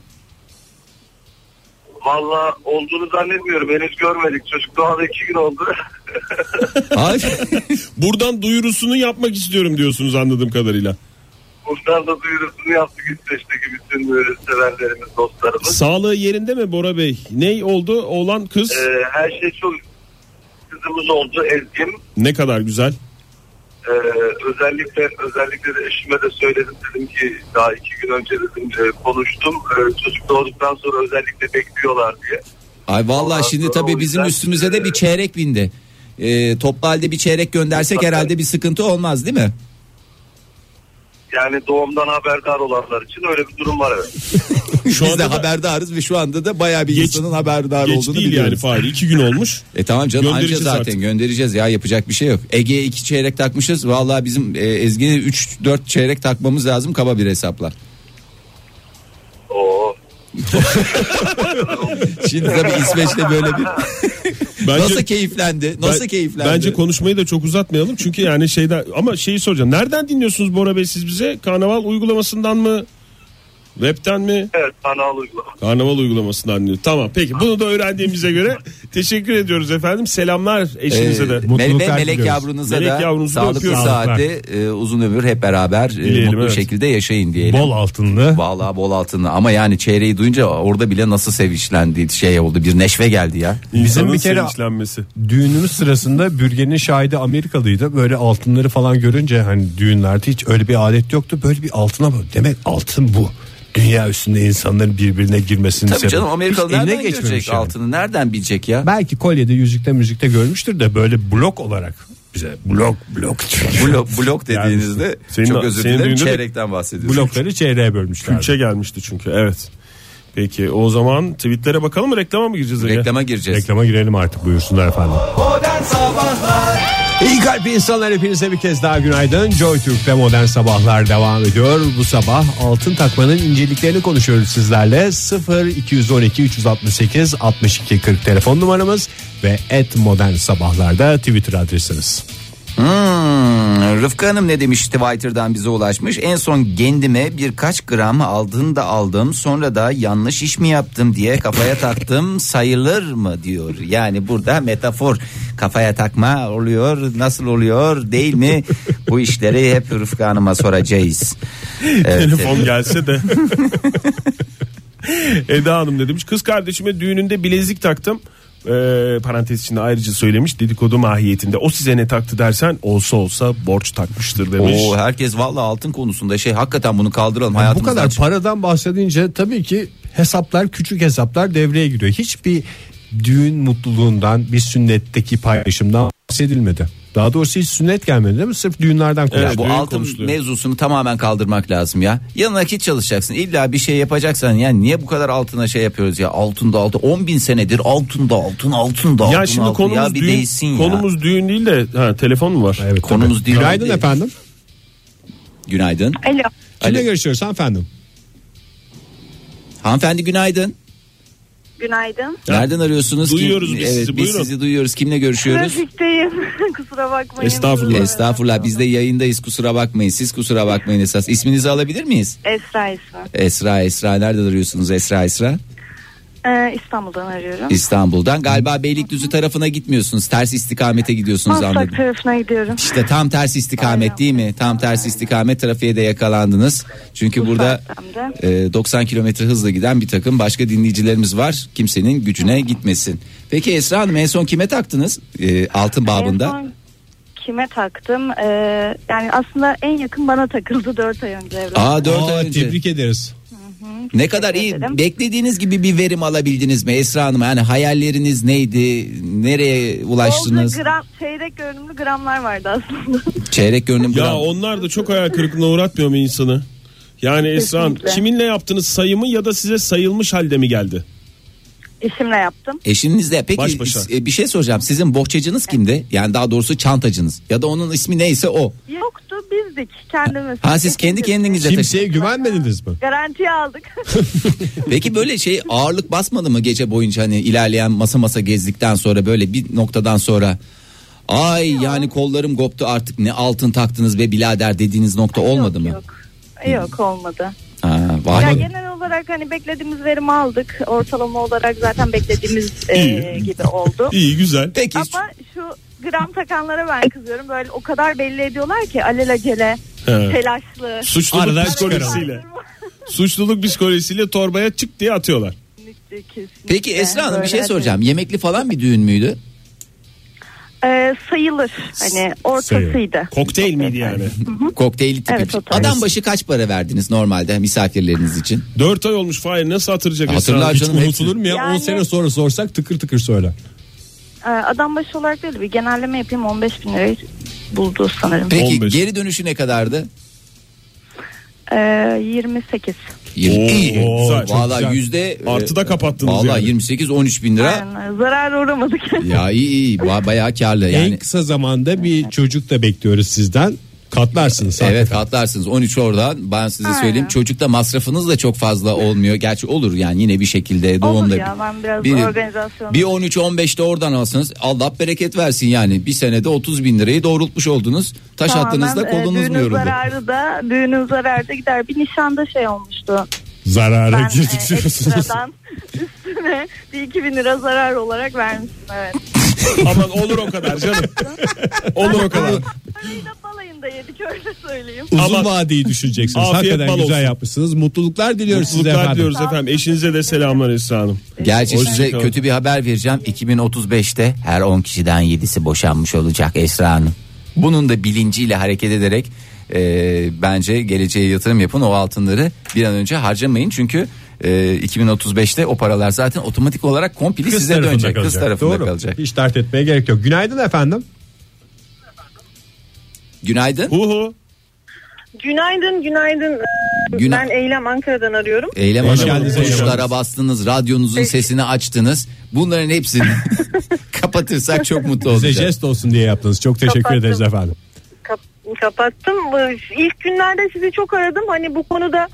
E: Valla olduğunu zannetmiyorum. Henüz görmedik. Çocuk doğalı iki gün oldu. <laughs>
B: Ay,
D: Buradan duyurusunu yapmak istiyorum diyorsunuz anladığım kadarıyla.
E: Buradan da duyurusunu yaptık İsveç'teki bütün e, severlerimiz, dostlarımız.
D: Sağlığı yerinde mi Bora Bey? Ney oldu? Oğlan kız
E: Ee, her şey çok kızımız oldu Ezgi'm.
D: ne kadar güzel.
E: Ee, özellikle özellikle de eşime de söyledim dedim ki daha iki gün önce dedim e, konuştum Ee, çocuk doğduktan sonra özellikle bekliyorlar diye.
B: ay vallahi şimdi tabii bizim üstümüze de bir çeyrek bindi. Ee, toplu halde bir çeyrek göndersek herhalde bir sıkıntı olmaz değil mi?
E: Yani doğumdan haberdar olanlar için öyle bir durum var evet.
B: <laughs> Biz
D: anda
B: de
D: da-
B: haberdarız ve şu anda da bayağı bir
D: Geç-
B: insanın haberdar
D: Geç
B: olduğunu
D: değil yani
B: biliyoruz.
D: Fahri. iki gün olmuş.
B: E tamam canım anca
D: Göndereceğiz
B: zaten
D: artık.
B: göndereceğiz ya yapacak bir şey yok. Ege'ye iki çeyrek takmışız. Vallahi bizim e, Ezgi'ye 3-4 çeyrek takmamız lazım kaba bir hesapla.
E: Oo.
B: Şimdi tabii İsveç'te böyle bir...
D: Bence,
B: nasıl keyiflendi? Nasıl
D: ben-
B: keyiflendi?
D: Bence konuşmayı da çok uzatmayalım. Çünkü yani şeyden ama şeyi soracağım. Nereden dinliyorsunuz Bora Bey siz bize? Karnaval uygulamasından mı? Web'ten mi?
E: Evet sanal uygulama.
D: Karnaval uygulamasından diyor. Tamam peki bunu da
B: <laughs>
D: öğrendiğimize göre teşekkür ediyoruz efendim. Selamlar eşinize de.
B: Ee,
H: Mutluluklar
B: Mel- ve melek
H: diliyoruz.
B: yavrunuza
D: Melek
B: da
D: yavrunuzu da
B: sağlıklı
D: öpüyoruz.
B: saatte e, uzun ömür hep beraber e,
D: Dileyelim,
B: mutlu
D: evet.
B: şekilde yaşayın diyelim.
H: Bol altınlı.
B: Vallahi bol altını ama yani çeyreği duyunca orada bile nasıl sevinçlendi şey oldu bir neşve geldi ya.
H: Bizim bir
D: İnsanın
H: kere
D: sevinçlenmesi.
H: düğünümüz sırasında bürgenin şahidi Amerikalıydı. Böyle altınları falan görünce hani düğünlerde hiç öyle bir adet yoktu. Böyle bir altına bak. Demek altın bu. Dünya üstünde insanların birbirine girmesini
B: Tabii
H: sebep.
B: canım Amerikalı
H: Hiç eline
B: nereden görecek
H: geçmemiş yani.
B: altını nereden bilecek ya?
H: Belki kolyede yüzükte müzikte görmüştür de böyle blok olarak bize blok
I: <laughs>
H: blok
B: Blok, blok dediğinizde
D: senin-
B: çok özür
D: senin
B: dilerim
D: düğünde de-
B: çeyrekten bahsediyorsunuz.
H: blokları çeyreğe bölmüşler.
D: Üçe gelmişti çünkü evet. Peki o zaman tweetlere bakalım mı reklama mı gireceğiz? Ege?
B: Reklama gireceğiz.
H: Reklama girelim artık buyursunlar efendim.
I: İyi kalp insanlar hepinize bir kez daha günaydın. Joy Türk'te modern sabahlar devam ediyor. Bu sabah altın takmanın inceliklerini konuşuyoruz sizlerle. 0 212 368 62 40 telefon numaramız ve et modern sabahlarda Twitter adresiniz.
B: Hmm, Rıfkı Hanım ne demiş Twitter'dan bize ulaşmış. En son kendime birkaç gram altın da aldım. Sonra da yanlış iş mi yaptım diye kafaya taktım. <laughs> Sayılır mı diyor. Yani burada metafor kafaya takma oluyor. Nasıl oluyor değil mi? Bu işleri hep Rıfkı Hanım'a soracağız.
D: Telefon gelse de. <laughs> Eda Hanım ne demiş? Kız kardeşime düğününde bilezik taktım. Ee, parantez içinde ayrıca söylemiş dedikodu mahiyetinde. O size ne taktı dersen olsa olsa borç takmıştır demiş.
B: Oo, herkes valla altın konusunda şey hakikaten bunu kaldıralım.
C: Bu
B: Hayatımızdan
C: kadar
B: çık-
C: paradan bahsedince tabii ki hesaplar küçük hesaplar devreye giriyor. Hiçbir düğün mutluluğundan bir sünnetteki paylaşımdan bahsedilmedi. Daha doğrusu hiç sünnet gelmedi değil mi? Sırf düğünlerden
B: Ya
C: konuştuk.
B: bu
D: düğün
B: altın
D: konuşuluyor.
B: mevzusunu tamamen kaldırmak lazım ya. Yanına hiç çalışacaksın. İlla bir şey yapacaksan yani niye bu kadar altına şey yapıyoruz ya? Altında altın 10 bin senedir altında altın altında altın.
D: ya şimdi
B: altın.
D: konumuz
B: ya bir
D: düğün,
B: değilsin ya.
D: konumuz düğün değil de ha, telefon mu var?
C: Evet,
B: konumuz
C: tabii.
B: değil.
C: Günaydın
B: Değil.
C: efendim.
B: Günaydın.
J: Alo.
C: Kimle
B: Alo.
C: görüşüyoruz hanımefendim?
B: Hanımefendi günaydın.
J: Günaydın.
B: Nereden arıyorsunuz? Kim-
D: Duyuyoruz biz
B: evet, Biz
D: sizi, buyurun.
B: sizi duyuyoruz. Kimle görüşüyoruz?
J: Trafikteyim. <laughs> Kusura bakmayın.
D: Estağfurullah.
B: Estağfurullah biz de yayındayız kusura bakmayın siz kusura bakmayın esas isminizi alabilir miyiz?
J: Esra Esra.
B: Esra Esra nereden arıyorsunuz Esra Esra?
J: Ee, İstanbul'dan arıyorum.
B: İstanbul'dan galiba Beylikdüzü tarafına gitmiyorsunuz ters istikamete gidiyorsunuz
J: Maslak
B: anladım.
J: tarafına gidiyorum.
B: İşte tam tersi istikamet değil mi? Tam tersi istikamet trafiğe de yakalandınız. Çünkü
J: Bu
B: burada
J: saatten
B: e, 90 kilometre hızla giden bir takım başka dinleyicilerimiz var. Kimsenin gücüne gitmesin. Peki Esra Hanım en son kime taktınız? E, altın
J: En
B: babında.
J: son kime taktım? Ee, yani aslında en yakın bana takıldı 4 ay önce evlendim.
B: Aa 4
C: Aa,
B: ay önce.
C: Tebrik ederiz.
B: Ne kadar iyi.
J: ederim.
B: Beklediğiniz gibi bir verim alabildiniz mi Esra Hanım? Yani hayalleriniz neydi? Nereye ulaştınız?
J: Bolca gram, çeyrek görünümlü gramlar vardı aslında. <laughs>
B: Çeyrek görünüm
D: Ya
B: gram.
D: onlar da çok hayal kırıklığına uğratmıyor mu insanı? Yani Esra Hanım
J: Kesinlikle.
D: kiminle yaptınız sayımı ya da size sayılmış halde mi geldi?
J: Eşimle yaptım.
B: Eşinizle peki
D: Baş başa.
B: e, bir şey soracağım. Sizin bohçacınız kimdi? Yani daha doğrusu çantacınız ya da onun ismi neyse o.
J: Yoktu bizdik kendimiz.
B: Ha siz kendi kendinize
C: Kimseye
B: taşıdınız.
C: güvenmediniz mi?
J: Garantiye aldık. <laughs>
B: Peki böyle şey ağırlık basmadı mı gece boyunca hani ilerleyen masa masa gezdikten sonra böyle bir noktadan sonra ay yani kollarım koptu artık ne altın taktınız be birader dediğiniz nokta olmadı
J: Yok,
B: mı?
J: Yok. Yok olmadı.
B: Ha,
J: Ya
B: vay.
J: genel olarak hani beklediğimiz verimi aldık. Ortalama olarak zaten beklediğimiz e,
D: İyi.
J: gibi oldu.
D: İyi güzel.
B: Peki
J: Ama şu gram takanlara ben kızıyorum. Böyle o kadar belli ediyorlar ki alelacele,
D: He.
J: telaşlı.
D: Suçluluk
C: Aradan
D: psikolojisiyle. Suçluluk psikolojisiyle torbaya çık diye atıyorlar.
J: Kesinlikle,
B: peki Esra Hanım bir
J: böyle
B: şey
J: hani,
B: soracağım. Yemekli falan bir düğün müydü?
J: e, sayılır. Hani ortasıydı.
D: Kokteyl miydi <laughs> yani?
B: Kokteyli tipi.
J: Evet,
B: bir-
J: o tarz.
B: Adam başı kaç para verdiniz normalde misafirleriniz için?
D: 4 ay olmuş Fahir nasıl hatırlayacak Esra
B: Hatırlar
D: Hanım?
B: canım.
C: Unutulur mu ya? 10
J: Yani-
C: sene sonra sorsak tıkır tıkır söyler.
J: E, adam başı olarak değil bir genelleme yapayım 15 bin lirayı buldu sanırım.
B: Peki
D: 15.
B: geri dönüşü ne kadardı?
J: E, 28.
B: Yirmi-
D: Oo,
B: İyi.
D: güzel, çok
B: Valla
D: güzel.
B: yüzde e,
D: Artı da kapattınız
B: Valla
D: yani.
B: 28-13 bin lira.
J: Aynen, zarar uğramadık.
B: Ya iyi iyi Ba- bayağı karlı yani.
C: En kısa zamanda bir çocuk da bekliyoruz sizden. Katlarsınız.
B: Evet
C: hakikaten.
B: katlarsınız 13 oradan ben size söyleyeyim çocukta masrafınız da çok fazla olmuyor gerçi olur yani yine bir şekilde
J: Olur
B: doğumda
J: ya, ben biraz organizasyonum.
B: bir 13 15'te oradan alsanız Allah bereket versin yani bir senede 30 bin lirayı doğrultmuş oldunuz taş attığınızda
J: Tamamen, e,
B: kolunuz mu
J: düğünün
B: yoruldu
J: zararı da düğünün zararı da gider. Bir nişanda şey olmuştu.
C: Zarara
J: Ben e,
C: girdik diyorsunuz.
J: ekstradan <laughs> üstüne bir 2000 lira zarar olarak vermiştim evet.
D: Aman olur o
C: <laughs>
D: kadar canım. olur o kadar.
J: Parayı da balayında yedik öyle söyleyeyim.
C: Uzun
D: Ama-
C: vadeyi düşüneceksiniz.
D: Afiyet
C: Hakikaten
D: bal
C: güzel
D: olsun.
C: yapmışsınız. Mutluluklar diliyoruz size
D: Mutluluklar
C: efendim.
D: diyoruz efendim. Eşinize de selamlar Esra Hanım.
B: Gerçi
D: Hoş
B: size
D: geldin.
B: kötü bir haber vereceğim 2035'te her 10 kişiden 7'si boşanmış olacak Esra Hanım bunun da bilinciyle hareket ederek e, bence geleceğe yatırım yapın o altınları bir an önce harcamayın çünkü e, 2035'te o paralar zaten otomatik olarak komple
C: Kız
B: size
C: tarafında
B: dönecek
C: kalacak.
B: kız tarafında
C: Doğru.
B: kalacak
C: Hiç dert etmeye gerek yok. Günaydın efendim. Uh,
B: Günaydın.
D: Hu hu.
J: Günaydın, günaydın.
B: Günay-
J: Ben Eylem Ankara'dan arıyorum.
B: Eylem
D: Hoş
B: Hanım
D: geldiniz, hoş
B: tuşlara
D: geldiniz.
B: bastınız, radyonuzun sesini açtınız. Bunların hepsini <laughs> kapatırsak çok mutlu
C: Size
B: olacağız.
C: jest olsun diye yaptınız. Çok teşekkür
J: Kapattım.
C: ederiz
J: <laughs>
C: efendim.
J: Kap- kapattım. Bu- İlk günlerde sizi çok aradım. Hani bu konuda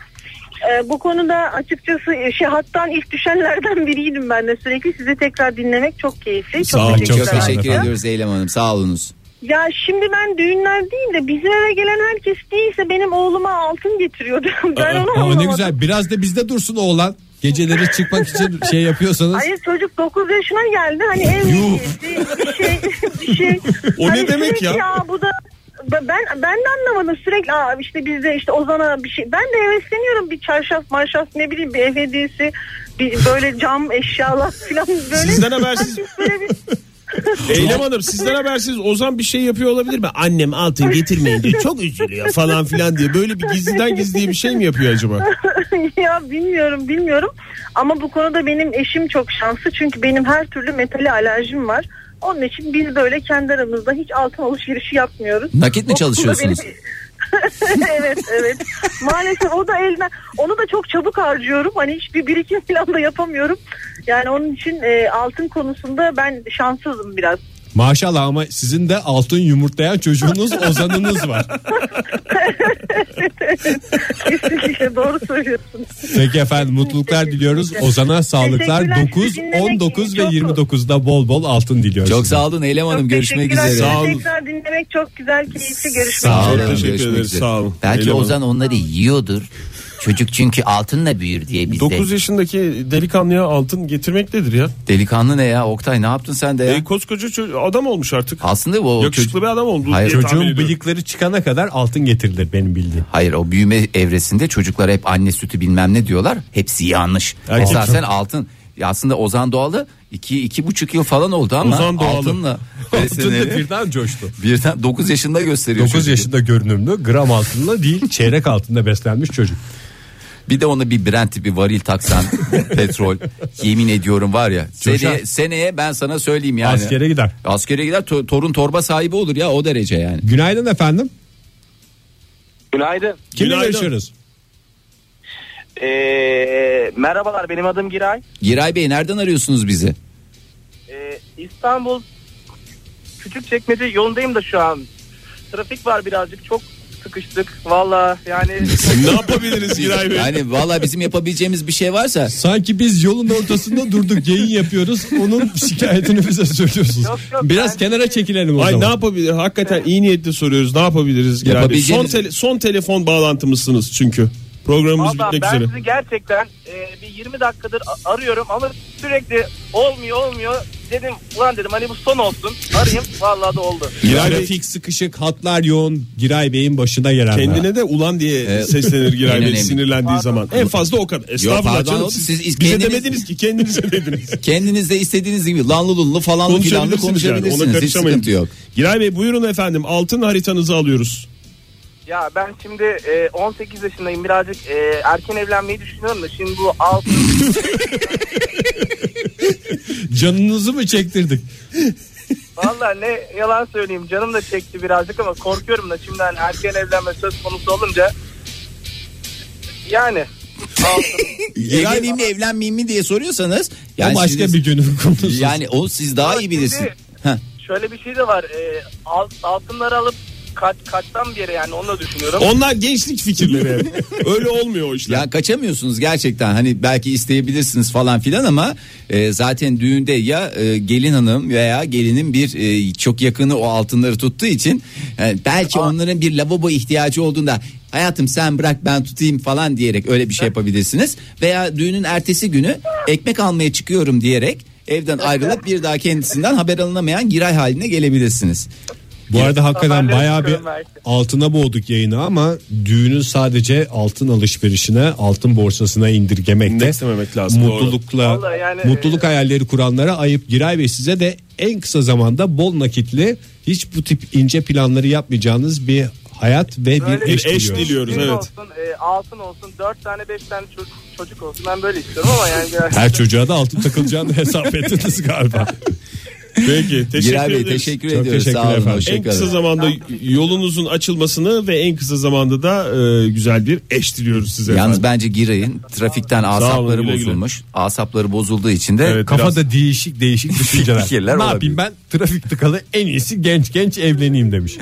J: e, bu konuda açıkçası e, şey hattan ilk düşenlerden biriydim ben de sürekli sizi tekrar dinlemek çok keyifli.
C: Sağ ol, çok
B: Çok
J: teşekkürler.
C: sağ olun
B: teşekkür
C: efendim.
B: ediyoruz Eylem Hanım. Sağ olunuz.
J: Ya şimdi ben düğünler değil de bizim eve gelen herkes değilse benim oğluma altın getiriyordu. <laughs> ben onu
C: Ama
J: anlamadım.
C: ne güzel. Biraz da bizde dursun oğlan. Geceleri çıkmak için şey yapıyorsanız.
J: Hayır çocuk 9 yaşına geldi hani ev hediyesi bir şey bir şey.
D: <laughs> O
J: Hani
D: ne demek
J: sürekli
D: ya?
J: bu da ben ben de anlamadım sürekli aa işte bizde işte Ozan'a bir şey. Ben de hevesleniyorum bir çarşaf marşaf ne bileyim bir ev hediyesi bir böyle cam eşyalar falan böyle.
D: Sizden <laughs>
C: <laughs>
D: habersiz.
J: Böyle bir-
D: Eylem Hanım sizden habersiz Ozan bir şey yapıyor olabilir mi? Annem altın getirmeyin diye çok üzülüyor falan filan diye. Böyle bir gizliden gizliye bir şey mi yapıyor acaba?
J: <laughs> ya bilmiyorum bilmiyorum ama bu konuda benim eşim çok şanslı çünkü benim her türlü metale alerjim var. Onun için biz böyle kendi aramızda hiç altın alışverişi yapmıyoruz.
B: Nakit mi
J: O konuda
B: çalışıyorsunuz?
J: benim- <laughs> evet evet. Maalesef o da elden onu da çok çabuk harcıyorum. Hani hiçbir birikim <laughs> falan da yapamıyorum. Yani onun için e, altın konusunda ben şanssızım biraz. <laughs>
C: Maşallah ama sizin de altın yumurtlayan çocuğunuz Ozan'ınız var.
J: Kesinlikle doğru söylüyorsunuz.
C: Peki efendim mutluluklar diliyoruz. Ozan'a sağlıklar.
J: Teşekkürler.
C: 9,
J: Sizi dinlemek
C: 19 ve
J: çok-
C: 29'da bol bol altın diliyoruz.
B: Çok
C: size.
B: sağ olun Eylem Hanım.
J: Çok
B: Görüşmek
J: teşekkürler.
B: üzere.
J: Sizi
D: Sağ olun.
J: Tekrar dinlemek çok güzel, keyifli. Görüşmek
B: Sağ
J: üzere.
B: olun.
D: Teşekkür
B: görüşmek
D: ederiz,
B: üzere.
D: sağ olun.
B: Belki
D: Eylem
B: Ozan onları yiyordur. Çocuk çünkü altınla büyür diye bizde.
D: 9 yaşındaki delikanlıya altın getirmek nedir ya?
B: Delikanlı ne ya Oktay ne yaptın sen de ya?
D: E, koskoca ço- adam olmuş artık.
B: Aslında o
D: Yakışıklı
B: çocuk-
D: bir adam oldu.
B: Hayır.
D: diye tahmin
C: Çocuğun
D: ediyorum.
C: bıyıkları çıkana kadar altın getirilir benim bildiğim.
B: Hayır o büyüme evresinde çocuklara hep anne sütü bilmem ne diyorlar. Hepsi yanlış.
D: Erkek
B: Esasen altın. Ya Aslında Ozan Doğalı iki, iki buçuk yıl falan oldu ama
D: Ozan Doğalı. <laughs>
B: altınla.
C: Altın da
B: besleneli.
C: birden coştu.
B: Birden 9 yaşında gösteriyor.
C: 9
B: çocuğu.
C: yaşında görünümlü gram altınla değil çeyrek altında beslenmiş çocuk.
B: Bir de ona bir Brent bir varil
C: <laughs>
B: taksan petrol. Yemin ediyorum var ya. Seneye, seneye ben sana söyleyeyim yani.
C: Askere gider.
B: Askere gider to- torun torba sahibi olur ya o derece yani.
C: Günaydın efendim.
E: Günaydın.
C: Kimle
D: Günaydın.
C: görüşüyoruz?
E: Ee, merhabalar benim adım Giray.
B: Giray Bey nereden arıyorsunuz bizi?
E: Ee, İstanbul Küçükçekmece yolundayım da şu an. Trafik var birazcık çok sıkıştık. Valla yani
D: Ne yapabiliriz Giray Bey?
B: Yani valla bizim yapabileceğimiz bir şey varsa
C: Sanki biz yolun ortasında durduk yayın yapıyoruz. Onun şikayetini bize söylüyorsunuz.
E: Yok, yok,
C: Biraz
E: ben-
C: kenara çekilelim o
D: Ay ne
C: zaman.
D: yapabilir? Hakikaten iyi niyetle soruyoruz. Ne yapabiliriz Giray Bey? Son,
B: Yapabileceğiniz-
D: tele- son telefon bağlantımızsınız çünkü. Programımız
E: valla
D: bitmek
E: ben
D: üzere.
E: sizi gerçekten e, bir 20 dakikadır a- arıyorum ama sürekli olmuyor olmuyor. Dedim ulan dedim hani bu son olsun. Arayayım valla da oldu.
C: Giray
D: Yani-
C: Trafik sıkışık hatlar yoğun. Giray Bey'in başına gelenler.
D: Kendine de ulan
C: E,
D: diye
B: Evet.
D: seslenir
B: En
D: Giray Bey
B: önemli.
D: sinirlendiği zaman. En fazla o kadar. Estağfurullah
B: pardon
D: canım,
B: oğlum,
D: Siz,
B: siz
D: bize
B: kendiniz-
D: demediniz ki kendinize dediniz.
B: kendiniz de istediğiniz gibi lanlı lunlu falan filanlı
D: konuşabilirsiniz. yani,
B: konuşabilirsiniz.
D: Ona
B: Hiç
D: karışamayın.
B: sıkıntı yok.
D: Giray Bey buyurun efendim altın haritanızı alıyoruz.
E: Ya ben şimdi e, 18 yaşındayım birazcık e, erken evlenmeyi düşünüyorum da şimdi bu altın
C: Canınızı mı çektirdik?
E: Valla ne yalan söyleyeyim canım da çekti birazcık ama korkuyorum da şimdi hani erken evlenme söz konusu olunca yani altın.
B: Evleneyim mi evlenmeyeyim mi diye soruyorsanız yani
C: o başka
B: siz-
C: bir günün konusu.
B: yani o siz daha iyi
E: Şimdi-
B: bilirsiniz. Heh.
E: şöyle bir şey de var e, alt, altınları alıp kaç, kaçtan bir yere yani onu da düşünüyorum.
D: Onlar gençlik
B: <laughs>
D: fikirleri. Öyle olmuyor o işler.
B: Ya kaçamıyorsunuz gerçekten hani belki isteyebilirsiniz falan filan ama e, zaten düğünde ya e, gelin hanım veya gelinin bir e, çok yakını o altınları tuttuğu için e, belki onların bir lavabo ihtiyacı olduğunda hayatım sen bırak ben tutayım falan diyerek öyle bir şey yapabilirsiniz. Veya düğünün ertesi günü ekmek almaya çıkıyorum diyerek evden ayrılıp bir daha kendisinden haber alınamayan giray haline gelebilirsiniz.
C: Bu arada hakikaten
E: Haberleri
C: bayağı bir
E: çıkıyorum belki.
C: altına boğduk yayını ama düğünün sadece altın alışverişine, altın borsasına indirgemek de
D: İndekslememek lazım,
C: mutlulukla,
E: Vallahi yani- e,
C: mutluluk hayalleri kuranlara ayıp. Giray Bey size de en kısa zamanda bol nakitli hiç bu tip ince planları yapmayacağınız bir hayat ve
E: Böyle
C: bir eş,
D: bir eş
C: diliyoruz.
D: diliyoruz,
E: Düğün
D: evet.
E: Olsun, e, altın olsun 4 tane 5 tane çocuk, çocuk olsun ben böyle istiyorum ama yani
C: Her çocuğa da altın takılacağını hesap ettiniz galiba.
D: Peki teşekkür
B: Giray Bey,
D: ederiz.
B: teşekkür Çok ediyoruz. teşekkür Sağ olun, efendim.
D: En
B: hoşçakalın.
D: kısa zamanda yolunuzun açılmasını ve en kısa zamanda da e, güzel bir eş diliyoruz size.
B: Yalnız
D: efendim.
B: bence Giray'ın trafikten
D: olun,
B: asapları
D: güle güle.
B: bozulmuş. Asapları bozulduğu için de
C: Kafada
B: <laughs>
C: değişik değişik düşünceler.
B: Fikirler
C: ne
B: olabilir.
C: yapayım ben trafik tıkalı en iyisi genç genç evleneyim demiş.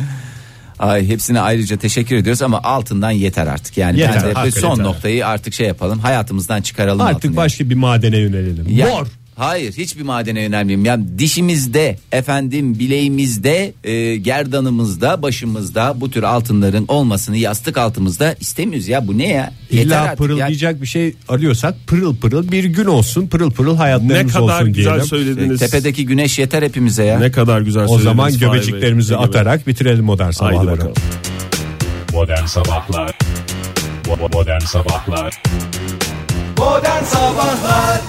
B: Ay hepsine ayrıca teşekkür ediyoruz ama altından yeter artık. Yani
C: Yeter,
B: bence
C: hakikaten
B: son
C: yeter.
B: noktayı artık şey yapalım. Hayatımızdan çıkaralım altını.
C: Artık başka bir madene yönelelim.
B: Ya-
C: Mor.
B: Hayır hiçbir madene yönelmeyeyim. Yani dişimizde efendim bileğimizde e, gerdanımızda başımızda bu tür altınların olmasını yastık altımızda istemiyoruz ya bu ne ya? Yeter
C: İlla
B: artık ya.
C: pırıldayacak bir şey arıyorsak pırıl pırıl bir gün olsun pırıl pırıl hayatlarımız
D: Ne kadar
C: olsun
D: güzel
C: diyelim.
D: söylediniz.
B: Tepedeki güneş yeter hepimize ya.
D: Ne kadar güzel
C: O
D: söylediniz.
C: zaman
D: Fahir Bey.
C: göbeciklerimizi
D: Peki efendim.
C: atarak bitirelim modern
D: Haydi
C: sabahları.
D: bakalım.
A: Modern Sabahlar Bo- Modern Sabahlar
K: Modern Sabahlar